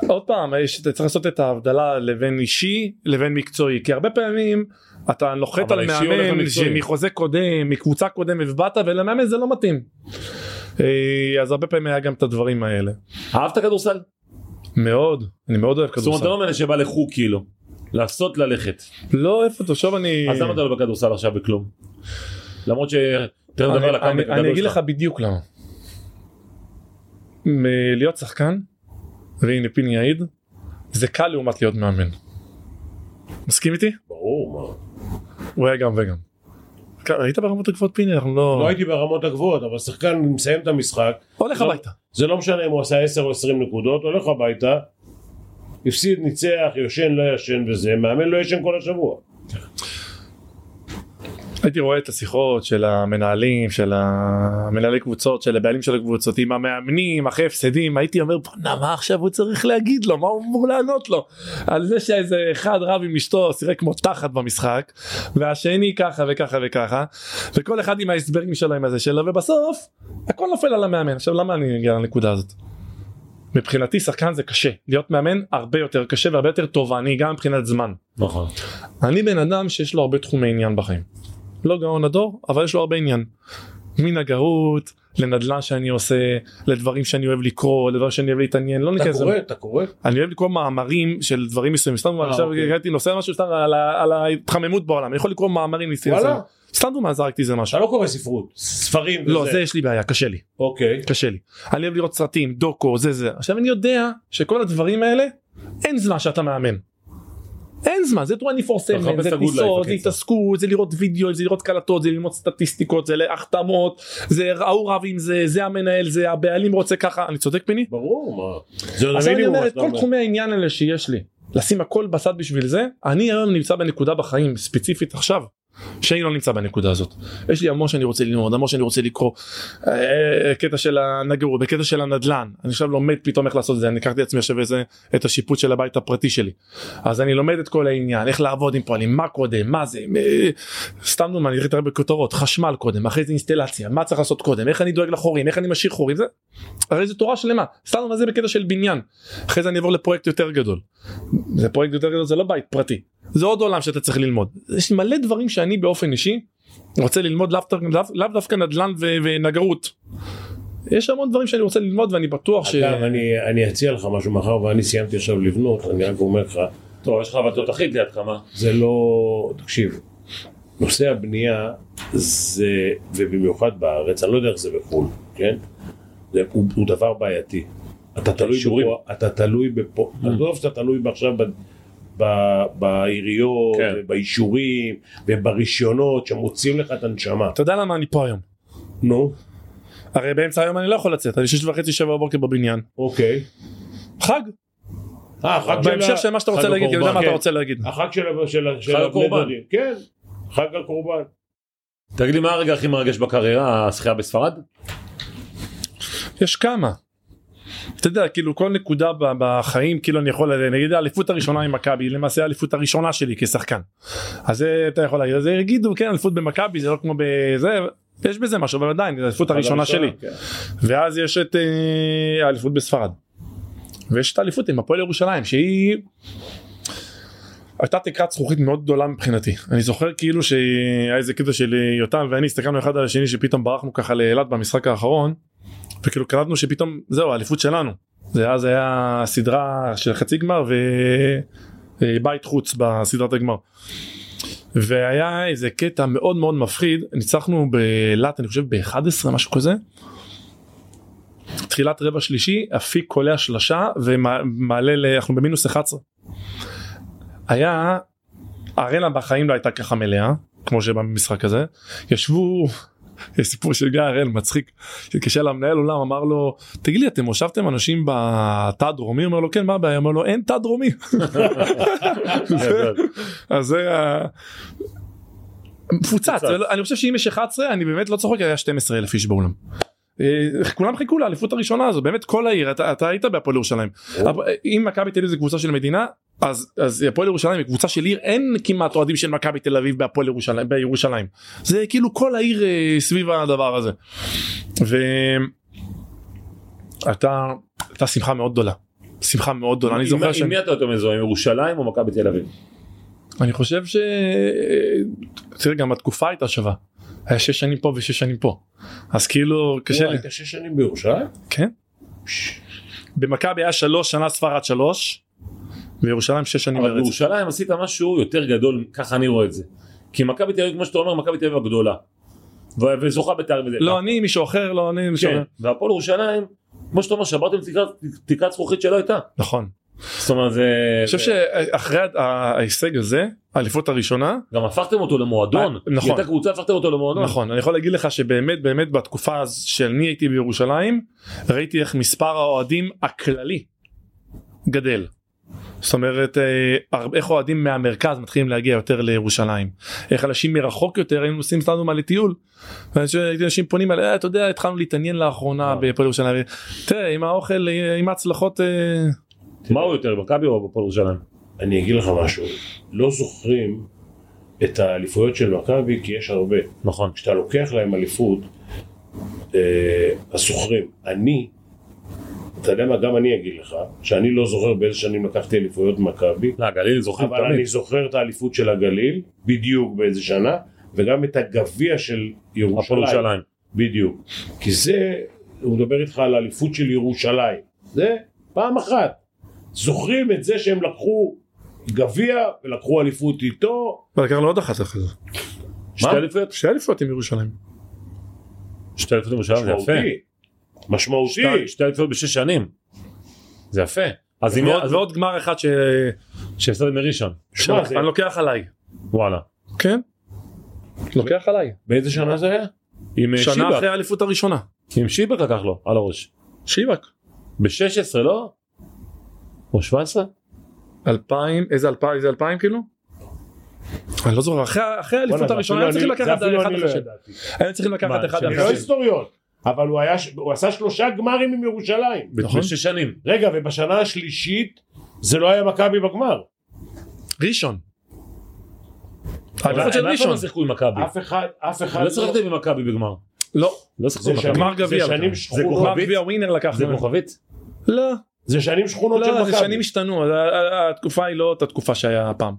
Speaker 5: עוד פעם, יש- אתה צריך לעשות את ההבדלה לבין אישי לבין מקצועי, כי הרבה פעמים אתה נוחת
Speaker 1: אבל
Speaker 5: על
Speaker 1: האישי הולך
Speaker 5: מאמן
Speaker 1: למקצועי.
Speaker 5: מחוזה קודם, מקבוצה קודמת ובאת ולמאמן זה לא מתאים. אה, אז הרבה פעמים היה גם את הדברים האלה.
Speaker 1: אהבת כדורסל?
Speaker 5: מאוד, אני מאוד אוהב
Speaker 1: זאת אומרת,
Speaker 5: כדורסל.
Speaker 1: אתה לא מאלה שבא לחוג כאילו. לעשות ללכת.
Speaker 5: לא איפה תושב אני...
Speaker 1: אז למה אתה לא בכדורסל עכשיו בכלום? למרות ש... תכף נדבר על
Speaker 5: אני-
Speaker 1: הקאמבק
Speaker 5: אני- אני
Speaker 1: הגדול
Speaker 5: אגיד לך
Speaker 1: שלך.
Speaker 5: בדיוק למה. מ- להיות שחקן, והנה פיני יעיד, זה קל לעומת להיות מאמן. מסכים איתי?
Speaker 2: ברור, מה.
Speaker 5: הוא היה גם וגם. ק- היית ברמות הגבוהות פיני? אנחנו
Speaker 2: לא
Speaker 5: לא...
Speaker 2: הייתי ברמות הגבוהות, אבל שחקן מסיים את המשחק,
Speaker 5: הולך
Speaker 2: לא.
Speaker 5: הביתה.
Speaker 2: זה לא משנה אם הוא עשה 10 או 20 נקודות, הולך הביתה, הפסיד, ניצח, יושן, לא ישן וזה, מאמן לא ישן כל השבוע.
Speaker 5: הייתי רואה את השיחות של המנהלים, של המנהלי קבוצות, של הבעלים של הקבוצות, עם המאמנים, אחרי הפסדים, הייתי אומר בואנה מה עכשיו הוא צריך להגיד לו, מה הוא אמור לענות לו? על זה שאיזה אחד רב עם אשתו שיחק כמו תחת במשחק, והשני ככה וככה וככה, וכל אחד עם ההסברים שלו עם הזה שלו, ובסוף הכל נופל על המאמן. עכשיו למה אני מגיע לנקודה הזאת? מבחינתי שחקן זה קשה, להיות מאמן הרבה יותר קשה והרבה יותר תובעני גם מבחינת זמן.
Speaker 1: נכון.
Speaker 5: אני בן אדם שיש לו הרבה תחומי עניין בחיים. לא גאון הדור, אבל יש לו הרבה עניין. מנגרות, לנדל"ן שאני עושה, לדברים שאני אוהב לקרוא, לדברים שאני אוהב להתעניין, לא
Speaker 2: אתה
Speaker 5: ניכנס לזה.
Speaker 2: קורא, אתה קורא.
Speaker 5: אני אוהב לקרוא מאמרים של דברים מסוימים, סתם עכשיו
Speaker 2: אוקיי.
Speaker 5: הגעתי נושא משהו סתם על ה- על ההתחממות בעולם, אני יכול לקרוא מאמרים, ניסיון.
Speaker 2: וואלה,
Speaker 5: סתם דוגמא זרקתי איזה משהו.
Speaker 2: אתה לא קורא ספרות, ספרים וזה.
Speaker 5: לא, זה יש לי בעיה, קשה לי.
Speaker 2: אוקיי.
Speaker 5: קשה לי. אני אוהב לראות סרטים, דוקו, זה זה. עכשיו אני יודע שכל הדברים האלה, אין זמן שאתה מאמן. אין זמן, זה 24/7,
Speaker 1: אתה מחפש
Speaker 5: זה
Speaker 1: את ה-good life, אוקיי,
Speaker 5: טיסות, זה
Speaker 1: בקיצור.
Speaker 5: התעסקות, זה לראות וידאו, זה לראות קלטות, זה ללמוד סטטיסטיקות, זה להחתמות, זה ההוא רב עם זה, זה המנהל, זה הבעלים רוצה ככה, אני צודק פיני?
Speaker 2: ברור, מה.
Speaker 1: לא
Speaker 2: זה
Speaker 5: אז אני
Speaker 2: המינימום,
Speaker 5: אומר את
Speaker 2: אתה
Speaker 5: כל
Speaker 2: אומר.
Speaker 5: תחומי העניין האלה שיש לי, לשים הכל בצד בשביל זה, אני היום נמצא בנקודה בחיים, ספציפית עכשיו, שאני לא נמצא בנקודה הזאת. יש לי המון שאני רוצה ללמוד, המון שאני רוצה לקרוא, אה, קטע של הנגרות, בקטע של הנדלן, אני עכשיו לומד פתאום איך לעשות את זה, אני לקחתי לעצמי עכשיו איזה, את השיפוט של הבית הפרטי שלי. אז אני לומד את כל העניין, איך לעבוד עם פועלים, מה קודם, מה זה, אה, סתם דוגמא, אני ראיתי הרבה כותרות, חשמל קודם, אחרי זה אינסטלציה, מה צריך לעשות קודם, איך אני דואג לחורים, איך אני משאיר חורים, זה, הרי זו תורה שלמה, סתם מה זה בקטע של בניין, אחרי זה אני אעבור לפרויקט יותר גדול. זה פרויקט יותר גדול זה לא בית פרטי זה עוד עולם שאתה צריך ללמוד יש מלא דברים שאני באופן אישי רוצה ללמוד לאו דו- לאו- לאו דווקא נדל"ן ו- ונגרות. יש המון דברים שאני רוצה ללמוד ואני בטוח ש...
Speaker 2: אגב, אני- אני אציע לך משהו מאחר ואני סיימתי עכשיו לבנות, אני רק אומר לך,
Speaker 1: טוב, יש לך אבל תותחית לידך, מה?
Speaker 2: זה לא... תקשיב, נושא הבנייה זה, ובמיוחד בארץ, אני לא יודע איך זה בחו"ל, כן? זה, הוא, הוא דבר בעייתי. אתה תלוי
Speaker 1: אישורים.
Speaker 2: בפה, אתה תלוי בפה,
Speaker 5: Mm.
Speaker 2: עזוב שאתה תלוי עכשיו ב, ב, בעיריות,
Speaker 1: כן.
Speaker 2: ובאישורים, וברישיונות שמוציאים לך את הנשמה.
Speaker 5: אתה יודע למה אני פה היום.
Speaker 2: נו,
Speaker 5: הרי באמצע היום אני לא יכול לצאת אני שש וחצי שבע בבוקר בבניין.
Speaker 2: אוקיי.
Speaker 5: חג.
Speaker 2: אה, החג של
Speaker 5: בהמשך
Speaker 2: ה-
Speaker 5: של מה שאתה רוצה
Speaker 1: חג
Speaker 5: להגיד כי אני יודע מה
Speaker 2: הקורבן,
Speaker 5: אתה
Speaker 2: כן.
Speaker 5: רוצה להגיד.
Speaker 2: החג של ה- של ה- של
Speaker 1: חג
Speaker 2: הבני
Speaker 1: הקורבן.
Speaker 2: דודים. כן, חג הקורבן.
Speaker 1: תגיד לי, מה הרגע הכי מרגש בקריירה, השחייה בספרד?
Speaker 5: יש כמה. אתה יודע כאילו כל נקודה ב- בחיים כאילו אני יכול נגיד האליפות הראשונה עם מכבי למעשה האליפות הראשונה שלי כשחקן. אז זה אתה יכול להגיד אז יגידו כן אליפות במכבי זה לא כמו בזה יש בזה משהו אבל עדיין זו האליפות הראשונה שלי
Speaker 2: כן.
Speaker 5: ואז יש את אה, האליפות בספרד ויש את האליפות עם הפועל ירושלים שהיא הייתה תקרת זכוכית מאוד גדולה מבחינתי אני זוכר כאילו שהיה איזה קטע של אה, יותם ואני הסתכלנו אחד על השני שפתאום ברחנו ככה לאילת במשחק האחרון וכאילו קלטנו שפתאום זהו האליפות שלנו זה אז היה סדרה של חצי גמר ובית חוץ בסדרת הגמר. והיה איזה קטע מאוד מאוד מפחיד ניצחנו באילת אני חושב ב-11 משהו כזה. תחילת רבע שלישי אפיק קולע שלשה ומעלה ל... אנחנו במינוס 11. היה ארנה בחיים לא הייתה ככה מלאה כמו שבמשחק הזה ישבו יש סיפור של גיא הראל מצחיק התקשר למנהל אולם אמר לו תגיד לי אתם הושבתם אנשים בתא הדרומי אומר לו כן מה הבעיה אומר לו אין תא דרומי
Speaker 2: גדול.
Speaker 5: אז זה ה- מפוצץ ולא- אני חושב שאם יש 11 אני באמת לא צוחק היה 12 אלף איש באולם. אה, כולם חיכו לאליפות הראשונה הזו באמת כל העיר אתה, אתה היית בהפועל ירושלים אבל, אה, אם מכבי תל אביב זה קבוצה של מדינה אז אז הפועל ירושלים היא קבוצה של עיר אין כמעט אוהדים של מכבי תל אביב בהפועל ירושלים בירושלים זה כאילו כל העיר אה, סביב הדבר הזה. ואתה הייתה שמחה מאוד גדולה שמחה מאוד גדולה אני
Speaker 1: עם-
Speaker 5: זוכר
Speaker 1: עם
Speaker 5: שאני
Speaker 1: מי אתה יותר מזוהה, עם ירושלים או מכבי תל אביב?
Speaker 5: אני חושב ש... תראה גם התקופה הייתה שווה. היה שש שנים פה ושש שנים פה. אז כאילו קשה
Speaker 2: וואי,
Speaker 5: לי.
Speaker 2: היית שש שנים בירושלים?
Speaker 5: כן. במכבי היה שלוש שנה ספרד שלוש. בירושלים שש שנים
Speaker 1: אבל
Speaker 5: בארץ.
Speaker 1: בירושלים עשית משהו יותר גדול, ככה אני רואה את זה. כי מכבי תל אביב, כמו שאתה אומר, מכבי תל אביב הגדולה. ו- וזוכה בתארים וזה.
Speaker 5: לא אני מישהו אחר לא אני מישהו
Speaker 1: כן,
Speaker 5: אחר.
Speaker 1: והפועל ירושלים, כמו שאתה אומר, שברתם תקרת- תקרת זכוכית שלא הייתה.
Speaker 5: נכון.
Speaker 1: זאת אומרת, זה...
Speaker 5: אני חושב
Speaker 1: זה-
Speaker 5: שאחרי ה- ההישג הזה האליפות הראשונה
Speaker 1: גם הפכתם אותו למועדון.
Speaker 5: נכון.
Speaker 1: היא הייתה קבוצה, הפכתם אותו למועדון.
Speaker 5: נכון אני יכול להגיד לך שבאמת באמת בתקופה הז- שאני הייתי בירושלים ראיתי איך מספר האוהדים הכללי גדל. זאת אומרת אה, הרבה- איך אוהדים מהמרכז מתחילים להגיע יותר לירושלים איך אנשים מרחוק יותר היינו עושים סתם דוגמה לטיול. ואנשים- אנשים פונים אליי "אה, אתה יודע התחלנו להתעניין לאחרונה בפועל ירושלים תראה עם האוכל אה, עם ההצלחות אה,
Speaker 1: מה הוא יותר, מכבי או הפועל ירושלים?
Speaker 2: אני אגיד לך משהו, לא זוכרים את האליפויות של מכבי כי יש הרבה.
Speaker 1: נכון.
Speaker 2: כשאתה לוקח להם אליפות, אה, הסוחרים, אני, אתה יודע מה, גם אני אגיד לך, שאני לא זוכר באיזה שנים לקחתי אליפויות מכבי,
Speaker 1: לא, הגליל זוכרים
Speaker 2: אבל אני
Speaker 1: תמיד.
Speaker 2: זוכר את האליפות של הגליל, בדיוק באיזה שנה, וגם את הגביע של
Speaker 1: הפועל
Speaker 2: ירושלים.
Speaker 1: ירושלים.
Speaker 2: בדיוק. כי זה, הוא מדבר איתך על האליפות של ירושלים. זה פעם אחת. זוכרים את זה שהם לקחו גביע ולקחו אליפות איתו?
Speaker 5: ולקחנו עוד אחת אחרי זה.
Speaker 1: שתי אליפויות?
Speaker 5: שתי אליפויות עם ירושלים.
Speaker 1: שתי אליפויות ירושלים, זה יפה.
Speaker 2: משמעותי. משמעותי.
Speaker 1: שתי- שתי אליפויות בשש שנים. זה יפה. אז אם...
Speaker 5: ועוד-
Speaker 1: אז-
Speaker 5: ועוד גמר אחד ש...
Speaker 1: שהפסדתם מראשון.
Speaker 2: שמע, זה-
Speaker 5: אני לוקח עליי.
Speaker 1: וואלה.
Speaker 5: כן. לוקח עליי.
Speaker 1: באיזה שנה זה היה? עם אה,
Speaker 5: שנה
Speaker 1: שיבק.
Speaker 5: אחרי האליפות הראשונה.
Speaker 1: עם שיבק לקח לו, על הראש.
Speaker 5: שיבק.
Speaker 1: ב-16 לא? או 17?
Speaker 5: אלפיים איזה אלפיים איזה אלפיים כאילו? אני לא זוכר אחרי אחרי האליפות
Speaker 2: בוא'נה,
Speaker 5: הראשונה
Speaker 2: זה
Speaker 5: היו
Speaker 2: אפילו
Speaker 5: צריכים
Speaker 2: אני-
Speaker 5: לקחת
Speaker 2: זה אפילו
Speaker 5: אחד
Speaker 2: אני
Speaker 5: אחרי
Speaker 2: לא
Speaker 5: השני.
Speaker 2: ידעתי.
Speaker 5: היו צריכים לקחת
Speaker 1: מה,
Speaker 5: אחד
Speaker 1: שאני
Speaker 2: אני
Speaker 5: אחרי
Speaker 2: לא
Speaker 5: השני.
Speaker 2: היסטוריון, אבל הוא היה- הוא עשה שלושה גמרים עם ירושלים.
Speaker 5: נכון.
Speaker 1: בשש שנים.
Speaker 2: רגע, ובשנה השלישית זה לא היה מכבי בגמר.
Speaker 5: ראשון.
Speaker 1: אבל
Speaker 5: האליפות של
Speaker 1: הם אף פעם
Speaker 5: ראשון.
Speaker 1: לא שיחקו עם מכבי.
Speaker 2: אף אחד, אף אחד...
Speaker 1: לא שיחקתם עם מכבי בגמר.
Speaker 5: לא.
Speaker 1: לא
Speaker 2: זה
Speaker 1: שיחקו עם
Speaker 2: שנים-
Speaker 1: מכבי.
Speaker 5: גמר גביע
Speaker 2: זה שנים
Speaker 5: לקחנו.
Speaker 2: שכונות.
Speaker 5: גמר גביע ווינר
Speaker 1: זה
Speaker 5: לקחנו.
Speaker 1: כוכבית?
Speaker 5: לא.
Speaker 2: זה שנים שכונות של
Speaker 5: לא,
Speaker 2: מכבי.
Speaker 5: זה שנים השתנו, ה- ה- התקופה היא לא אותה תקופה שהיה פעם.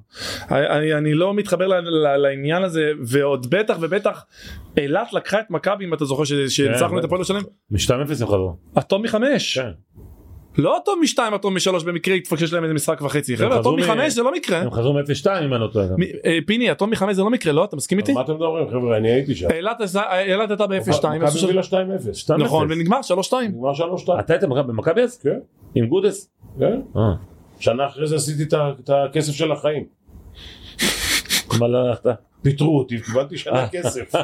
Speaker 5: אני, אני לא מתחבר ל, ל, לעניין הזה, ועוד בטח ובטח אילת לקחה את מכבי, אם אתה זוכר ש- שניצחנו את
Speaker 1: בטח.
Speaker 5: הפועל ירושלים,
Speaker 1: מ-2-0 הם חזרו.
Speaker 5: אטום מחמש.
Speaker 1: כן.
Speaker 5: לא אטום משתיים, אטום משלוש במקרה התפקש להם איזה משחק וחצי. חבר'ה,
Speaker 1: חזרו
Speaker 5: אטום
Speaker 1: מ-
Speaker 5: מחמש זה לא מקרה.
Speaker 1: הם חזרו מ-0-2 אם אני לא טועה. גם.
Speaker 5: מ- אה, פיני, אטום מחמש זה לא מקרה, לא? אתה מסכים
Speaker 2: על
Speaker 5: איתי?
Speaker 2: מה אתם מדברים, חבר'ה? אני הייתי שם.
Speaker 5: אילת עשה- אילת הייתה ב-0-2,
Speaker 2: מכבי הובילה 2-0.
Speaker 1: 2-0.
Speaker 5: נכון, ונגמר 3-2.
Speaker 2: נגמר 3-2.
Speaker 1: אתה היית במכבי- במכבי אז?
Speaker 2: כן.
Speaker 1: עם גודס?
Speaker 2: כן.
Speaker 1: אה.
Speaker 2: שנה אחרי זה עשיתי את ה- את הכסף של החיים.
Speaker 1: מה לא הלכת?
Speaker 2: פיטרו אותי, קיבלתי
Speaker 1: אה.
Speaker 2: שנה כסף.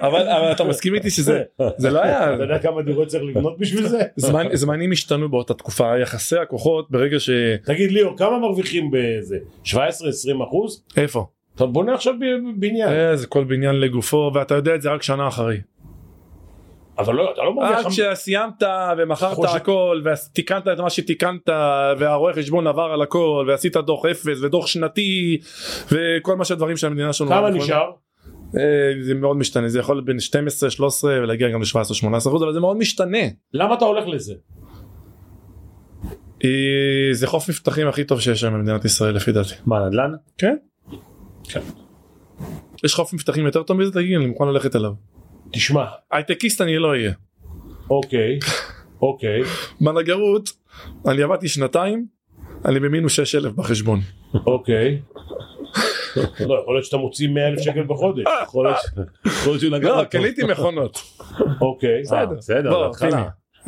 Speaker 5: אבל אבל אתה מסכים איתי שזה
Speaker 1: אה.
Speaker 5: זה לא היה...
Speaker 2: אתה יודע כמה דירות צריך לבנות בשביל זה?
Speaker 5: זמן- זמנים השתנו באותה תקופה, יחסי הכוחות ברגע ש...
Speaker 2: תגיד ליאור, כמה מרוויחים בזה? 17-20 אחוז?
Speaker 5: איפה?
Speaker 2: אתה בונה עכשיו ב- בניין.
Speaker 5: אה, זה כל בניין לגופו ואתה יודע את זה רק שנה אחרי.
Speaker 2: אבל לא, אתה לא
Speaker 1: אה,
Speaker 2: מרוויח...
Speaker 5: רק אה, כשסיימת ומכרת
Speaker 2: חושב-
Speaker 5: הכל ותיקנת את מה שתיקנת והרואה חשבון עבר על הכל ועשית דוח אפס ודוח שנתי וכל מה שהדברים של המדינה שלנו.
Speaker 2: כמה
Speaker 1: נכון.
Speaker 5: אנחנו-
Speaker 2: נשאר?
Speaker 5: אה, זה מאוד משתנה זה יכול להיות בין 12 13 ולהגיע גם ל 17 18 אחוז אבל זה מאוד משתנה
Speaker 2: למה אתה הולך לזה?
Speaker 5: היא- אה, זה חוף מבטחים הכי טוב שיש היום במדינת ישראל לפי דעתי.
Speaker 1: מה נדל"ן?
Speaker 5: כן? יש חוף מבטחים יותר טוב מזה תגיד אני מוכן ללכת אליו.
Speaker 2: תשמע,
Speaker 5: הייטקיסט אני לא אהיה.
Speaker 2: אוקיי, אוקיי,
Speaker 5: בנגרות אני עבדתי שנתיים אני במינוס 6,000 בחשבון.
Speaker 2: אוקיי. לא, יכול להיות שאתה מוציא 100 אלף שקל בחודש.
Speaker 1: אה, יכול להיות ש- כן, יכול להיות שהוא נגע.
Speaker 5: לא,
Speaker 1: בו.
Speaker 5: קניתי מכונות.
Speaker 2: אוקיי.
Speaker 1: אה,
Speaker 5: בסדר.
Speaker 1: בסדר,
Speaker 5: בוא,
Speaker 1: בהתחלה.
Speaker 5: פיני.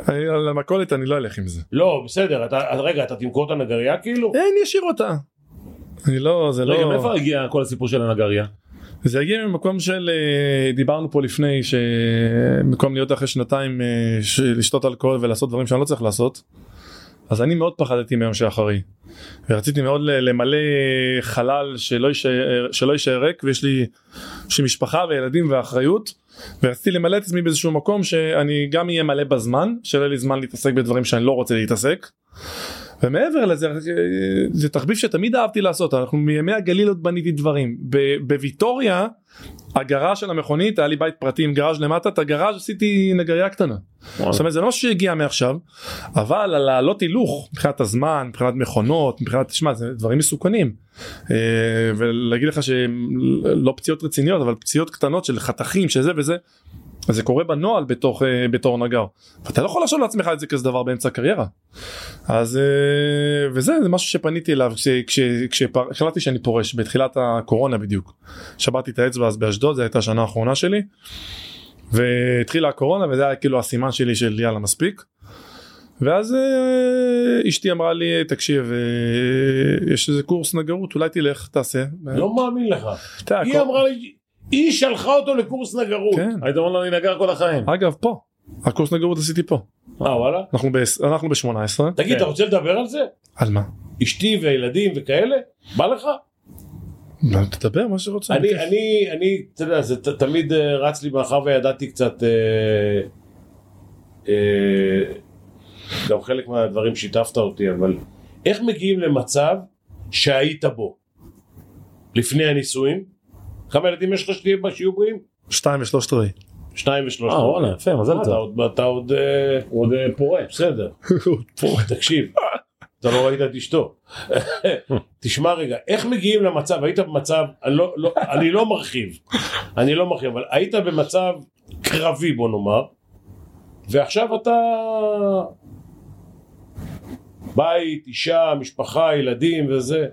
Speaker 5: אני- על המכולת אני לא אלך עם זה.
Speaker 2: לא, בסדר, אתה, אז רגע, אתה תמכור את הנגרייה כאילו?
Speaker 5: אה, אני אשאיר אותה. אני לא, זה
Speaker 1: רגע,
Speaker 5: לא...
Speaker 1: מאיפה הגיע כל הסיפור של הנגריה?
Speaker 5: זה הגיע ממקום של אה, דיברנו פה לפני שבמקום להיות אחרי שנתיים אה, ש- לשתות אלכוהול ולעשות דברים שאני לא צריך לעשות אז אני מאוד פחדתי מהיום שאחרי ורציתי מאוד ל- למלא חלל שלא יישאר, שלא יישאר ריק ויש לי יש לי משפחה וילדים ואחריות ורציתי למלא את עצמי באיזשהו מקום שאני גם אהיה מלא בזמן שלא יהיה לי זמן להתעסק בדברים שאני לא רוצה להתעסק ומעבר לזה אה, זה תחביב שתמיד אהבתי לעשות אנחנו מימי הגליל עוד בניתי דברים ב- בוויטוריה הגראז' של המכונית היה לי בית פרטי עם גראז' למטה את הגראז' עשיתי נגריה קטנה זאת אומרת זה לא משהו שהגיע מעכשיו אבל על העלות הילוך מבחינת הזמן מבחינת מכונות מבחינת תשמע זה דברים מסוכנים אה, ולהגיד לך שלא פציעות רציניות אבל פציעות קטנות של חתכים שזה וזה. אז זה קורה בנוהל בתוך אה, בתור נגר ואתה לא יכול לחשוב לעצמך את זה כזה דבר באמצע הקריירה אז אה, וזה זה משהו שפניתי אליו כשהחלטתי שאני פורש בתחילת הקורונה בדיוק שברתי את האצבע אז באשדוד זו הייתה השנה האחרונה שלי והתחילה הקורונה וזה היה כאילו הסימן שלי של יאללה מספיק ואז אה, אשתי אמרה לי תקשיב אה, יש איזה קורס נגרות אולי תלך תעשה.
Speaker 2: לא מאמין לך.
Speaker 5: אתה יודע,
Speaker 2: היא
Speaker 5: הכל-
Speaker 2: אמרה לי, היא שלחה אותו לקורס נגרות.
Speaker 5: כן.
Speaker 1: היית אומר לו אני נגר כל החיים.
Speaker 5: אגב פה הקורס נגרות עשיתי פה
Speaker 2: אה, וואלה?
Speaker 5: אנחנו ב- אנחנו ב-18
Speaker 2: תגיד,
Speaker 1: כן.
Speaker 2: אתה רוצה לדבר על זה?
Speaker 5: על מה?
Speaker 2: אשתי וילדים וכאלה? בא לך?
Speaker 5: לא, תדבר מה שרוצה.
Speaker 2: אני, אני, אני, אתה יודע, זה ת- תמיד אה, רץ לי מאחר וידעתי קצת, אה, אה, גם חלק מהדברים שיתפת אותי, אבל איך מגיעים למצב שהיית בו לפני הנישואים? כמה ילדים יש לך שתהיה בה שיהיו בריאים?
Speaker 5: שתיים ושלושת רבעי.
Speaker 2: שניים ושלושה.
Speaker 1: אה וואלה יפה מזל
Speaker 2: אה, אתה
Speaker 1: טוב.
Speaker 2: עוד, אתה עוד, אה, עוד אה, פורה, בסדר. תקשיב, אתה לא ראית את אשתו. תשמע רגע, איך מגיעים למצב, היית במצב, אני לא, לא, אני לא מרחיב, אני לא מרחיב, אבל היית במצב קרבי בוא נאמר, ועכשיו אתה בית, אישה, משפחה, ילדים וזה.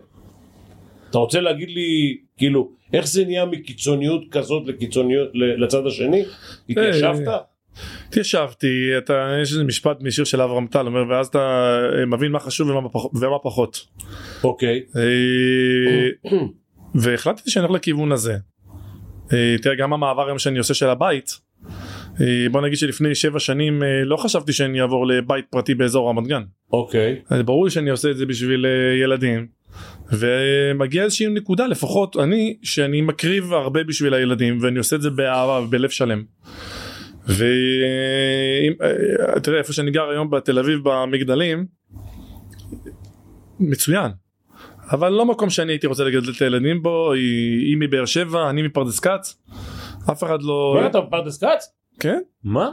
Speaker 2: אתה רוצה להגיד לי, כאילו, איך זה נהיה מקיצוניות כזאת לקיצוניות ל- לצד השני? התיישבת?
Speaker 5: התיישבתי, אתה, יש איזה משפט משיר של אברהם טל, אומר, ואז אתה אה, מבין מה חשוב ומה, פח, ומה פחות.
Speaker 2: אוקיי.
Speaker 5: אה, והחלטתי שאני הולך לכיוון הזה. אה, תראה, גם המעבר היום שאני עושה של הבית, אה, בוא נגיד שלפני שבע שנים אה, לא חשבתי שאני אעבור לבית פרטי באזור רמת גן.
Speaker 2: אוקיי.
Speaker 5: אז ברור לי שאני עושה את זה בשביל אה, ילדים ומגיע איזושהי נקודה לפחות אני שאני מקריב הרבה בשביל הילדים ואני עושה את זה באהבה ובלב שלם. ותראה אה, איפה שאני גר היום בתל אביב במגדלים מצוין אבל לא מקום שאני הייתי רוצה לגדל את הילדים בו היא, היא מבאר שבע אני מפרדס כץ אף אחד לא
Speaker 2: מה אתה בפרדס כץ?
Speaker 5: כן
Speaker 1: מה?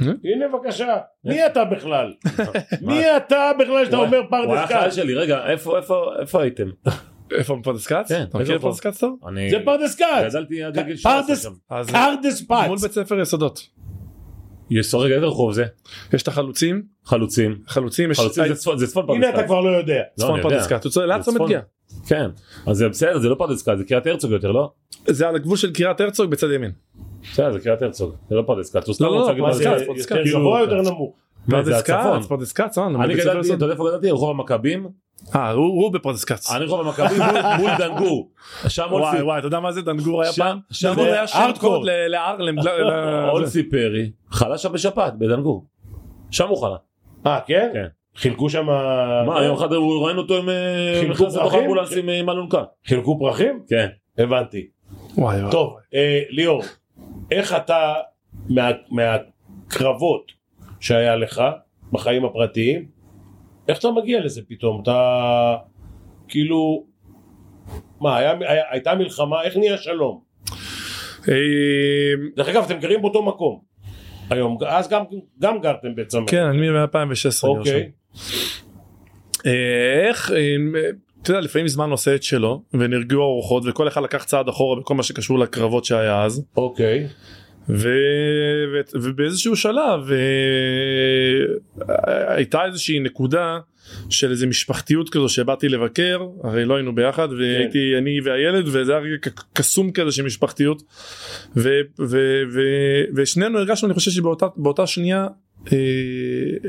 Speaker 2: הנה בבקשה, מי אתה בכלל?
Speaker 1: מה?
Speaker 2: מי אתה בכלל שאתה
Speaker 1: הוא
Speaker 2: אומר
Speaker 1: הוא היה
Speaker 2: פרדס
Speaker 1: חייל
Speaker 2: כץ?
Speaker 1: שלי רגע איפה איפה איפה הייתם?
Speaker 5: איפה מפרדס כץ
Speaker 1: כן, איפה
Speaker 5: אתה מכיר את
Speaker 1: פה?
Speaker 5: פרדס כץ טוב
Speaker 1: אני
Speaker 2: זה פרדס כץ!
Speaker 1: גדלתי עד גיל
Speaker 2: פרדס-
Speaker 1: 17 שם.
Speaker 5: אז
Speaker 2: פרדס
Speaker 5: מול
Speaker 2: פץ!
Speaker 5: בית ספר יסודות
Speaker 1: יש רגע איזה רחוב זה?
Speaker 5: יש את החלוצים
Speaker 1: חלוצים.
Speaker 5: חלוצים יש
Speaker 1: חלוצים זה
Speaker 5: צפון
Speaker 1: צפון זה צפון פרדס
Speaker 2: אה, הנה אתה
Speaker 1: כץ.
Speaker 2: כבר לא יודע.
Speaker 1: לא, אני יודע.
Speaker 5: פרדס כץ, הוא צודק, ליד
Speaker 1: זה
Speaker 5: צומת
Speaker 1: צפון.
Speaker 5: גאה.
Speaker 1: כן. אז זה בסדר זה לא פרדס כץ זה קריית הרצוג יותר לא?
Speaker 5: זה על הגבול של קריית הרצוג בצד ימין.
Speaker 1: בסדר זה קריית הרצוג זה לא פרדס כץ. הוא סתם
Speaker 5: לא, לא,
Speaker 1: רוצה להגיד מה
Speaker 5: פרדס
Speaker 1: זה-
Speaker 5: כץ,
Speaker 2: זה
Speaker 5: פרדס כץ.
Speaker 2: יותר גבוה יותר נמוך.
Speaker 1: מה, זה
Speaker 5: פרדס
Speaker 1: הצפון.
Speaker 5: כץ, פרדס כץ, אה,
Speaker 1: אני
Speaker 5: בבית ספר
Speaker 1: גדלתי אתה
Speaker 5: יסוד.
Speaker 1: יודע איפה גדלתי? רחוב המכבים.
Speaker 5: אה, הוא הוא בפרדס כץ.
Speaker 1: אני לא רחוב המכבים מול- מול דנגור. שם
Speaker 5: וואי
Speaker 1: אולסי-
Speaker 5: וואי, אתה יודע מה זה דנגור היה
Speaker 1: שם-
Speaker 5: פעם?
Speaker 1: שם
Speaker 5: דנגור
Speaker 1: זה
Speaker 5: היה שם
Speaker 1: הארדקור.
Speaker 5: קוד ל- לארלם. ל- ל- זה.
Speaker 1: אולסי פרי חלה שם בשפעת בדנגור. שם הוא חלה.
Speaker 2: אה כן?
Speaker 1: כן.
Speaker 2: חילקו שם...
Speaker 1: מה יום אחד הוא- ראינו אותו עם אה,
Speaker 2: חילקו
Speaker 1: נכנס לתוך
Speaker 2: פרחים?
Speaker 1: אמבולנס עם- אה, עם אלונקה.
Speaker 2: חילקו פרחים?
Speaker 1: כן.
Speaker 2: הבנתי.
Speaker 5: וואי וואי.
Speaker 2: טוב, אה, ליאור, איך אתה מה- מהקרבות שהיה לך בחיים הפרטיים, איך אתה מגיע לזה פתאום? אתה כאילו, מה, היה, היה, הייתה מלחמה, איך נהיה שלום?
Speaker 5: אה,
Speaker 2: דרך אגב, אתם גרים באותו מקום היום, אז גם, גם גרתם אוקיי, בצמא.
Speaker 5: כן, אני מ-2016.
Speaker 2: אוקיי.
Speaker 5: אה, איך אה, אתה יודע לפעמים זמן עושה את שלו ונרגעו הרוחות וכל אחד לקח צעד אחורה בכל מה שקשור לקרבות שהיה אז
Speaker 2: אוקיי.
Speaker 5: ו... ו... ובאיזשהו שלב אה, הייתה איזושהי נקודה של איזה משפחתיות כזו שבאתי לבקר הרי לא היינו ביחד והייתי אני והילד וזה היה רגע ק- קסום כזה של משפחתיות ו... ו... ו... ושנינו הרגשנו אני חושב שבאותה באותה שנייה אה,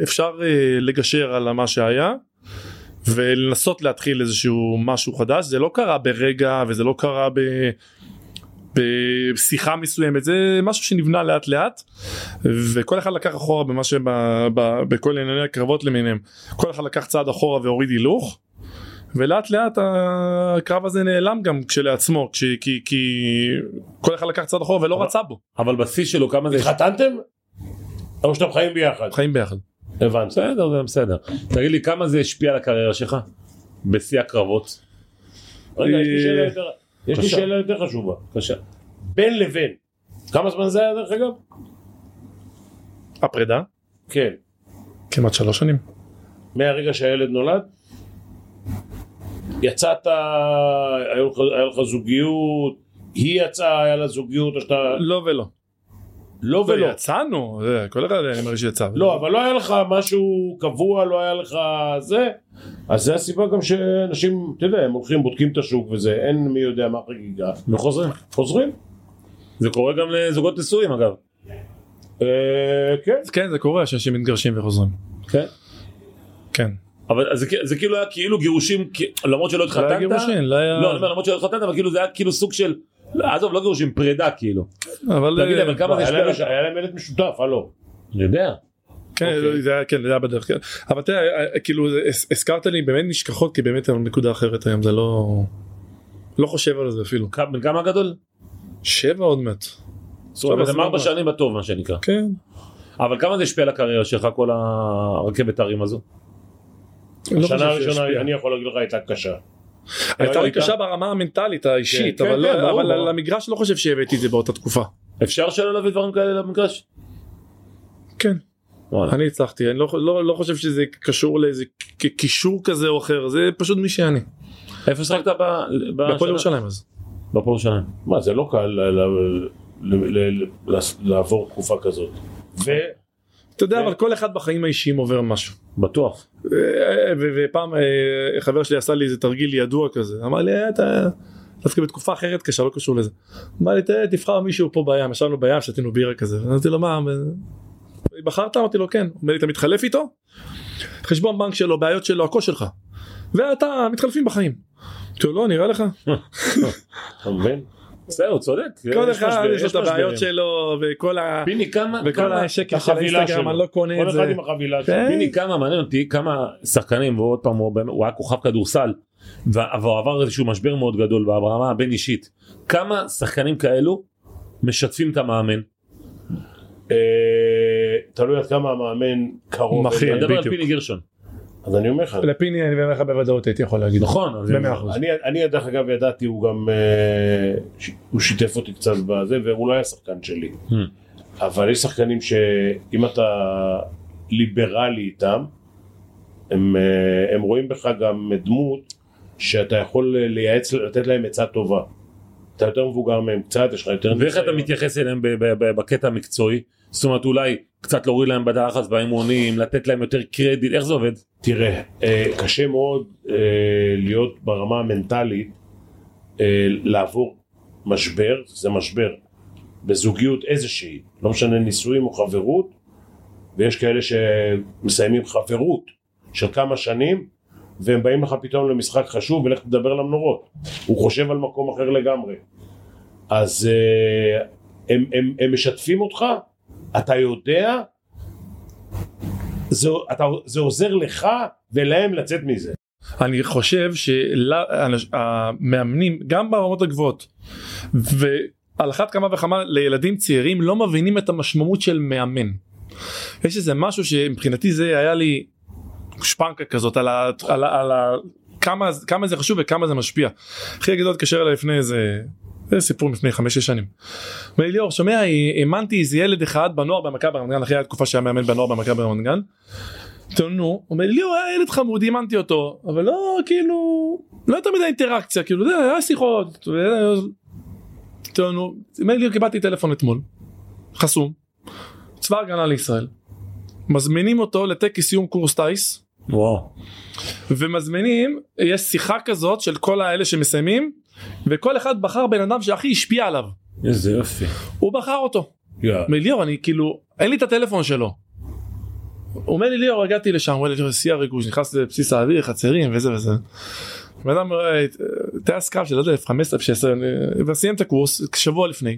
Speaker 5: אפשר אה, לגשר על מה שהיה. ולנסות להתחיל איזשהו משהו חדש זה לא קרה ברגע וזה לא קרה ב... בשיחה מסוימת זה משהו שנבנה לאט לאט וכל אחד לקח אחורה במה שבכל ענייני הקרבות למיניהם כל אחד לקח צעד אחורה והוריד הילוך ולאט לאט הקרב הזה נעלם גם כשלעצמו כש, כי, כי כל אחד לקח צעד אחורה ולא רצה בו
Speaker 1: אבל בשיא שלו כמה זה...
Speaker 2: התחתנתם? או שאתם חיים ביחד?
Speaker 5: חיים ביחד
Speaker 2: הבנתי.
Speaker 1: בסדר, זה בסדר. תגיד לי, כמה זה השפיע על הקריירה שלך? בשיא הקרבות.
Speaker 2: רגע, יש לי
Speaker 5: אה,
Speaker 2: שאלה יותר- יש לי
Speaker 1: בבקשה.
Speaker 2: שאלה יותר חשובה.
Speaker 1: בבקשה.
Speaker 2: בין לבין. כמה זמן זה היה דרך אגב?
Speaker 5: הפרידה
Speaker 2: כן.
Speaker 5: כמעט שלוש שנים
Speaker 2: מהרגע שהילד נולד? יצאת, היה לך- היה לך זוגיות, היא יצאה, היה לה זוגיות, או שאתה...
Speaker 5: לא ולא
Speaker 2: לא ולא.
Speaker 5: יצאנו זה, כל אחד אני מרגיש שיצא
Speaker 2: לא, אבל לא היה לך משהו קבוע, לא היה לך זה, אז זה הסיבה גם שאנשים, אתה יודע, הם הולכים, בודקים את השוק וזה, אין מי יודע מה חגיגה,
Speaker 5: לא
Speaker 1: וחוזרים.
Speaker 2: חוזרים.
Speaker 1: זה קורה גם לזוגות נשואים אגב.
Speaker 2: אה, כן.
Speaker 5: אז כן זה קורה שאנשים מתגרשים וחוזרים
Speaker 1: כן.
Speaker 5: כן
Speaker 1: אבל זה, כ- זה כאילו היה כאילו גירושים, כ- למרות שלא
Speaker 5: לא היה
Speaker 1: התחתנת.
Speaker 5: גירושים לא היה
Speaker 1: לא, אני אומר, למרות שלא התחתנת, אבל כאילו זה היה כאילו סוג של... לא, עזוב, לא גירושים, פרידה כאילו.
Speaker 5: אבל
Speaker 1: תגיד,
Speaker 5: אה,
Speaker 1: אבל כמה זה
Speaker 2: היה
Speaker 1: השפיע
Speaker 2: להם-
Speaker 1: לך?
Speaker 2: היה להם ילד משותף, הלו.
Speaker 1: אני יודע.
Speaker 5: כן,
Speaker 2: אוקיי.
Speaker 5: זה היה, כן, זה היה בדרך כלל. אבל תראה, אה, כאילו, זה- הס- הזכרת לי באמת נשכחות, כי באמת היום נקודה אחרת היום, זה לא... לא חושב על זה אפילו.
Speaker 1: כ- בן כמה גדול?
Speaker 5: שבע עוד מעט.
Speaker 1: זאת אומרת,
Speaker 5: בסדר,
Speaker 1: הם ארבע
Speaker 5: סבבה.
Speaker 1: שנים בטוב מה שנקרא.
Speaker 5: כן.
Speaker 1: אבל כמה זה השפיע על הקריירה שלך, כל הרכבת הרים הזו?
Speaker 5: לא חושב
Speaker 2: השנה
Speaker 5: שהשפיע.
Speaker 2: הראשונה, אני יכול להגיד לך, הייתה קשה.
Speaker 5: הייתה לי
Speaker 2: הייתה-
Speaker 5: קשה ברמה המנטלית האישית,
Speaker 2: כן,
Speaker 5: אבל
Speaker 2: כן,
Speaker 5: לא-
Speaker 2: כן, ברור,
Speaker 5: אבל
Speaker 2: ברור.
Speaker 5: על המגרש לא חושב שהבאתי את זה באותה תקופה.
Speaker 1: אפשר שלא להביא דברים כאלה למגרש?
Speaker 5: כן.
Speaker 1: וואלה.
Speaker 5: אני הצלחתי, אני לא- לא לא חושב שזה קשור לאיזה כ- קישור כזה או אחר, זה פשוט מי שאני.
Speaker 2: אה,
Speaker 1: איפה שחקת ב... בשנה?
Speaker 5: בהפועל ירושלים אז.
Speaker 1: בהפועל ירושלים.
Speaker 2: מה, זה לא קל ל- ל- ל- ל- ל- לעבור תקופה כזאת. ו-
Speaker 5: אתה יודע, אבל כל אחד בחיים האישיים עובר משהו.
Speaker 1: בטוח.
Speaker 5: ו- ו- ופעם אה, חבר שלי עשה לי איזה תרגיל ידוע כזה אמר לי "אה, אתה דווקא בתקופה אחרת קשה לא קשור לזה. אמר לי "תה, תבחר מישהו פה בים ישבנו בים שתינו בירה כזה אמרתי לו מה אה, בחרת אמרתי לו כן אומר לי אתה מתחלף איתו חשבון בנק שלו בעיות שלו הכל שלך ואתה מתחלפים בחיים. אמרתי לו לא נראה לך
Speaker 2: אתה מבין?
Speaker 1: בסדר, הוא צודק.
Speaker 5: כל
Speaker 1: יש
Speaker 5: אחד
Speaker 1: משבר-
Speaker 5: יש לו את
Speaker 1: משברים.
Speaker 5: הבעיות שלו וכל ה...
Speaker 1: פיני, כמה...
Speaker 5: וכל
Speaker 1: כמה-
Speaker 5: השקל של
Speaker 2: החבילה
Speaker 5: האינסטגרם
Speaker 2: שלו.
Speaker 5: אני לא קונה
Speaker 2: כל
Speaker 5: את זה.
Speaker 2: אחד עם החבילה שלו.
Speaker 5: כן.
Speaker 1: פיני כמה מעניין אותי כמה שחקנים ועוד פעם הוא, באמת- הוא היה כוכב כדורסל וה- והוא עבר איזשהו משבר מאוד גדול ברמה הבין אישית כמה שחקנים כאלו משתפים את
Speaker 5: כן,
Speaker 1: המאמן.
Speaker 2: אה, תלוי עד כמה המאמן קרוב.
Speaker 5: מכין.
Speaker 2: אליי.
Speaker 1: אני מדבר על
Speaker 5: בדיוק.
Speaker 1: פיני גרשון
Speaker 2: אז אני אומר לך,
Speaker 5: לפיני אני אומר לך בוודאות הייתי יכול להגיד.
Speaker 1: נכון אז-
Speaker 5: במאה אחוז.
Speaker 2: אני, אני דרך אגב ידעתי, הוא גם, אה, ש- הוא שיתף אותי קצת בזה, והוא לא היה שחקן שלי.
Speaker 1: Hmm.
Speaker 2: אבל יש שחקנים שאם אתה ליברלי איתם, הם, אה, הם רואים בך גם דמות שאתה יכול אה, לייעץ, לתת להם עצה טובה. אתה יותר מבוגר מהם קצת, יש לך יותר...
Speaker 1: ואיך אתה
Speaker 2: ניסיון.
Speaker 1: מתייחס אליהם ב- ב- ב- בקטע המקצועי זאת אומרת אולי קצת להוריד להם בדחס באימונים לתת להם יותר קרדיט איך זה עובד
Speaker 2: תראה, אה, קשה מאוד אה, להיות ברמה המנטלית, אה, לעבור משבר, זה משבר, בזוגיות איזושהי, לא משנה נישואים או חברות, ויש כאלה שמסיימים חברות של כמה שנים, והם באים לך פתאום למשחק חשוב ולך תדבר למנורות, הוא חושב על מקום אחר לגמרי. אז אה, הם, הם, הם משתפים אותך, אתה יודע זה, אתה, זה עוזר לך ולהם לצאת מזה.
Speaker 5: אני חושב שהמאמנים גם ברמות הגבוהות ועל אחת כמה וכמה לילדים צעירים לא מבינים את המשמעות של מאמן. יש איזה משהו שמבחינתי זה היה לי שפנקה כזאת על ה... על ה, על ה כמה, כמה זה חשוב וכמה זה משפיע. אחי הגדול התקשר אליי לפני איזה, זה סיפור לפני חמש-שש שנים. אומר לי ליאור שומע האמנתי איזה ילד אחד בנוער במכבי רמת גן אחרי התקופה שהיה מאמן בנוער במכבי רמת גן אמרתי לו, נו, הוא אומר לי הוא היה ילד חמוד אימנתי אותו אבל לא כאילו לא יותר מדי אינטראקציה כאילו זה היה שיחות. אתה יודע, אמרתי לו, נו, הוא אומר לי קיבלתי טלפון אתמול חסום צבא הגנה לישראל מזמינים אותו לטקס סיום קורס טיס
Speaker 1: וואו.
Speaker 5: ומזמינים יש שיחה כזאת של כל האלה שמסיימים וכל אחד בחר בן אדם שהכי השפיע עליו
Speaker 1: איזה יופי.
Speaker 5: הוא בחר אותו.
Speaker 2: יאללה.
Speaker 5: אומר לי ליאור אני כאילו אין לי את הטלפון שלו. הוא אומר לי ליאור הגעתי לשם הוא אומר לי שיא הריגוש נכנס לבסיס האוויר חצרים וזה וזה. בן אדם אה, טייס קרב של לא 15 16 וסיים את הקורס שבוע לפני.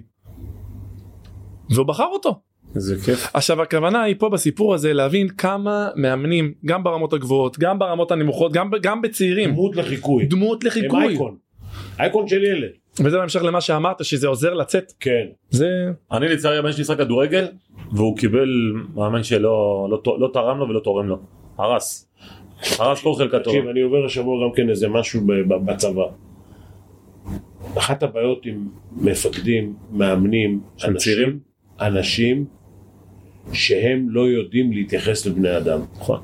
Speaker 5: והוא בחר אותו.
Speaker 1: איזה כיף.
Speaker 5: עכשיו הכוונה היא פה בסיפור הזה להבין כמה מאמנים גם ברמות הגבוהות גם ברמות הנמוכות גם, ב- גם בצעירים
Speaker 2: דמות לחיקוי.
Speaker 5: דמות
Speaker 2: הם
Speaker 5: לחיקוי
Speaker 2: אייקון. אייקון של ילד.
Speaker 5: וזה בהמשך למה שאמרת שזה עוזר לצאת
Speaker 2: כן.
Speaker 5: זה
Speaker 1: אני לצערי הבן שלי שחק כדורגל והוא קיבל מאמן שלא לא, לא, לא תרם לו ולא תורם לו. הרס. הרס כל חלקתו.
Speaker 2: תקשיב, אני עובר השבוע גם כן איזה משהו ב- ב- בצבא. אחת הבעיות עם מפקדים, מאמנים,
Speaker 1: של
Speaker 2: אנשים-
Speaker 1: צעירים?
Speaker 2: אנשים שהם לא יודעים להתייחס לבני אדם.
Speaker 1: נכון.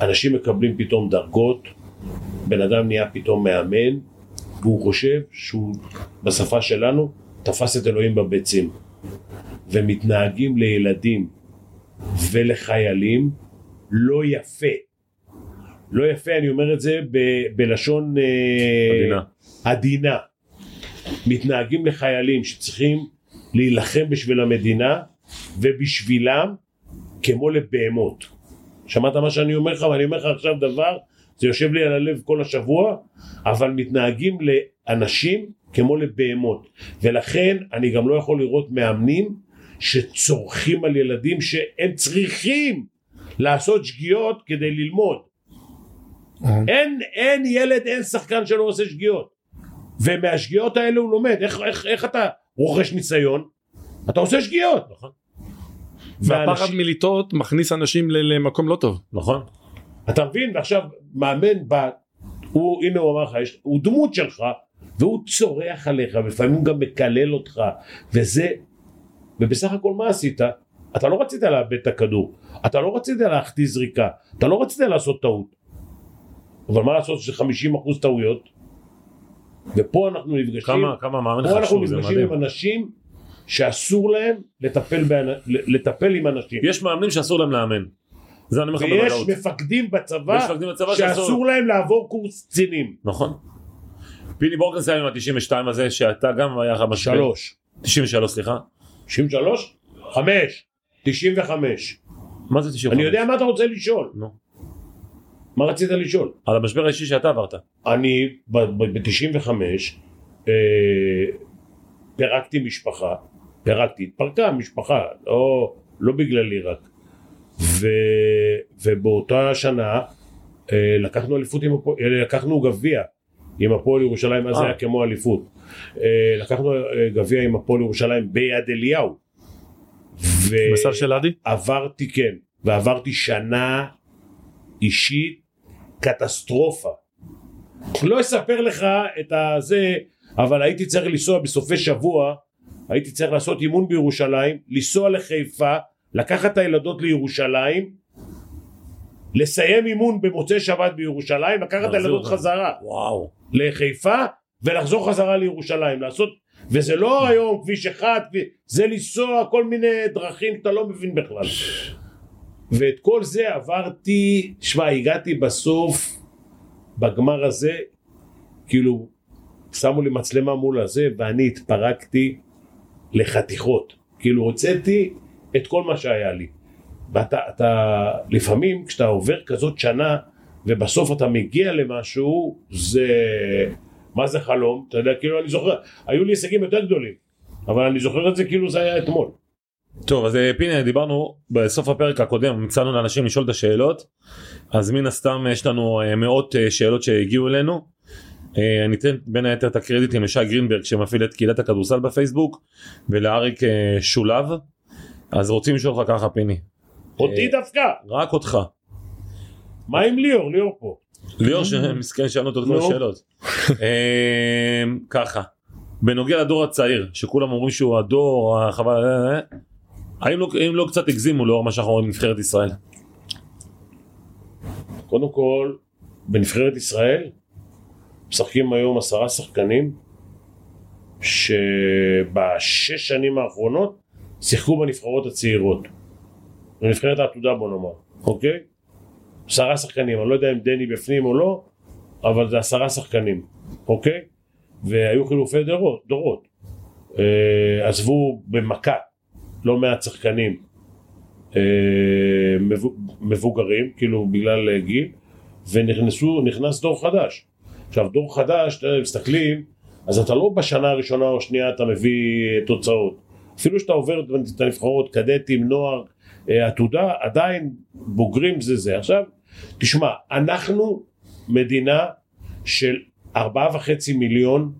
Speaker 2: אנשים מקבלים פתאום דרגות, בן אדם נהיה פתאום מאמן, והוא חושב שהוא, בשפה שלנו, תפס את אלוהים בביצים. ומתנהגים לילדים ולחיילים לא יפה. לא יפה, אני אומר את זה ב- בלשון אה,
Speaker 1: עדינה.
Speaker 2: עדינה. מתנהגים לחיילים שצריכים להילחם בשביל המדינה ובשבילם כמו לבהמות. שמעת מה שאני אומר לך, ואני אומר לך עכשיו דבר, זה יושב לי על הלב כל השבוע, אבל מתנהגים לאנשים כמו לבהמות. ולכן אני גם לא יכול לראות מאמנים שצורכים על ילדים שהם צריכים לעשות שגיאות כדי ללמוד. אין, אין ילד, אין שחקן שלא עושה שגיאות. ומהשגיאות האלה הוא לומד. איך, איך, איך אתה רוכש ניסיון? אתה עושה שגיאות.
Speaker 5: והפחד מלטעות מכניס אנשים ל- למקום לא טוב
Speaker 1: נכון.
Speaker 2: אתה מבין? ועכשיו מאמן בא, הוא, הנה הוא אמר לך, יש- הוא דמות שלך, והוא צורח עליך, ולפעמים גם מקלל אותך, וזה, ובסך הכל מה עשית? אתה לא רצית לאבד את הכדור, אתה לא רצית להחטיא זריקה, אתה לא רצית לעשות טעות. אבל מה לעשות שזה 50% טעויות? ופה אנחנו נפגשים,
Speaker 1: כמה, כמה מאמן
Speaker 2: פה אנחנו
Speaker 1: חשוב, זה
Speaker 2: נפגשים
Speaker 1: מדהים.
Speaker 2: עם אנשים שאסור להם לטפל, באנ- לטפל עם אנשים.
Speaker 1: יש מאמנים שאסור להם לאמן. זה אני אומר לך
Speaker 2: ויש
Speaker 1: בוודאות.
Speaker 2: מפקדים
Speaker 1: ויש
Speaker 2: בצבא
Speaker 1: מפקדים בצבא
Speaker 2: שאסור להם לעבור קורס קצינים.
Speaker 1: נכון. פיני בורקנס היה עם ה-92 הזה שאתה גם היה לך משבר.
Speaker 2: שלוש.
Speaker 1: 93 סליחה.
Speaker 2: 93? חמש. 95.
Speaker 1: מה זה 95?
Speaker 2: אני יודע מה אתה רוצה לשאול.
Speaker 1: נו.
Speaker 2: מה רצית לשאול?
Speaker 1: על המשבר האישי שאתה עברת.
Speaker 2: אני ב-95 אה, פירקתי משפחה, פירקתי, התפרקה משפחה, לא, לא בגללי רק. ו, ובאותה שנה אה, לקחנו אליפות עם הפועל, אה, לקחנו גביע עם הפועל ירושלים, אז זה
Speaker 1: אה.
Speaker 2: היה כמו אליפות. אה, לקחנו אה, גביע עם הפועל ירושלים ביד אליהו. ו...
Speaker 5: בסל של עדי
Speaker 2: עברתי כן, ועברתי שנה אישית קטסטרופה. לא אספר לך את הזה, אבל הייתי צריך לנסוע בסופי שבוע, הייתי צריך לעשות אימון בירושלים, לנסוע לחיפה, לקחת את הילדות לירושלים, לסיים אימון במוצאי שבת בירושלים, לקחת את
Speaker 1: להחזיר
Speaker 2: הילדות
Speaker 1: אותם.
Speaker 2: חזרה.
Speaker 1: וואו.
Speaker 2: לחיפה ולחזור חזרה לירושלים לעשות וזה לא היום כביש אחד כביש- זה לנסוע כל מיני דרכים שאתה לא מבין בכלל ואת כל זה עברתי שמע הגעתי בסוף בגמר הזה כאילו שמו לי מצלמה מול הזה ואני התפרקתי לחתיכות כאילו הוצאתי את כל מה שהיה לי ואתה אתה, לפעמים כשאתה עובר כזאת שנה ובסוף אתה מגיע למשהו זה מה זה חלום אתה יודע כאילו אני זוכר היו לי הישגים יותר גדולים אבל אני זוכר את זה כאילו זה היה אתמול
Speaker 1: טוב אז אה, פיני דיברנו בסוף הפרק הקודם הצענו לאנשים לשאול את השאלות אז מן הסתם יש לנו אה, מאות אה, שאלות שהגיעו אלינו. אה, ניתן בין היתר את הקרדיטים לשי גרינברג שמפעיל את קהילת הכדורסל בפייסבוק ולאריק אה, שולב. אז רוצים לשאול אותך ככה פיני
Speaker 2: אותי דווקא
Speaker 1: רק אותך
Speaker 2: מה עם ליאור ליאור פה
Speaker 1: ליאור שמסכן שאלנו אותו את כל
Speaker 2: נו.
Speaker 1: השאלות. אה, ככה בנוגע לדור הצעיר שכולם אומרים שהוא הדור אה, החבל האם לא- האם לא קצת הגזימו לאור מה שאנחנו רואים בנבחרת ישראל.
Speaker 2: קודם כל, בנבחרת ישראל משחקים היום עשרה שחקנים שבשש שנים האחרונות שיחקו בנבחרות הצעירות. בנבחרת העתודה בוא נאמר, אוקיי? עשרה שחקנים, אני לא יודע אם דני בפנים או לא, אבל זה עשרה שחקנים, אוקיי? והיו חילופי דורות, דורות. אה, עזבו במכה לא מעט שחקנים אה, מבו- מבוגרים, כאילו בגלל אה, גיל, ונכנסו, נכנס דור חדש. עכשיו דור חדש, אתה יודע, מסתכלים, אז אתה לא בשנה הראשונה או שנייה אתה מביא אה, תוצאות. אפילו שאתה עובר את הנבחרות, קדטים, נוער, אה, עתודה, עדיין בוגרים זה זה. עכשיו, תשמע, אנחנו מדינה של ארבעה וחצי מיליון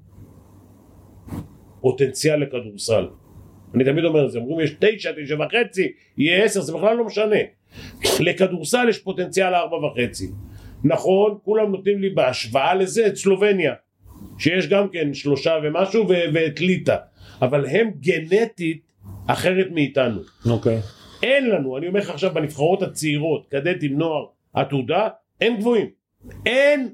Speaker 2: פוטנציאל לכדורסל. אני תמיד אומר את זה, אומרים יש תשע, תשע וחצי, יהיה עשר, זה בכלל לא משנה. לכדורסל יש פוטנציאל ארבע וחצי. נכון, כולם נותנים לי בהשוואה לזה את סלובניה, שיש גם כן שלושה ומשהו, ו- ואת ליטא, אבל הם גנטית אחרת מאיתנו.
Speaker 1: אוקיי.
Speaker 2: אין לנו, אני אומר לך עכשיו בנבחרות הצעירות, קדטים, נוער, עתודה, אין גבוהים. אין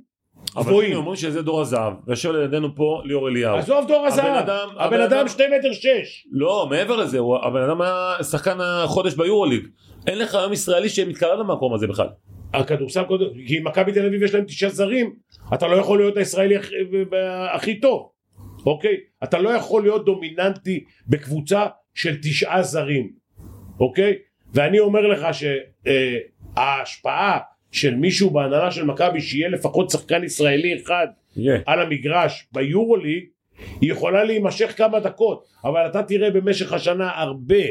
Speaker 1: אבל הנה,
Speaker 2: גבוהים. לא-
Speaker 1: אומרים שזה דור הזהב, ויושב לידינו פה ליאור אליהו.
Speaker 2: עזוב דור הזהב,
Speaker 1: אדם-
Speaker 2: הבן אדם שתי מטר שש.
Speaker 1: לא, מעבר לזה, הוא- הבן אדם היה שחקן החודש ביורוליג. אין לך היום ישראלי שמתקרב למקום הזה בכלל.
Speaker 2: הכדורסל קודם, כי מכבי תל אביב יש להם תשעה זרים, אתה לא יכול להיות הישראלי הכ- הכי טוב, אוקיי? אתה לא יכול להיות דומיננטי בקבוצה של תשעה זרים, אוקיי? ואני אומר לך שההשפעה של מישהו בהנהלה של מכבי שיהיה לפחות שחקן ישראלי אחד
Speaker 1: יהיה.
Speaker 2: על המגרש ביורוליג היא יכולה להימשך כמה דקות אבל אתה תראה במשך השנה הרבה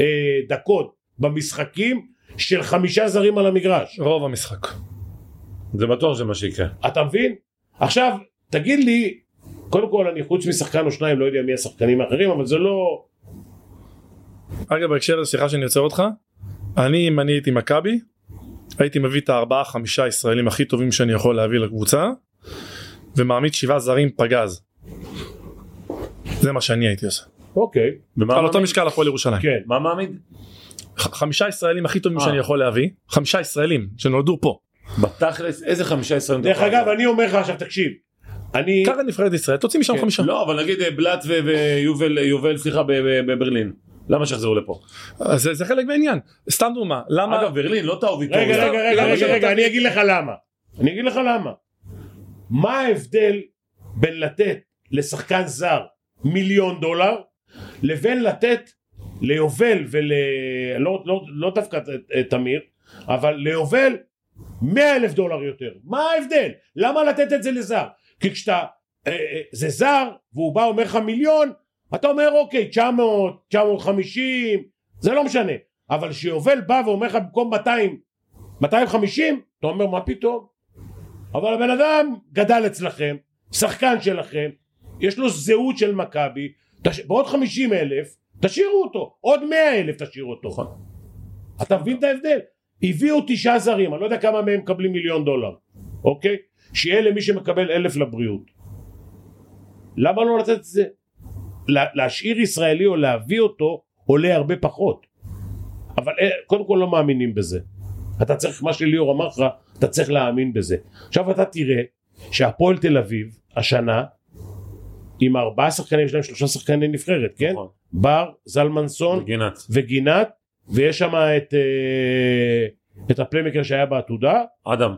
Speaker 2: אה, דקות במשחקים של חמישה זרים על המגרש
Speaker 5: רוב המשחק.
Speaker 1: זה בטוח זה מה שיקרה.
Speaker 2: אתה מבין? עכשיו תגיד לי קודם כל אני חוץ משחקן או שניים לא יודע מי השחקנים האחרים אבל זה לא
Speaker 5: אגב בהקשר לזה סליחה שאני עוצר אותך אני אם אני הייתי מכבי הייתי מביא את הארבעה חמישה ישראלים הכי טובים שאני יכול להביא לקבוצה ומעמיד שבעה זרים פגז. זה מה שאני הייתי עושה.
Speaker 2: אוקיי
Speaker 1: ומה
Speaker 5: על אותו
Speaker 1: מעמיד?
Speaker 5: משקל הפועל ירושלים.
Speaker 2: כן
Speaker 1: מה מעמיד?
Speaker 5: ח- חמישה ישראלים הכי טובים
Speaker 1: אה.
Speaker 5: שאני יכול להביא חמישה ישראלים שנולדו פה.
Speaker 1: בתכלס, איזה חמישה ישראלים?
Speaker 2: דרך
Speaker 1: אתה יכול
Speaker 2: אגב
Speaker 1: לעשות?
Speaker 2: אני אומר לך עכשיו תקשיב אני
Speaker 5: ככה נבחרת ישראל תוציא משם חמישה.
Speaker 1: לא, אבל נגיד אה, בלאט ו- ויובל, אה, יובל, סליחה, ב- ב- בברלין. למה שיחזרו לפה?
Speaker 5: אז אה, זה- זה חלק מהעניין. סתם דוגמה למה
Speaker 1: אגב, ברלין לא טעו ויטור. לא
Speaker 2: רגע רגע רגע
Speaker 5: למה
Speaker 2: רגע
Speaker 5: שלא
Speaker 2: רגע
Speaker 5: ת-
Speaker 2: אני אגיד לך למה אני אגיד לך למה מה ההבדל בין לתת לשחקן זר מיליון דולר לבין לתת ליובל ול... לא, לא, לא דווקא ת- ת- תמיר אבל ליובל מאה אלף דולר יותר מה ההבדל למה לתת את זה לזר כי כשאתה אה, אה, זה זר והוא בא אומר לך מיליון אתה אומר אוקיי 900 950 זה לא משנה אבל כשיובל בא ואומר לך במקום 200 250? אתה אומר מה פתאום? אבל הבן אדם גדל אצלכם, שחקן שלכם, יש לו זהות של מכבי, תש... בעוד 50 אלף תשאירו אותו, עוד 100 אלף תשאירו אותו. אתה מבין את ההבדל? הביאו תשעה זרים, אני לא יודע כמה מהם מקבלים מיליון דולר, אוקיי? שיהיה למי שמקבל אלף לבריאות. למה לא לתת את זה? לה, להשאיר ישראלי או להביא אותו עולה הרבה פחות. אבל אה, קודם כל לא מאמינים בזה. אתה צריך, מה שליאור אמר לך, אתה צריך להאמין בזה. עכשיו אתה תראה שהפועל תל אביב, השנה, עם ארבעה שחקנים, יש להם שלושה שחקני נבחרת, כן?
Speaker 1: נכון.
Speaker 2: בר, זלמנסון,
Speaker 1: גינת.
Speaker 2: וגינת, ויש שם את, אה, את הפליימקר שהיה בעתודה.
Speaker 1: אדם,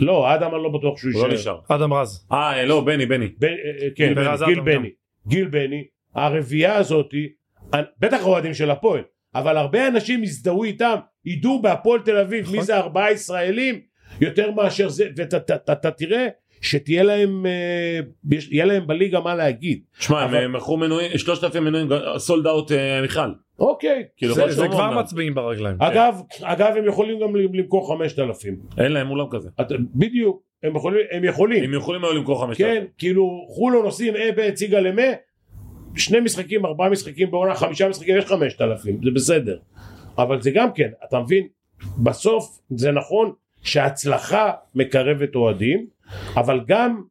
Speaker 2: לא, אדם אני לא בטוח שהוא
Speaker 1: הוא
Speaker 2: יישאר.
Speaker 1: לא נשאר.
Speaker 5: אדם רז.
Speaker 1: אה, אה, לא, בני, בני.
Speaker 2: ב- אה, אה, כן,
Speaker 5: גיל
Speaker 2: בני,
Speaker 5: ברז
Speaker 2: גיל
Speaker 5: אדם
Speaker 2: בני. גיל בני, הרביעייה הזאתי, אנ- בטח האוהדים של הפועל, אבל הרבה אנשים יזדהו איתם, ידעו בהפועל תל אביב
Speaker 5: נכון.
Speaker 2: מי זה ארבעה ישראלים, יותר מאשר זה, ואתה אתה- אתה- אתה תראה שתהיה להם, אה, יש- יהיה להם בליגה מה להגיד.
Speaker 1: שמע, הם
Speaker 2: אבל-
Speaker 1: אה, מכרו מנויים, 3,000 מנויים, אה, סולד אאוט מיכל.
Speaker 2: אוקיי.
Speaker 1: כאילו,
Speaker 5: זה
Speaker 1: כמו
Speaker 5: זה
Speaker 1: שאומר
Speaker 5: כבר
Speaker 1: אמנם.
Speaker 5: מצביעים ברגליים.
Speaker 2: אגב, אגב, הם יכולים גם למכור 5,000.
Speaker 1: אין להם אולם כזה.
Speaker 2: אתה- בדיוק, הם יכולים, הם יכולים.
Speaker 1: הם יכולים היו למכור 5,000.
Speaker 2: כן, כאילו חולון עושים אה בהציגה למה, שני משחקים, ארבעה משחקים בעונה, חמישה משחקים, יש חמשת אלפים, זה בסדר. אבל זה גם כן, אתה מבין, בסוף זה נכון שההצלחה מקרבת אוהדים, אבל גם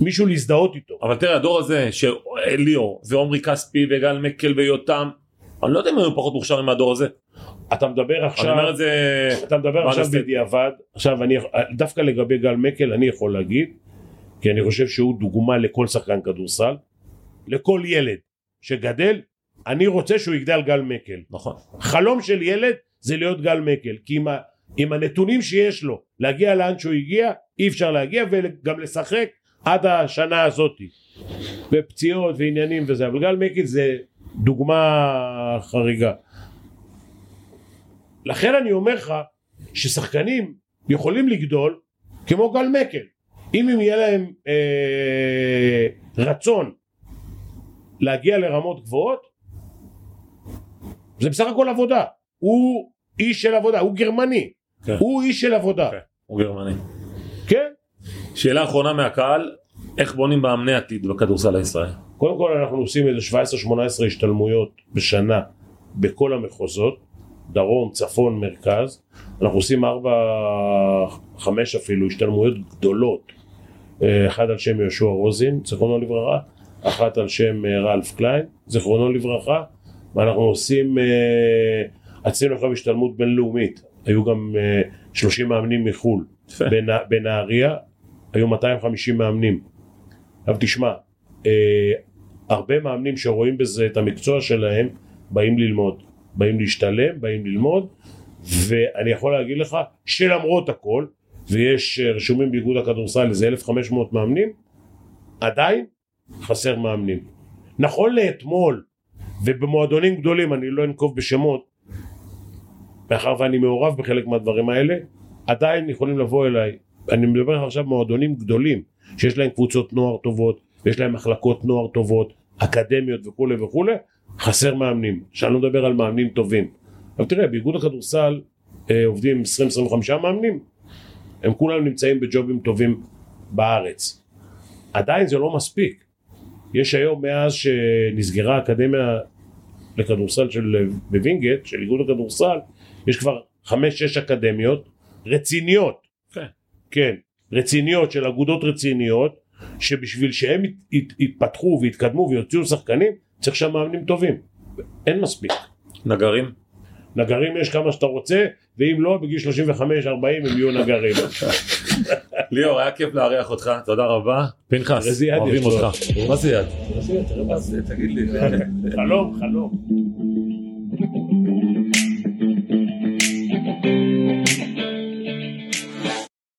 Speaker 2: מישהו להזדהות איתו.
Speaker 1: אבל תראה, הדור הזה של ליאור ועומרי כספי וגל מקל ויותם, אני לא יודע אם היו פחות מוכשרים מהדור הזה.
Speaker 2: אתה מדבר
Speaker 1: אני אומר
Speaker 2: עכשיו,
Speaker 1: את זה
Speaker 2: אתה מדבר
Speaker 1: מה
Speaker 2: עכשיו
Speaker 1: נעשה?
Speaker 2: בדיעבד, עכשיו אני, דווקא לגבי גל מקל אני יכול להגיד, כי אני חושב שהוא דוגמה לכל שחקן כדורסל, לכל ילד שגדל, אני רוצה שהוא יגדל גל מקל.
Speaker 1: נכון
Speaker 2: חלום של ילד זה להיות גל מקל, כי עם, ה, עם הנתונים שיש לו, להגיע לאן שהוא הגיע, אי אפשר להגיע וגם לשחק עד השנה הזאת, ופציעות ועניינים וזה, אבל גל מקל זה דוגמה חריגה. לכן אני אומר לך ששחקנים יכולים לגדול כמו גל מקל, אם הם יהיה להם אה, רצון להגיע לרמות גבוהות, זה בסך הכל עבודה. הוא איש של עבודה, הוא גרמני.
Speaker 1: כן.
Speaker 2: הוא איש של עבודה.
Speaker 1: כן. הוא גרמני
Speaker 2: כן?
Speaker 1: שאלה אחרונה מהקהל איך בונים מאמני עתיד בכדורסל הישראלי
Speaker 2: קודם כל אנחנו עושים איזה 17-18 השתלמויות בשנה בכל המחוזות, דרום, צפון, מרכז. אנחנו עושים 4-5 אפילו השתלמויות גדולות. אה, אחת על שם יהושע רוזין, זיכרונו לברכה, אחת על שם אה, רלף קליין, זיכרונו לברכה, ואנחנו עושים, אה, עשינו עכשיו השתלמות בינלאומית, היו גם אה, 30 מאמנים מחו"ל,
Speaker 1: יפה.
Speaker 2: בנה- בנהריה, היו 250 מאמנים. עכשיו תשמע, אה, הרבה מאמנים שרואים בזה את המקצוע שלהם, באים ללמוד, באים להשתלם, באים ללמוד, ואני יכול להגיד לך שלמרות הכל, ויש אה, רשומים באיגוד הכדורסל איזה 1,500 מאמנים, עדיין חסר מאמנים. נכון לאתמול, ובמועדונים גדולים, אני לא אנקוב בשמות, מאחר ואני מעורב בחלק מהדברים האלה, עדיין יכולים לבוא אליי, אני מדבר לך עכשיו מועדונים גדולים, שיש להם קבוצות נוער טובות, ויש להם מחלקות נוער טובות, אקדמיות וכולי וכולי, חסר מאמנים, שאני לא מדבר על מאמנים טובים. אבל תראה, באיגוד הכדורסל אה, עובדים 20-25 מאמנים, הם כולם נמצאים בג'ובים טובים בארץ. עדיין זה לא מספיק. יש היום, מאז שנסגרה האקדמיה לכדורסל של אה, בווינגייט, של איגוד הכדורסל, יש כבר חמש-שש אקדמיות רציניות.
Speaker 1: כן.
Speaker 2: כן, רציניות של אגודות רציניות, שבשביל שהם ית, ית, יתפתחו ויתקדמו ויוציאו שחקנים, צריך שם מאמנים טובים. אין מספיק.
Speaker 1: נגרים
Speaker 2: נגרים יש כמה שאתה רוצה, ואם לא, בגיל 35-40 הם יהיו נגרים.
Speaker 1: ליאור היה כיף לארח אותך תודה רבה פנחס
Speaker 2: איזה יד
Speaker 1: אוהבים
Speaker 2: יש לו?
Speaker 1: אותך מה זה יד
Speaker 2: חלום, חלום.